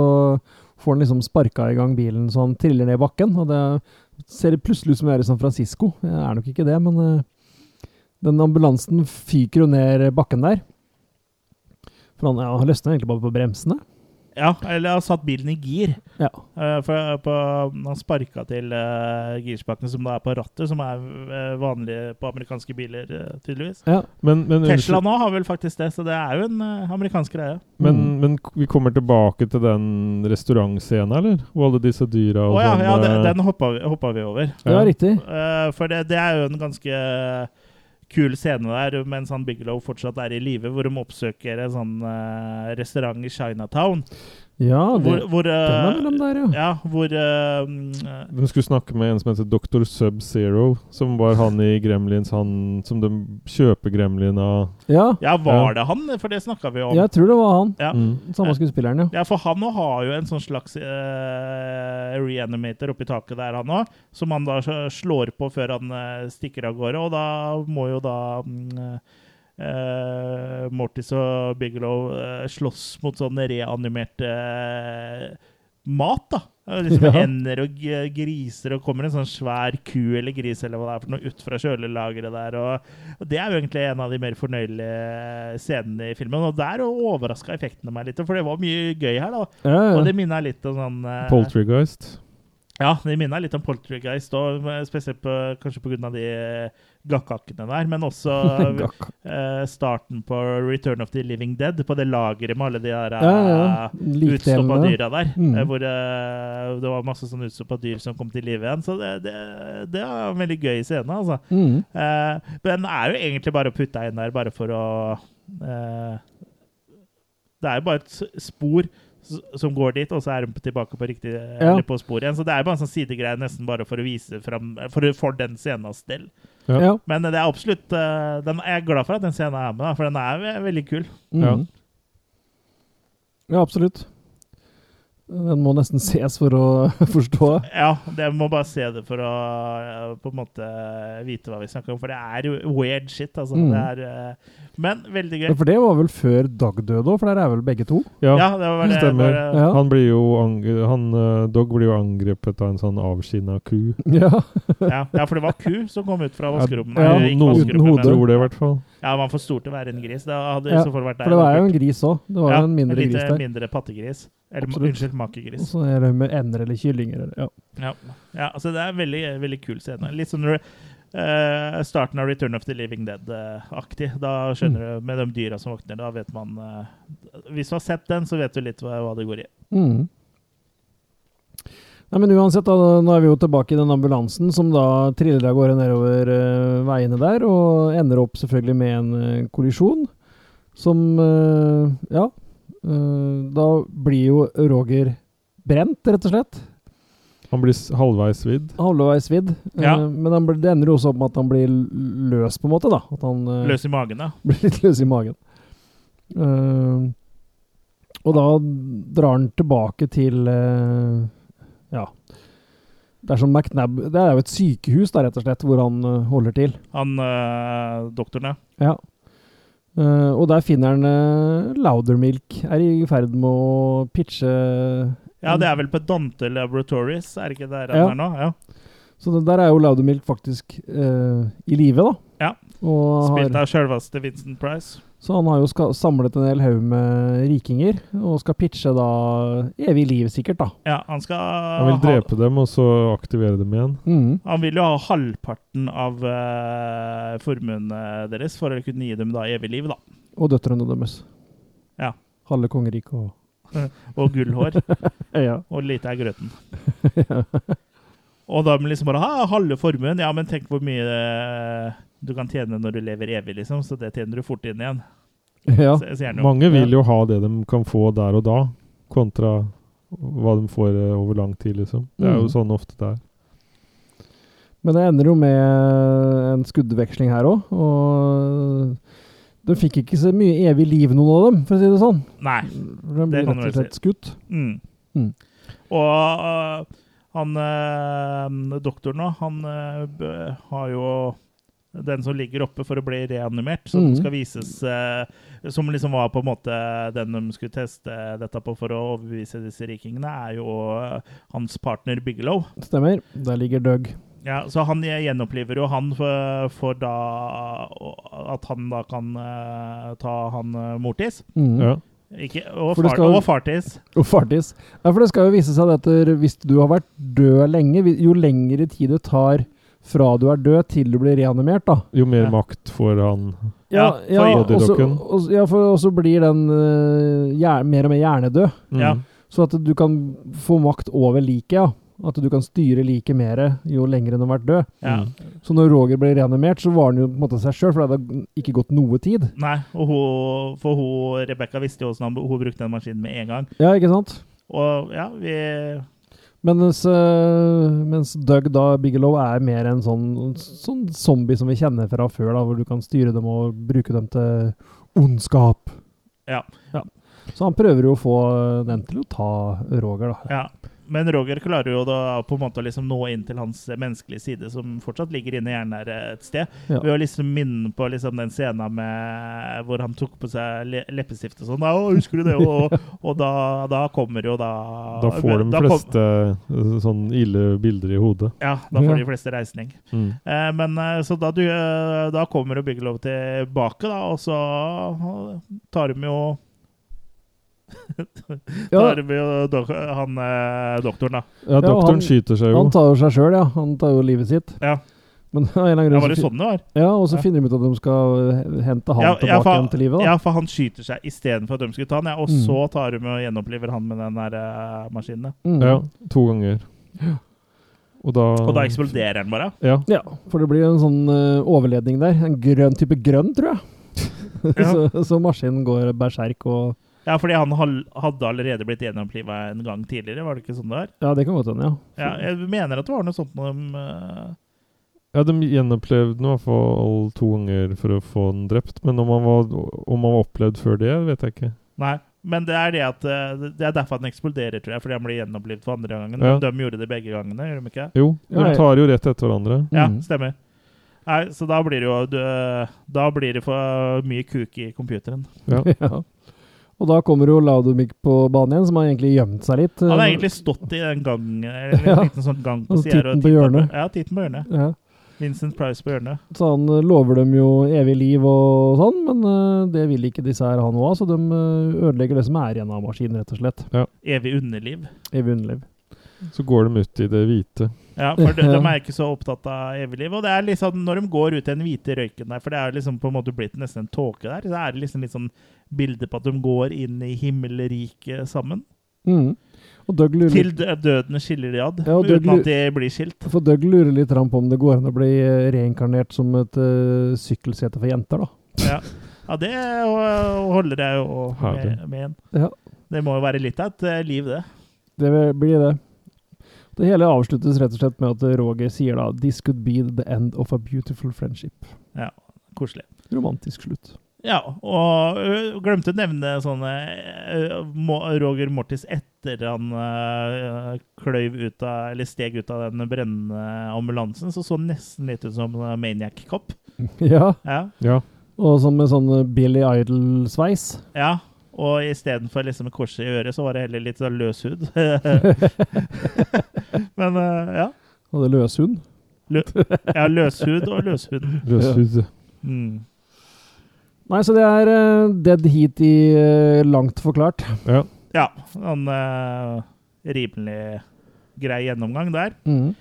Speaker 3: får han liksom sparka i gang bilen så han triller ned bakken. Og det ser plutselig ut som vi er i San Francisco. Jeg er nok ikke det, men eh, den ambulansen fyker jo ned bakken der. For han, ja, han løsner egentlig bare på bremsene.
Speaker 2: Ja, eller han satt bilen i gir.
Speaker 3: Ja.
Speaker 2: Eh, for eh, på, han sparka til uh, girspakene som da er på rattet, som er eh, vanlig på amerikanske biler, eh, tydeligvis.
Speaker 3: ja.
Speaker 1: Men, men,
Speaker 2: Tesla
Speaker 1: unnskyld,
Speaker 2: nå har vel faktisk det, så det er jo en eh, amerikansk greie.
Speaker 1: men,
Speaker 3: Mm.
Speaker 1: men k- vi kommer tilbake til den restaurantscenen, eller? Og alle disse dyra
Speaker 2: Å
Speaker 1: og
Speaker 2: ja,
Speaker 1: sånn.
Speaker 2: ja, den,
Speaker 1: eh,
Speaker 2: den hoppa, vi- hoppa vi over.
Speaker 3: Det var riktig.
Speaker 2: Eh, for det, det er jo en ganske eh, kul scene der mens han Bigelow fortsatt er i live, hvor de oppsøker en sånn eh, restaurant i Chinatown.
Speaker 3: Ja, det,
Speaker 2: Hvor, hvor, eh,
Speaker 3: den er mellom der, ja.
Speaker 2: ja, hvor eh, mm,
Speaker 1: De skulle snakke med en som heter Dr. Sub-Zero, som var han i Gremlins, han som de kjøper Gremlin av.
Speaker 3: Ja,
Speaker 2: Ja, var
Speaker 1: Ja.
Speaker 2: det han? For det snakka vi om.
Speaker 3: jeg tror det var han.
Speaker 2: Ja.
Speaker 1: Mm.
Speaker 3: Samme skuespilleren, ja.
Speaker 2: Ja, for han nå har jo en sånn slags eh, reanimator oppi taket der, han òg. Som han da s- slår på før han eh, stikker av gårde. Og da må jo da mm, eh, Mortis og Bigelow eh, slåss mot sånn reanimert eh, mat, da. Eh, Liksom
Speaker 3: Ja.
Speaker 2: Ender og g- griser, og kommer en sånn svær ku eller gris eller hva det er for noe ut fra kjølelageret der. Og, og Det er jo egentlig en av de mer fornøyelige scenene i filmen. Og der overraska effektene meg litt, for det var mye gøy her. da
Speaker 3: ja,
Speaker 2: Og
Speaker 3: ja.
Speaker 2: det minner litt om sånn eh,
Speaker 1: Poltergeist.
Speaker 2: Ja, det minner litt om Poltergeist, og spesielt på, kanskje pga. de gakkakene der, men også
Speaker 3: Gakk.
Speaker 2: eh, starten på Return of the Living Dead, på det lageret med alle de der
Speaker 3: Ja, ja.
Speaker 2: eh, utstoppa
Speaker 3: Likdelene.
Speaker 2: dyra der.
Speaker 3: Mm.
Speaker 2: eh, Hvor eh, det var masse sånn utstoppa dyr som kom til live igjen. Så det, det, det var en veldig gøy scene, altså.
Speaker 3: Mm.
Speaker 2: Eh, men den er jo egentlig bare putta inn der bare for å eh, Det er jo bare et s- spor s- som går dit, og så er de tilbake på riktig
Speaker 3: Ja.
Speaker 2: eller på sporet igjen. Så det er bare en sånn sidegreie nesten bare for å vise fram For, for den scenens del.
Speaker 3: Ja.
Speaker 2: Men det er absolutt eh, den, Jeg er glad for at den scenen er med, da, for den er ve- veldig kul.
Speaker 3: Mm. Ja, absolutt. Den må nesten ses for å forstå.
Speaker 2: Ja, det må bare se det for å eh, på en måte eh, vite hva vi snakker om, for det er jo weird shit, altså.
Speaker 3: Mm.
Speaker 2: Det er, eh, men veldig gøy.
Speaker 3: For det var vel før Dag døde òg, for der er vel begge to?
Speaker 1: Ja,
Speaker 2: Ja, det var det.
Speaker 1: stemmer.
Speaker 2: Bare,
Speaker 3: Ja.
Speaker 1: Han blir jo angre, han, eh, Dog blir jo angrepet av en sånn avskinna ku.
Speaker 3: Ja.
Speaker 2: Ja, ja, for det var ku som kom ut fra vaskerommet.
Speaker 3: Ja,
Speaker 2: Nei, ikke
Speaker 1: noen
Speaker 2: vaskerommet,
Speaker 3: uten hode.
Speaker 2: men-
Speaker 1: Tror det, i hvert fall.
Speaker 2: Ja, man var for stor til å være en gris. Det hadde i
Speaker 3: Ja,
Speaker 2: så fall vært der.
Speaker 3: For det var jo en gris òg. Det var jo
Speaker 2: Ja,
Speaker 3: en mindre
Speaker 2: lite
Speaker 3: gris der.
Speaker 2: mindre pattegris. Eller
Speaker 3: Absolutt.
Speaker 2: unnskyld,
Speaker 3: Og
Speaker 2: makegris.
Speaker 3: så er det med ender eller kyllinger eller ja.
Speaker 2: Ja. ja, altså det er en veldig, veldig kul scene. Litt sånn eh, starten av Return of the Living Dead-aktig. Da skjønner du, med de dyra som våkner, da vet man eh, Hvis du har sett den, så vet du litt hva, hva det går i.
Speaker 3: Mm. Nei, men uansett, da, nå er vi jo tilbake i den ambulansen som da triller av gårde nedover eh, veiene der, og ender opp selvfølgelig med en eh, kollisjon. Som eh, Ja. eh, da blir jo Roger brent, rett og slett.
Speaker 1: Han blir s- halvveis vidd.
Speaker 3: Halvveis vidd. Eh,
Speaker 2: Ja.
Speaker 3: Men han blir, det ender jo også opp med at han blir l- løs, på en måte. da. At han eh,
Speaker 2: Løs i magen, da.
Speaker 3: blir litt løs i magen. Eh, og da drar han tilbake til eh, Ja. Det er sånn McNab Det er jo et sykehus, da, rett og slett, hvor han eh, holder til.
Speaker 2: Han eh, doktoren, ja.
Speaker 3: Ja. Eh, og der finner han eh, Loudermilk. Er i ferd med å pitche
Speaker 2: Ja, det er vel på Dante Laboratories, er det ikke der
Speaker 3: Ja.
Speaker 2: han er nå? Ja.
Speaker 3: Så det, der er jo Loudermilk faktisk eh, i live, da.
Speaker 2: Ja.
Speaker 3: Og
Speaker 2: Spilt
Speaker 3: har,
Speaker 2: av sjølveste Vincent Price.
Speaker 3: så han har jo ska, samlet en hel haug med rikinger, og skal pitche da evig liv, sikkert, da.
Speaker 2: Ja, han skal
Speaker 1: Han vil drepe dem, og så aktivere dem igjen.
Speaker 3: Mm.
Speaker 2: Han vil jo ha halvparten av uh, formuen eh, deres for å kunne gi dem da evig liv, da.
Speaker 3: Og døtrene deres.
Speaker 2: Ja.
Speaker 3: Halve kongeriket og
Speaker 2: Og gullhår.
Speaker 3: Ja.
Speaker 2: og lite er grøten. Og da blir liksom bare ha, halve formuen. Ja, men tenk hvor mye eh, du kan tjene når du lever evig, liksom. Så det tjener du fort inn igjen.
Speaker 3: ja.
Speaker 2: Så, så gjerne,
Speaker 1: Mange vil jo ha det de kan få der og da, kontra hva de får eh, over lang tid, liksom. Det er jo
Speaker 3: Mm.
Speaker 1: sånn ofte det er.
Speaker 3: Men det ender jo med en skuddveksling her òg, og de fikk ikke så mye evig liv, noen av dem, for å si det sånn.
Speaker 2: eh, Nei.
Speaker 3: De
Speaker 2: Det
Speaker 3: blir
Speaker 2: kan
Speaker 3: rett
Speaker 2: du vel
Speaker 3: og slett skutt.
Speaker 2: Mm.
Speaker 3: Mm.
Speaker 2: Og eh, øh, han øh, doktoren nå, han øh, b- eh, har jo den som ligger oppe for å bli reanimert, som
Speaker 3: Mhm.
Speaker 2: skal vises eh, Som liksom var på en måte den de skulle teste dette på for å overbevise disse rikingene, er jo eh, hans partner Bigelow.
Speaker 3: Stemmer. Der ligger Doug.
Speaker 2: Ja, Så han gjenoppliver jo han for, for da At han da kan eh, ta han eh, Mortis.
Speaker 3: Mm.
Speaker 1: Ja.
Speaker 2: Ikke, og,
Speaker 3: For det
Speaker 2: far,
Speaker 3: skal jo-
Speaker 2: og Fartis.
Speaker 3: Og fartis. Ja, for det skal jo vise seg at der- hvis du har vært død lenge, vi- jo lengre tid det tar fra du er død til du blir reanimert, da.
Speaker 1: Jo mer
Speaker 2: Ja.
Speaker 1: makt får han.
Speaker 2: Ja,
Speaker 3: ja,
Speaker 2: for-
Speaker 3: og så-
Speaker 1: Bodydocken.
Speaker 3: og så- ja, for og så blir den eh, hjer- mer og mer hjernedød.
Speaker 1: Mm.
Speaker 2: Ja.
Speaker 3: Så at du kan få makt over liket, ja. At du kan styre liket mer jo lenger den har vært død.
Speaker 2: Ja.
Speaker 3: Så når Roger ble reanimert, så var han jo på en måte seg sjøl, for det hadde ikke gått noe tid.
Speaker 2: Nei, og hun, for hun, Rebekka visste jo åssen han- hun brukte den maskinen med en gang.
Speaker 3: Ja, ikke sant?
Speaker 2: Og ja, vi
Speaker 3: Mens, eh, mens Doug da, Bigelow, er mer en sånn, sånn zombie som vi kjenner fra før, da, hvor du kan styre dem og bruke dem til ondskap.
Speaker 2: Ja.
Speaker 3: Så han prøver jo å få eh, den til å ta Roger, da.
Speaker 2: Ja, men Roger klarer jo da på en måte å liksom nå inn til hans menneskelige side, som fortsatt ligger inne i hjernen her et sted,
Speaker 3: Ja.
Speaker 2: ved å liksom minne på liksom den scenen med, hvor han tok på seg le leppestift og sånn. Da, «Å, husker du det? Og, og da, da kommer jo da
Speaker 1: Da får de
Speaker 2: kom-
Speaker 1: fleste eh, sånn ille bilder i hodet.
Speaker 2: ja, da får
Speaker 3: Ja.
Speaker 2: de fleste reisning.
Speaker 1: Mm.
Speaker 2: Eh, men eh, så da, du, eh, da kommer jo Bigelow tilbake, da, og så eh, tar de jo
Speaker 3: Ja,
Speaker 2: Tar de jo dok han eh, doktoren, da.
Speaker 1: Ja, doktoren
Speaker 3: han-
Speaker 1: skyter seg jo.
Speaker 3: Han tar jo seg sjøl, ja. Han tar jo livet sitt.
Speaker 2: Ja.
Speaker 3: Men av en eller annen
Speaker 2: Ja,
Speaker 3: grunn
Speaker 2: var det
Speaker 3: så fin-
Speaker 2: sånn det var?
Speaker 3: ja, og så
Speaker 2: Ja.
Speaker 3: finner de ut at de skal eh, hente han tilbake
Speaker 2: for,
Speaker 3: igjen til livet. da.
Speaker 2: ja, for han skyter seg istedenfor at de skulle ta han, ja, og
Speaker 3: Mm.
Speaker 2: så tar de og gjenoppliver han med den der eh, maskinen.
Speaker 3: Mm.
Speaker 1: Ja, to ganger. Og da,
Speaker 2: Og da eksploderer han bare.
Speaker 1: Ja.
Speaker 3: Ja, for det blir en sånn eh, overledning der. En grønn type grønn, tror jeg.
Speaker 2: Ja.
Speaker 3: så, så maskinen går berserk og
Speaker 2: Ja, fordi han hal- hadde allerede blitt gjenoppliva en gang tidligere, var det ikke sånn det var?
Speaker 3: Ja, det kan godt hende, ja.
Speaker 2: Ja, jeg mener at det var noe sånt når de eh,
Speaker 1: ja, de gjenopplevde den i hvert fall to ganger for å få den drept. Men om han var, om han var opplevd før det, vet jeg ikke.
Speaker 2: Nei. Men det er, det, at, eh, det er derfor han eksploderer, tror jeg. Fordi han blir gjenopplivd for andre gangen.
Speaker 1: Ja.
Speaker 2: De gjorde det begge gangene, gjorde de ikke?
Speaker 1: Jo, de
Speaker 3: Nei.
Speaker 1: tar jo rett etter hverandre.
Speaker 2: Ja,
Speaker 3: Mm.
Speaker 2: stemmer. Nei, så da blir det jo du- Da blir det for mye kuk i computeren.
Speaker 1: Ja.
Speaker 3: ja. Og da kommer jo Laudomik på banen igjen, som har egentlig gjemt seg litt.
Speaker 2: Han har
Speaker 3: eh,
Speaker 2: egentlig stått i en gang, eller en
Speaker 3: Ja.
Speaker 2: liten sånn gang på
Speaker 3: Og
Speaker 2: siden her,
Speaker 3: titten på
Speaker 2: tittet
Speaker 3: hjørnet.
Speaker 2: Ja, titten på hjørnet.
Speaker 3: ja.
Speaker 2: Vincent Price på hjørnet.
Speaker 3: Så han eh, lover dem jo evig liv og sånn, men eh, det vil ikke disse her ha noe av, så de eh, ødelegger det som er igjen av maskinen, rett og slett.
Speaker 2: Evig underliv.
Speaker 3: Evig underliv.
Speaker 1: Så går de ut i det hvite.
Speaker 2: Ja, for de,
Speaker 3: Ja.
Speaker 2: de er ikke så opptatt av evig liv. Og det er liksom når de går ut i den hvite røyken der, for det er liksom på en måte blitt nesten en tåke der, så er det liksom litt sånn bilde på at de går inn i himmelriket sammen.
Speaker 3: Mm. Og Doug lurer
Speaker 2: Til dø- døden skiller de ad,
Speaker 3: Ja, og det
Speaker 2: uten
Speaker 3: lu-
Speaker 2: at de blir skilt.
Speaker 3: For Doug lurer litt grann på om det går an å bli eh, reinkarnert som et eh, sykkelsete for jenter, da.
Speaker 2: Ja, ja det øh, holder jeg jo med,
Speaker 1: Herlig.
Speaker 2: med en.
Speaker 3: Ja.
Speaker 2: Det må jo være litt av et eh, liv, det.
Speaker 3: Det vil- blir det. Det hele avsluttes rett og slett med at Roger sier da 'This could be the end of a beautiful friendship'.
Speaker 2: Koselig.
Speaker 3: Romantisk slutt.
Speaker 2: Ja, og ø, glemte å nevne sånne ø, Mo- Roger Mortis etter han ø, kløyv ut av, eller steg ut av den brennende ambulansen, så så han nesten litt ut som en Maniac Cop.
Speaker 3: ja,
Speaker 2: Ja,
Speaker 1: Ja.
Speaker 3: og sånn med sånn Billy Idol-sveis.
Speaker 2: ja. Og istedenfor liksom et kors i øret, så var det heller litt sånn løs hud. Men ø, ja.
Speaker 3: Hadde løs hund.
Speaker 2: Lø ja, løshud og løshund.
Speaker 1: Løshud.
Speaker 2: Mm.
Speaker 3: Nei, så det er eh, dead heat i eh, langt forklart.
Speaker 1: Ja.
Speaker 2: Ja, en ø, rimelig grei gjennomgang der.
Speaker 3: Mhm.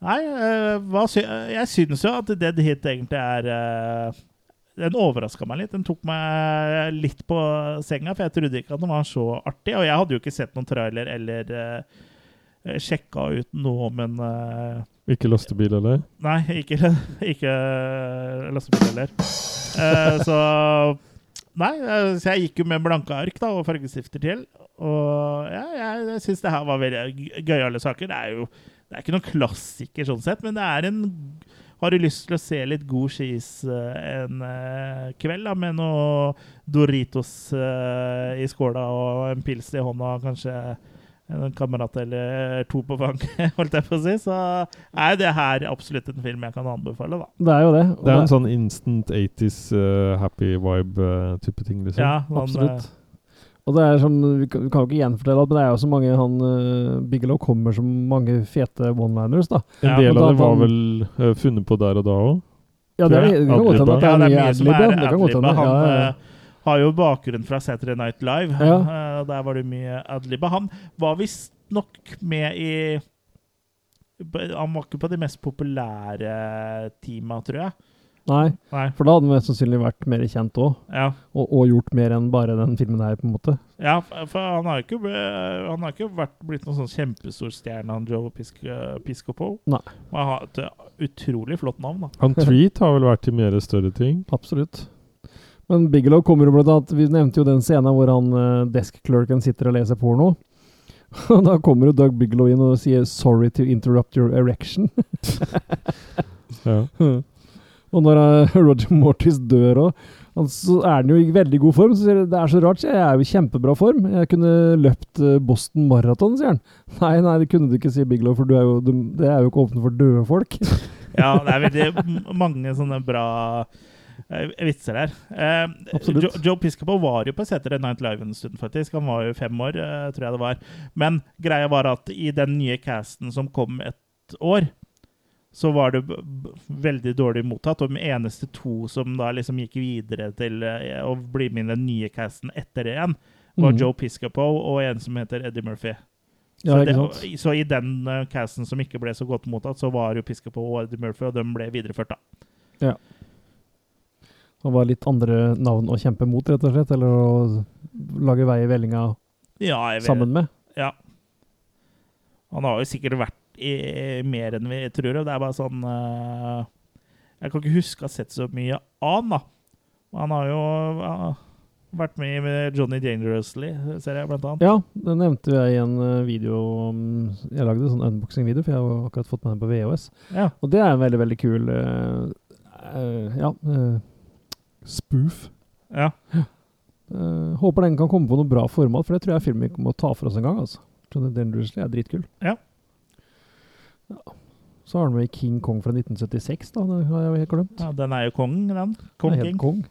Speaker 2: Nei, eh, hva sy jeg syns jo at Dead Hit egentlig er eh, Den overraska meg litt. Den tok meg litt på senga, for jeg trodde ikke at den var så artig. Og jeg hadde jo ikke sett noen trailer eller uh, sjekka ut noe om en eh,
Speaker 1: Ikke lastebil, eller?
Speaker 2: Nei, ikke, ikke lastebil heller. Eh, så Nei, eh, så jeg gikk jo med blanke ark da, og fargestifter til. Og ja, jeg, jeg syns det her var veldig gøy- gøyale saker. Det er jo det er ikke noen klassiker sånn sett, men det er en Har du lyst til å se litt god skis eh, en eh, kveld da, med noe Doritos eh, i skåla og en pils i hånda, kanskje en kamerat eller to på fanget, holdt jeg på å si, så er jo det her absolutt en film jeg kan anbefale, da.
Speaker 3: Det er jo det. og
Speaker 1: Det er en sånn instant 80s eh, happy vibe-type ting, liksom.
Speaker 2: Ja, eh, han,
Speaker 3: Absolutt. Og det er sånn, Vi kan vi kan jo ikke gjenfortelle alt, men det er jo så mange han eh, Bigelow kommer som mange fete one-liners, da.
Speaker 1: En
Speaker 2: Ja,
Speaker 1: del av
Speaker 3: og da
Speaker 1: det var
Speaker 3: han-
Speaker 1: vel eh, funnet på der og da òg.
Speaker 3: Ja, det,
Speaker 1: Tror
Speaker 3: er,
Speaker 1: jeg.
Speaker 3: det kan godt hende at det
Speaker 2: Ja,
Speaker 3: er
Speaker 2: det er
Speaker 3: mye
Speaker 2: mye som
Speaker 3: adlib, ja.
Speaker 2: er
Speaker 3: Det kan godt
Speaker 2: adlib.
Speaker 3: hende.
Speaker 2: Han
Speaker 3: Ja, ja, ja.
Speaker 2: eh, har jo bakgrunn fra Saturday Night Live.
Speaker 3: Ja.
Speaker 2: eh, der var det mye adlib. Han var visstnok med i Han var ikke på de mest populære eh, teama, tror jeg.
Speaker 3: Nei,
Speaker 2: Nei.
Speaker 3: for da hadde han mest sannsynlig vært mer kjent òg,
Speaker 2: Ja.
Speaker 3: og, og gjort mer enn bare den filmen her, på en måte.
Speaker 2: ja, for han har jo ikke, bl- han har ikke vært, blitt noen sånn kjempestor stjerne, han Joe eh, Pisc Piscopo.
Speaker 3: Nei.
Speaker 2: Men han har et utrolig flott navn, da.
Speaker 1: Han Treat har vel vært i mer større ting.
Speaker 3: Absolutt. Men Bigelow kommer jo blant annet Vi nevnte jo den scenen hvor han eh, desk-clerken sitter og leser porno. Og da kommer jo Doug Bigelow inn og sier 'sorry to interrupt your erection'.
Speaker 1: Ja.
Speaker 3: og når eh, Roger Mortis dør òg, så er han jo i veldig god form. Så sier han 'det er så rart, sier jeg. Jeg er jo i kjempebra form. Jeg kunne løpt eh, Boston Marathon', sier han. Nei, nei, det kunne du ikke, sier Bigelow, for du er jo, du, det er jo ikke åpent for døde folk.
Speaker 2: Ja, det er veldig m- mange sånne bra eh, vitser der. Eh,
Speaker 3: Absolutt.
Speaker 2: Jo- Joe Piscopo var jo på Saturday Night Live en stund, faktisk. Han var jo fem år, eh, tror jeg det var. Men greia var at i den nye casten som kom et år, så var det b- b- veldig dårlig mottatt. Og de eneste to som da liksom gikk videre til eh, å bli med i den nye casten etter det igjen, var
Speaker 3: Mhm.
Speaker 2: Joe Piscopo og en som heter Eddie Murphy. Så,
Speaker 3: Ja, ikke
Speaker 2: det,
Speaker 3: sant?
Speaker 2: så i den eh, casten som ikke ble så godt mottatt, så var jo Piscopo og Eddie Murphy, og de ble videreført, da.
Speaker 3: Han var litt andre navn å kjempe mot, rett og slett. Eller å lage vei i vellinga
Speaker 2: Ja, jeg vet.
Speaker 3: sammen med.
Speaker 2: Ja. Han har jo sikkert vært i mer enn vi tror, og det er bare sånn eh, Jeg kan ikke huske å ha sett så mye av han, da. Han har jo ja, vært med med Johnny Dangerously, ser jeg, blant annet.
Speaker 3: Ja, det nevnte jeg i en eh, video om- Jeg lagde en sånn unboxing-video, for jeg har akkurat fått med den på VHS.
Speaker 2: Ja.
Speaker 3: Og det er en veldig, veldig kul eh, eh, Ja. eh, spoof.
Speaker 2: ja.
Speaker 3: Eh, håper den kan komme på noe bra format, for det tror jeg filmen vi må ta for oss en gang. altså. Johnny Dangerously er dritkul.
Speaker 2: Ja.
Speaker 3: Ja. Så har han med i King Kong fra 1976, da. Det har jeg jo helt glemt.
Speaker 2: ja. Den er jo kongen, den.
Speaker 3: Det
Speaker 2: Kong
Speaker 3: er helt
Speaker 2: King.
Speaker 3: kong.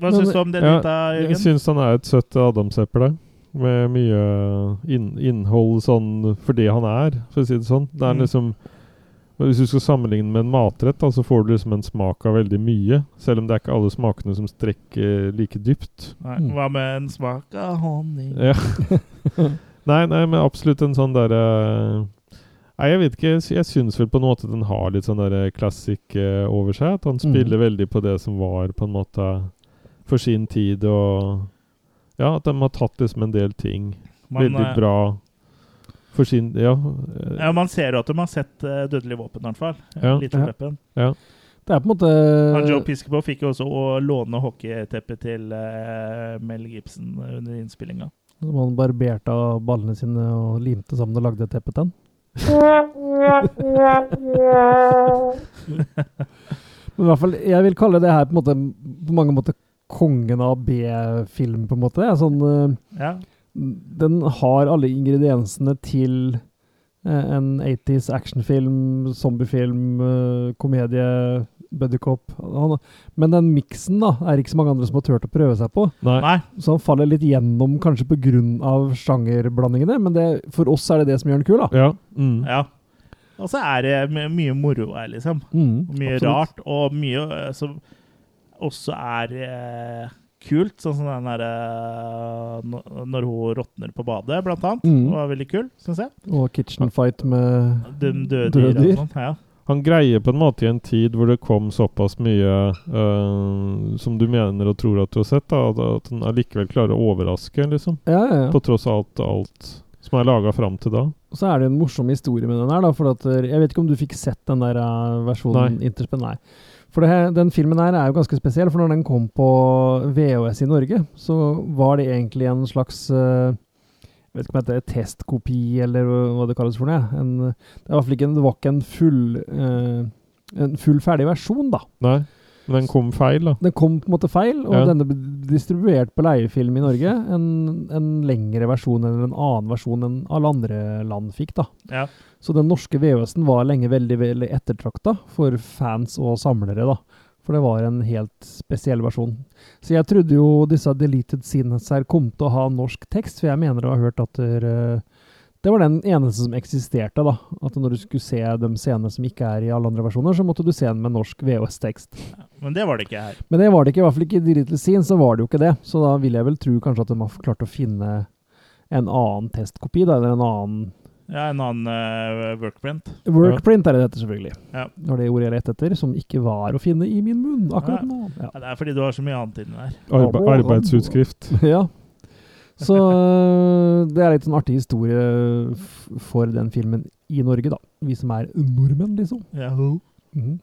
Speaker 2: Hva syns du om det,
Speaker 1: Ja,
Speaker 2: Dita,
Speaker 1: Jeg
Speaker 2: Jørgen?
Speaker 1: syns han er et søtt adamseple. Med mye inn, innhold sånn for det han er, for å si det sånn. Det er
Speaker 2: Mm.
Speaker 1: liksom Hvis du skal sammenligne med en matrett, da, så får du liksom en smak av veldig mye. Selv om det er ikke alle smakene som strekker like dypt.
Speaker 2: Nei, Hva med en smak av honning?
Speaker 1: Ja. nei, nei, men absolutt en sånn derre eh, Nei, jeg vet ikke. jeg sy- Jeg syns vel på en måte den har litt sånn derre classic eh, over seg. At han spiller veldig på det som var, på en måte, for sin tid, og Ja, at de har tatt liksom en del ting.
Speaker 2: Man,
Speaker 1: veldig
Speaker 2: eh,
Speaker 1: bra for sin Ja. eh,
Speaker 2: Ja, man ser jo at de har sett eh, dødelig våpen, i hvert fall.
Speaker 1: Ja.
Speaker 2: Litt
Speaker 3: Ja.
Speaker 2: om leppen.
Speaker 3: Det er på en måte
Speaker 2: Han Joe Piscopo fikk jo også å låne hockeyteppet til eh, Mel Gibson under innspillinga.
Speaker 3: Som han barberte av ballene sine og limte sammen og lagde et teppe til. Men i hvert fall, jeg vil kalle det her på, en måte, på mange måter kongen av B-film, på en måte. Det er Sånn, eh,
Speaker 2: Ja.
Speaker 3: den har alle ingrediensene til eh, en 80s actionfilm, zombiefilm, eh, komedie, buddycop. Han- Men den miksen da, er det ikke så mange andre som har turt å prøve seg på.
Speaker 1: Nei.
Speaker 2: Nei,
Speaker 3: Så han faller litt gjennom kanskje pga. sjangerblandingene, men det, for oss er det det som gjør den kul. da.
Speaker 1: Ja. Mm.
Speaker 2: ja. Og så er det my- mye moro her, liksom.
Speaker 3: Mm,
Speaker 2: Og Mye
Speaker 3: absolutt.
Speaker 2: rart, og mye eh, som også er eh, kult. Sånn som den derre Når hun råtner på badet, blant annet.
Speaker 3: Mm.
Speaker 2: Det var veldig kul, syns jeg.
Speaker 3: Og Kitchen Fight med
Speaker 2: De døde
Speaker 3: Døde
Speaker 2: dyra og
Speaker 3: dyr.
Speaker 2: sånn. Ja.
Speaker 1: Han greier på en måte i en tid hvor det kom såpass mye eh, som du mener og tror at du har sett, da, at- at han allikevel klarer å overraske, liksom.
Speaker 3: Ja, ja, ja.
Speaker 1: På tross av alt, alt som er laga fram til da.
Speaker 3: Og så er det en morsom historie med den her, da. For at, eh, jeg vet ikke om du fikk sett den der eh, versjonen
Speaker 1: Nei.
Speaker 3: Interspen? Nei. For det, her- den filmen her er jo ganske spesiell, for når den kom på VHS i Norge, så var det egentlig en slags eh, jeg vet ikke om det heter testkopi, eller hva det kalles for noe. ja. En, eh, det, var i hvert fall ikke en- det var ikke en full, eh, en full ferdig versjon, da.
Speaker 1: Nei. Men den kom feil, da.
Speaker 3: Den kom på en måte feil, og
Speaker 1: Ja.
Speaker 3: denne ble distribuert på leiefilm i Norge. En, en lengre versjon eller en annen versjon enn alle andre land fikk, da.
Speaker 2: Ja.
Speaker 3: Så den norske VHS-en var lenge veldig, veldig ettertrakta for fans og samlere, da. For det var en helt spesiell versjon. Så jeg trodde jo disse deleted scenes her kom til å ha norsk tekst, for jeg mener å ha hørt at eh, det var den eneste som eksisterte, da. At når du skulle se de scenene som ikke er i alle andre versjoner, så måtte du se den med norsk VHS-tekst.
Speaker 2: Men det var det ikke her.
Speaker 3: Men det var det ikke, i hvert fall ikke i The Little Scene, så var det jo ikke det. Så da vil jeg vel tro kanskje at de har klart å finne en annen testkopi, da, eller en annen
Speaker 2: Ja, En annen eh, workprint.
Speaker 3: workprint, er det dette selvfølgelig.
Speaker 2: Ja.
Speaker 3: Det var det ordet jeg lette etter, som ikke var å finne i min munn akkurat
Speaker 2: Nei.
Speaker 3: nå. Ja.
Speaker 2: Ja, det er fordi du har så mye annet inni der.
Speaker 1: Arbe arbeidsutskrift.
Speaker 3: ja. Så øh, det er litt sånn artig historie f- for den filmen i Norge, da. Vi som er nordmenn, liksom.
Speaker 2: Ja.
Speaker 3: Mhm.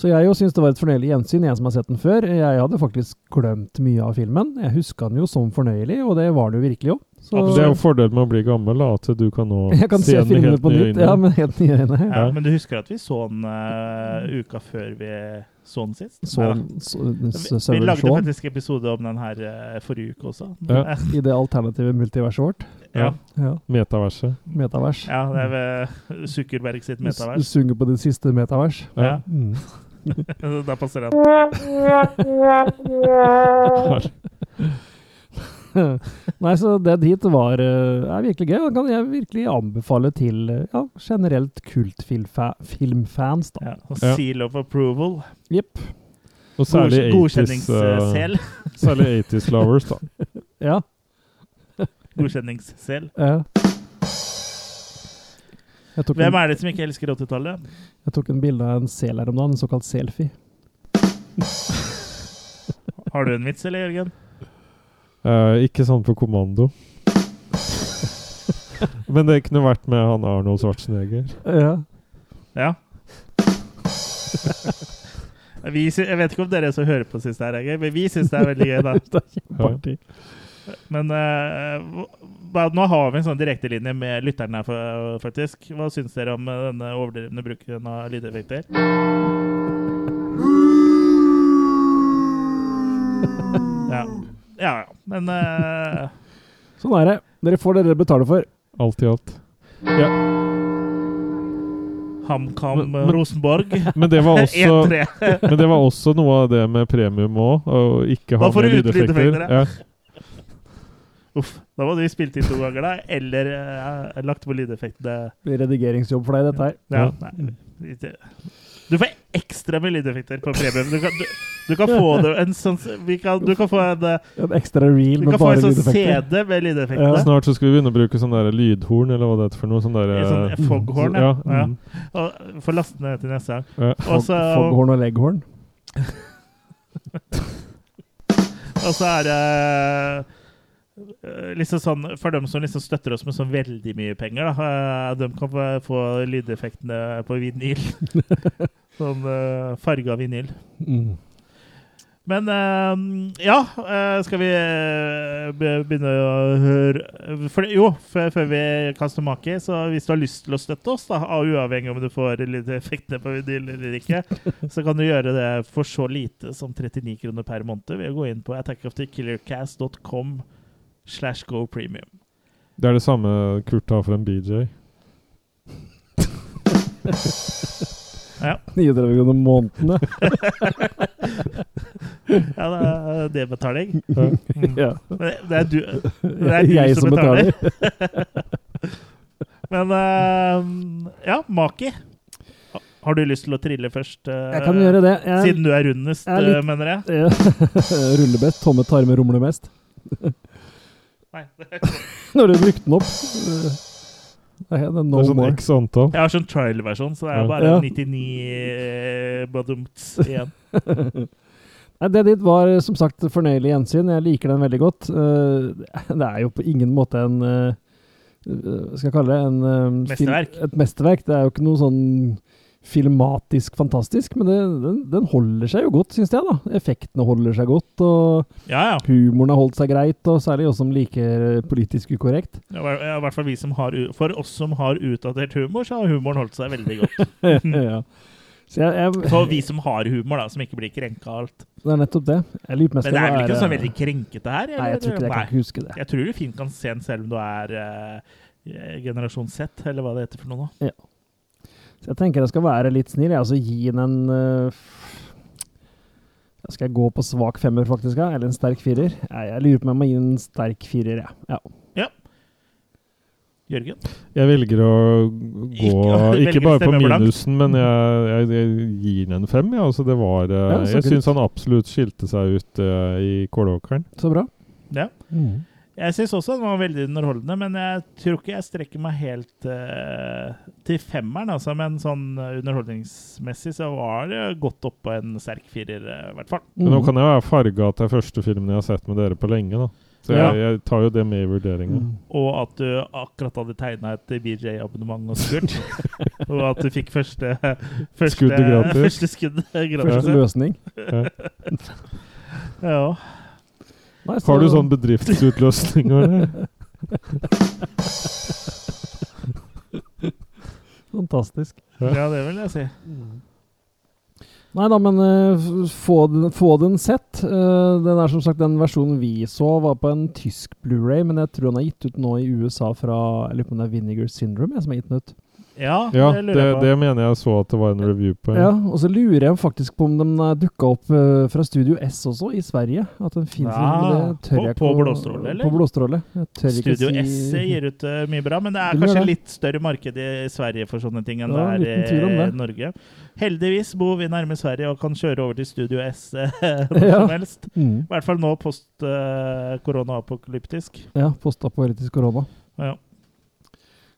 Speaker 3: Så jeg jo syns det var et fornøyelig gjensyn, jeg som har sett den før. Jeg hadde faktisk glemt mye av filmen. Jeg huska den jo som fornøyelig, og det var den jo virkelig òg. Så
Speaker 1: Det er jo fordelen med å bli gammel, da, at du kan nå
Speaker 3: jeg kan se
Speaker 1: den i
Speaker 3: filmene
Speaker 1: helt
Speaker 3: på
Speaker 1: nye
Speaker 3: nytt.
Speaker 1: øyne.
Speaker 3: Ja, men helt nye øyne. ja.
Speaker 2: Ja, Eh, men du husker at vi så den eh, uka før vi så den sist?
Speaker 3: Sånn
Speaker 2: Neida.
Speaker 3: så,
Speaker 2: Vi, vi lagde
Speaker 3: Sean
Speaker 2: faktisk episode om den her eh, forrige uke også. eh,
Speaker 1: Ja.
Speaker 3: i det alternative multiverset vårt.
Speaker 2: ja.
Speaker 3: Ja,
Speaker 1: Metaverset.
Speaker 3: Metavers.
Speaker 2: Ja, det er ved Zuckerberg sitt
Speaker 3: Du s- Du
Speaker 2: metavers.
Speaker 3: synger på det siste metavers.
Speaker 2: Ja,
Speaker 1: Ja.
Speaker 3: Mm.
Speaker 2: da passer den.
Speaker 3: Nei, så Dead Heat var eh, er virkelig gøy. og Den kan jeg virkelig anbefale til eh, ja, generelt kultfilmfans, da.
Speaker 2: Ja. Og
Speaker 1: Ja.
Speaker 2: seal of approval.
Speaker 3: Jepp.
Speaker 1: Og særlig 80s, eh,
Speaker 2: Godkjenningssel.
Speaker 1: særlig 80s lovers, da.
Speaker 3: Ja.
Speaker 2: Godkjenningssel.
Speaker 3: eh. Jeg tok,
Speaker 2: Hvem
Speaker 3: en,
Speaker 2: er det som ikke elsker 80-tallet?
Speaker 3: jeg tok en bilde av en sel her om dagen, en såkalt selfie.
Speaker 2: Har du en vits, eller, Jørgen?
Speaker 1: Eh, ikke sånn på kommando. Men det kunne vært med han Arnold Schwarzenegger.
Speaker 3: Ja.
Speaker 2: Ja. Vi sy jeg vet ikke om dere som hører på, syns det her er gøy, men vi syns det er veldig gøy. da.
Speaker 1: Ja.
Speaker 3: Party.
Speaker 2: Men eh, hva- nå har vi en sånn direktelinje med lytterne her, fa- faktisk. Hva syns dere om eh, denne overdrevne bruken av lydeffekter? Ja, ja. ja. Men eh,
Speaker 3: Sånn er det. Dere får det dere betaler for.
Speaker 1: Alt i alt.
Speaker 2: HamKam eh,
Speaker 1: Men- men-
Speaker 2: Rosenborg
Speaker 1: Men det var også,
Speaker 2: 1-3.
Speaker 1: men det var også noe av det med premium òg, å ikke ha
Speaker 2: Da får du
Speaker 1: med
Speaker 2: ut
Speaker 1: lydeffekter.
Speaker 2: lydeffekter,
Speaker 1: Ja.
Speaker 2: Uff. Da var du spilt inn to ganger, da. Eller eh, lagt på lydeffektene.
Speaker 3: Det blir redigeringsjobb for deg, dette her.
Speaker 2: Ja, nei, det- Du får ekstra med lydeffekter på premium. Du kan, du, du kan få det en sånn vi kan, Du kan få en, eh,
Speaker 3: En ekstra reel
Speaker 2: du
Speaker 3: med
Speaker 2: kan få
Speaker 3: bare
Speaker 2: en sånn
Speaker 3: lydeffekter.
Speaker 2: CD med
Speaker 3: Ja.
Speaker 2: lydeffektene.
Speaker 1: Snart så skal vi begynne å bruke sånn der lydhorn, eller hva det heter for noe. Sånn der,
Speaker 2: I sånn foghorn,
Speaker 1: ja.
Speaker 2: ja. ja.
Speaker 1: mm,
Speaker 2: Og Få laste ned til neste gang.
Speaker 1: ja.
Speaker 2: Og så
Speaker 3: Foghorn og leghorn.
Speaker 2: og så er det eh, Liksom sånn, for dem som liksom støtter oss med så veldig mye penger, da, eh, de kan få- få lydeffektene på vinyl. Sånn uh, farga vinyl.
Speaker 3: Mm.
Speaker 2: Men eh, ja, eh, skal vi eh, be- begynne å høre for, Jo, før, før vi kaster make, så hvis du har lyst til å støtte oss, da, av- uavhengig om du får litt effektene på vinyl eller ikke, så kan du gjøre det for så lite som 39 kroner per måned ved å gå inn på attackofthekillercast.com slash go premium.
Speaker 1: Det er det samme Kurt har for en BJ.
Speaker 2: Ja,
Speaker 3: 39 kroner måneden, ja.
Speaker 2: ja det er debetaling.
Speaker 3: ja.
Speaker 2: Men Det, det er du, det er du
Speaker 3: Jeg som betaler.
Speaker 2: Men eh, ja, Maki. Ha- Har du lyst til å trille først? eh,
Speaker 3: Jeg kan gjøre det. Jeg,
Speaker 2: Siden du er rundest,
Speaker 3: jeg er litt-
Speaker 2: eh, mener jeg?
Speaker 3: Ja. Ruller best, tomme tarmer rumler mest.
Speaker 2: Nei.
Speaker 3: Når du brukte den opp eh, Nei, det er
Speaker 1: Det
Speaker 3: no
Speaker 1: er sånn
Speaker 3: more.
Speaker 1: x antall.
Speaker 2: Jeg har sånn trial-versjon, så det er
Speaker 1: Ja.
Speaker 2: bare
Speaker 3: Ja.
Speaker 2: 99 badumts igjen.
Speaker 3: Nei, det ditt var eh, som sagt fornøyelig gjensyn. Jeg liker den veldig godt. Eh, Det er jo på ingen måte en eh, eh, Skal jeg kalle det en eh, fil-
Speaker 2: Mesterverk.
Speaker 3: Et mesterverk. Det er jo ikke noe sånn filmatisk fantastisk, men det, den, den holder seg jo godt, syns jeg. da. Effektene holder seg godt, og
Speaker 2: Ja, ja.
Speaker 3: humoren har holdt seg greit. Og særlig oss som liker eh, politisk ukorrekt.
Speaker 2: Det var- ja, I hvert fall vi som har u- For oss som har utdatert humor, Mhm. så har humoren holdt seg veldig godt.
Speaker 3: ja. Så jeg, jeg,
Speaker 2: For vi som har humor, da, som ikke blir krenka av alt.
Speaker 3: det er nettopp det. Jeg lurer mest
Speaker 2: Men det er
Speaker 3: om
Speaker 2: vel ikke
Speaker 3: er-
Speaker 2: så veldig krenkete her?
Speaker 3: Nei, jeg tror ikke det. Jeg kan
Speaker 2: Nei.
Speaker 3: ikke huske det.
Speaker 2: Jeg tror du fint kan se den selv om du er eh, generasjon Z, eller hva det heter for noe nå.
Speaker 3: Så jeg tenker jeg skal være litt snill, jeg. Altså gi den en øh, f- ja, Skal jeg gå på svak femmer, faktisk? ja? Eller en sterk firer? Nei, jeg lurer på om jeg må gi den en sterk firer, jeg. Ja.
Speaker 2: Jørgen?
Speaker 1: Jeg velger å
Speaker 2: Ikke-
Speaker 1: gå
Speaker 2: velger
Speaker 1: Ikke bare på
Speaker 2: stemmeblankt.
Speaker 1: minusen, men jeg, jeg, jeg gir den en fem. Ja. Altså, det var, eh,
Speaker 3: Ja, så
Speaker 1: jeg
Speaker 3: kult.
Speaker 1: syns han absolutt skilte seg ut eh, i Kålåkeren.
Speaker 3: Så bra.
Speaker 2: Ja.
Speaker 3: Mhm.
Speaker 2: Jeg syns også den var veldig underholdende, men jeg tror ikke jeg strekker meg helt eh, til femmeren, altså. Men sånn eh, underholdningsmessig så var det godt oppå en sterk firer, eh, i hvert fall.
Speaker 1: Men nå
Speaker 3: Mhm.
Speaker 1: kan jeg være farga at det er første filmen jeg har sett med dere på lenge. da Så jeg,
Speaker 2: Ja.
Speaker 1: jeg tar jo det med i vurderinga.
Speaker 3: Mhm.
Speaker 2: Og at du akkurat hadde tegna et BJ-abonnement og spurt. og at du fikk første, første
Speaker 1: Skuddet gratis.
Speaker 2: Første skudd gratis.
Speaker 3: Første løsning.
Speaker 2: Ja.
Speaker 3: Nei, så-
Speaker 1: Har du sånn bedriftsutløsning? eller?
Speaker 3: Fantastisk.
Speaker 2: ja, det vil jeg si.
Speaker 3: Nei da, men eh, f- få, den, få den sett. Eh, den er som sagt den versjonen vi så, var på en tysk Blu-ray, men jeg tror han er gitt ut nå i USA fra Jeg lurer på om det er Vinegar Syndrome jeg, som er gitt den ut.
Speaker 2: Ja,
Speaker 1: Ja,
Speaker 2: det
Speaker 1: det,
Speaker 2: lurer jeg på.
Speaker 1: det mener jeg så at det var en review på.
Speaker 3: Ja, og så lurer jeg faktisk på om den dukka opp eh, fra Studio S også, i Sverige. At den liksom, fins
Speaker 2: Ja, på- på blåstråle, eller?
Speaker 3: På blåstråle. Jeg tør ikke
Speaker 2: Studio
Speaker 3: si
Speaker 2: S gir ut eh, mye bra, men det er
Speaker 3: Det gjør
Speaker 2: kanskje
Speaker 3: det.
Speaker 2: litt større marked i Sverige for sånne ting enn
Speaker 3: Ja,
Speaker 2: det
Speaker 3: liten tvil
Speaker 2: er
Speaker 3: om
Speaker 2: i
Speaker 3: det.
Speaker 2: Norge. Heldigvis bor vi nærme Sverige og kan kjøre over til Studio S eh, når
Speaker 3: Ja.
Speaker 2: som helst.
Speaker 3: mm,
Speaker 2: I hvert fall nå post eh, korona-apokalyptisk.
Speaker 3: Ja, postaporetisk korona.
Speaker 2: Ja.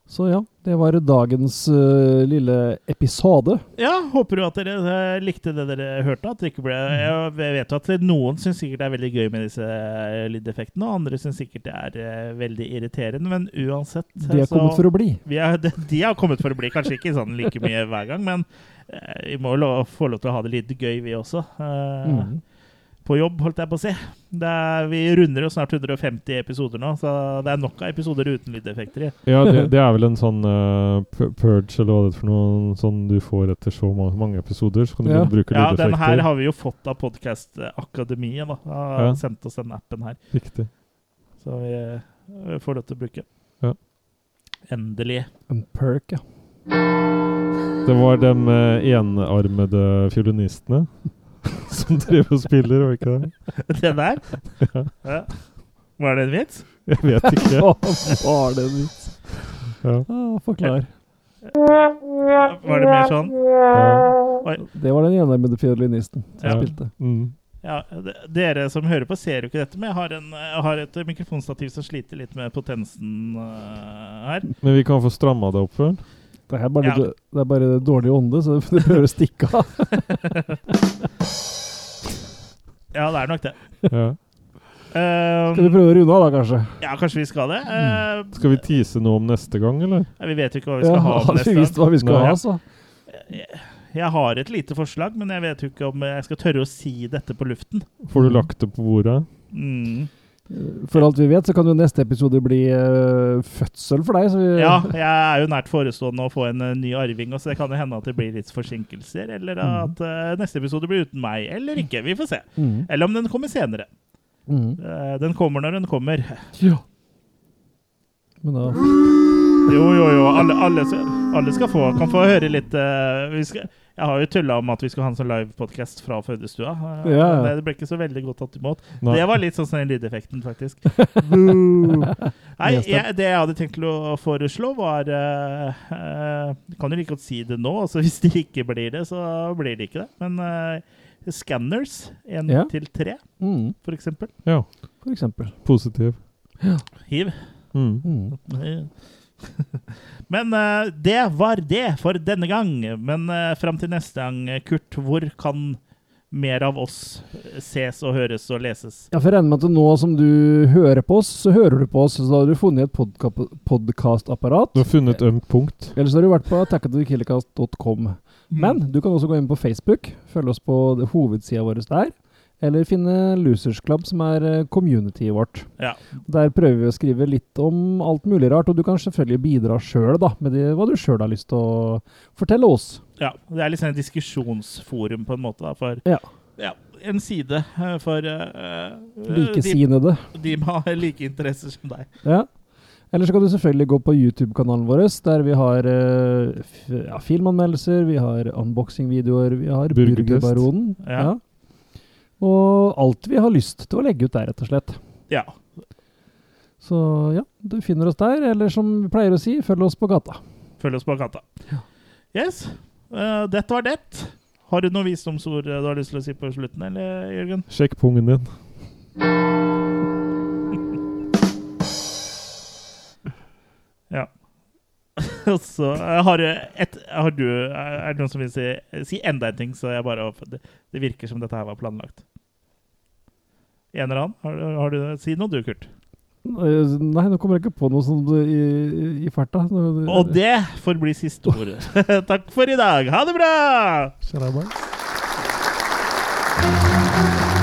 Speaker 3: Så ja, det var dagens eh, lille episode.
Speaker 2: ja, håper jo at dere eh, likte det dere hørte. At det ikke ble,
Speaker 3: Mm.
Speaker 2: jeg vet jo at noen syns sikkert det er veldig gøy med disse eh, lydeffektene, og andre syns sikkert det er eh, veldig irriterende, men uansett eh,
Speaker 3: De er
Speaker 2: så-
Speaker 3: kommet for å bli.
Speaker 2: Vi er, de, de har kommet for å bli, kanskje ikke sånn like mye hver gang, men eh, vi må jo lo- få lov til å ha det litt gøy, vi også. eh,
Speaker 3: Mm.
Speaker 2: På jobb, holdt jeg på å si. Det er, vi runder jo snart 150 episoder nå, så det er nok av episoder uten lydeffekter i.
Speaker 1: Ja, det, det er vel en sånn eh, pur- purge eller hva det er for noe sånn du får etter så ma- mange episoder. Så kan du
Speaker 3: Ja.
Speaker 1: begynne å bruke
Speaker 2: Ja, den her
Speaker 1: lydeffekter.
Speaker 2: har vi jo fått av Podkastakademiet, da. Har
Speaker 1: Ja.
Speaker 2: sendt oss den appen her,
Speaker 1: Riktig.
Speaker 2: så vi eh, får lov til å bruke.
Speaker 1: Ja.
Speaker 2: Endelig.
Speaker 3: En perk, ja.
Speaker 1: Det var de eh, enarmede fiolinistene som driver og spiller, var det ikke det?
Speaker 2: Det der? Ja. Var det en vits?
Speaker 1: Jeg vet ikke.
Speaker 3: Hva var det en vits?
Speaker 1: Ja.
Speaker 3: Ah, forklar.
Speaker 2: Var det mer sånn?
Speaker 1: Ja.
Speaker 3: Det var den enarmede fiolinisten som
Speaker 1: Ja.
Speaker 3: spilte.
Speaker 1: Mm.
Speaker 2: Ja, de- dere som hører på, ser jo ikke dette, men jeg har, en, jeg har et mikrofonstativ som sliter litt med potensen eh, her.
Speaker 1: Men vi kan få stramma det opp vel?
Speaker 3: Det er bare,
Speaker 2: Ja.
Speaker 3: litt- det er bare dårlig ånde, så du prøver å stikke av.
Speaker 2: Ja, det er nok det.
Speaker 1: Ja.
Speaker 2: Eh,
Speaker 3: Skal vi prøve Mm. å runde av da, kanskje?
Speaker 2: ja, kanskje vi skal det. Eh,
Speaker 1: Skal vi tease noe om neste gang, eller?
Speaker 2: vi vet jo ikke hva vi skal ha
Speaker 3: hadde
Speaker 2: om
Speaker 3: vi
Speaker 2: neste
Speaker 3: visst
Speaker 2: gang.
Speaker 3: hva vi skal
Speaker 1: Nei.
Speaker 3: ha, altså. så.
Speaker 2: Jeg har et lite forslag, men jeg vet jo ikke om jeg skal tørre å si dette på luften.
Speaker 1: Får du lagt det på bordet?
Speaker 2: Mm.
Speaker 3: For alt vi vet, så kan jo neste episode bli eh, fødsel for deg. Så vi,
Speaker 2: Ja, jeg er jo nært forestående å få en eh, ny arving, så det kan jo hende at det blir litt forsinkelser, eller
Speaker 3: Mm.
Speaker 2: at eh, neste episode blir uten meg, eller ikke. Vi får se.
Speaker 3: Mhm,
Speaker 2: Eller om den kommer senere.
Speaker 3: mhm.
Speaker 2: Eh, den kommer når den kommer.
Speaker 3: Men da
Speaker 2: Jo, jo, jo. Alle, alle, s- alle skal få, kan få høre litt eh, vi skal, Jeg har jo tulla om at vi skal ha en sånn livepodkast fra fødestua. eh,
Speaker 3: Ja, ja.
Speaker 2: men Det ble ikke så veldig godt tatt imot.
Speaker 1: Nei.
Speaker 2: Det var litt sånn som den lydeffekten, faktisk. Boo. Nei,
Speaker 3: Nedstemt.
Speaker 2: jeg, det jeg hadde tenkt til å foreslå, var eh, eh, Kan jo like godt si det nå, altså hvis det ikke blir det, så blir det ikke det. Men eh, Scanners 1
Speaker 3: Ja.
Speaker 2: til 3,
Speaker 3: mhm,
Speaker 2: for eksempel.
Speaker 1: Ja.
Speaker 3: For eksempel.
Speaker 1: Positiv.
Speaker 2: Hiv.
Speaker 1: Mm.
Speaker 3: Mhm.
Speaker 2: Men eh, det var det for denne gang. Men uh, fram til neste gang, Kurt, hvor kan mer av oss ses og høres og leses?
Speaker 3: Ja, for jeg regner med at nå som du hører på oss, så hører du på oss, så da har du funnet et podka- podkastapparat.
Speaker 1: Du har funnet et ømt punkt.
Speaker 3: Eller så har du vært på attackatthekillercast.com. Men du kan også gå inn på Facebook, følge oss på det- hovedsida vår der. Eller finne Losers Club, som er eh, communityet vårt.
Speaker 2: Ja.
Speaker 3: Der prøver vi å skrive litt om alt mulig rart, og du kan selvfølgelig bidra sjøl med det, hva du sjøl har lyst til å fortelle oss.
Speaker 2: Ja, det er liksom et diskusjonsforum på en måte da, for
Speaker 3: Ja.
Speaker 2: ja, en side eh, for eh, de,
Speaker 3: Likesidede.
Speaker 2: de med like interesser som deg.
Speaker 3: Ja. Eller så kan du selvfølgelig gå på YouTube-kanalen vår, der vi har eh, f ja, filmanmeldelser, vi har unboxing-videoer, vi har
Speaker 1: Burgertest.
Speaker 3: Burgerbaronen.
Speaker 2: Ja.
Speaker 3: Ja. Og alt vi har lyst til å legge ut der, rett og slett.
Speaker 2: Ja.
Speaker 3: Så ja, du finner oss der, eller som vi pleier å si, følg oss på gata.
Speaker 2: Følg oss på gata. Yes. eh, dette var det. Har du noen visdomsord eh, du har lyst til å si på slutten, eller, Jørgen?
Speaker 1: Sjekk pungen din.
Speaker 2: Ja. Og så eh, har du et har du, eh, Er det noen som vil si, si enda en ting, så jeg bare det, det virker som dette her var planlagt. En eller annen? Har, du- har du Si noe, du, Kurt.
Speaker 3: Eh, Nei, nå kommer jeg ikke på noe sånt i, i- i farta. Nå-
Speaker 2: Og det får bli siste ord. Takk for i dag. Ha det bra!
Speaker 1: Kjære barn.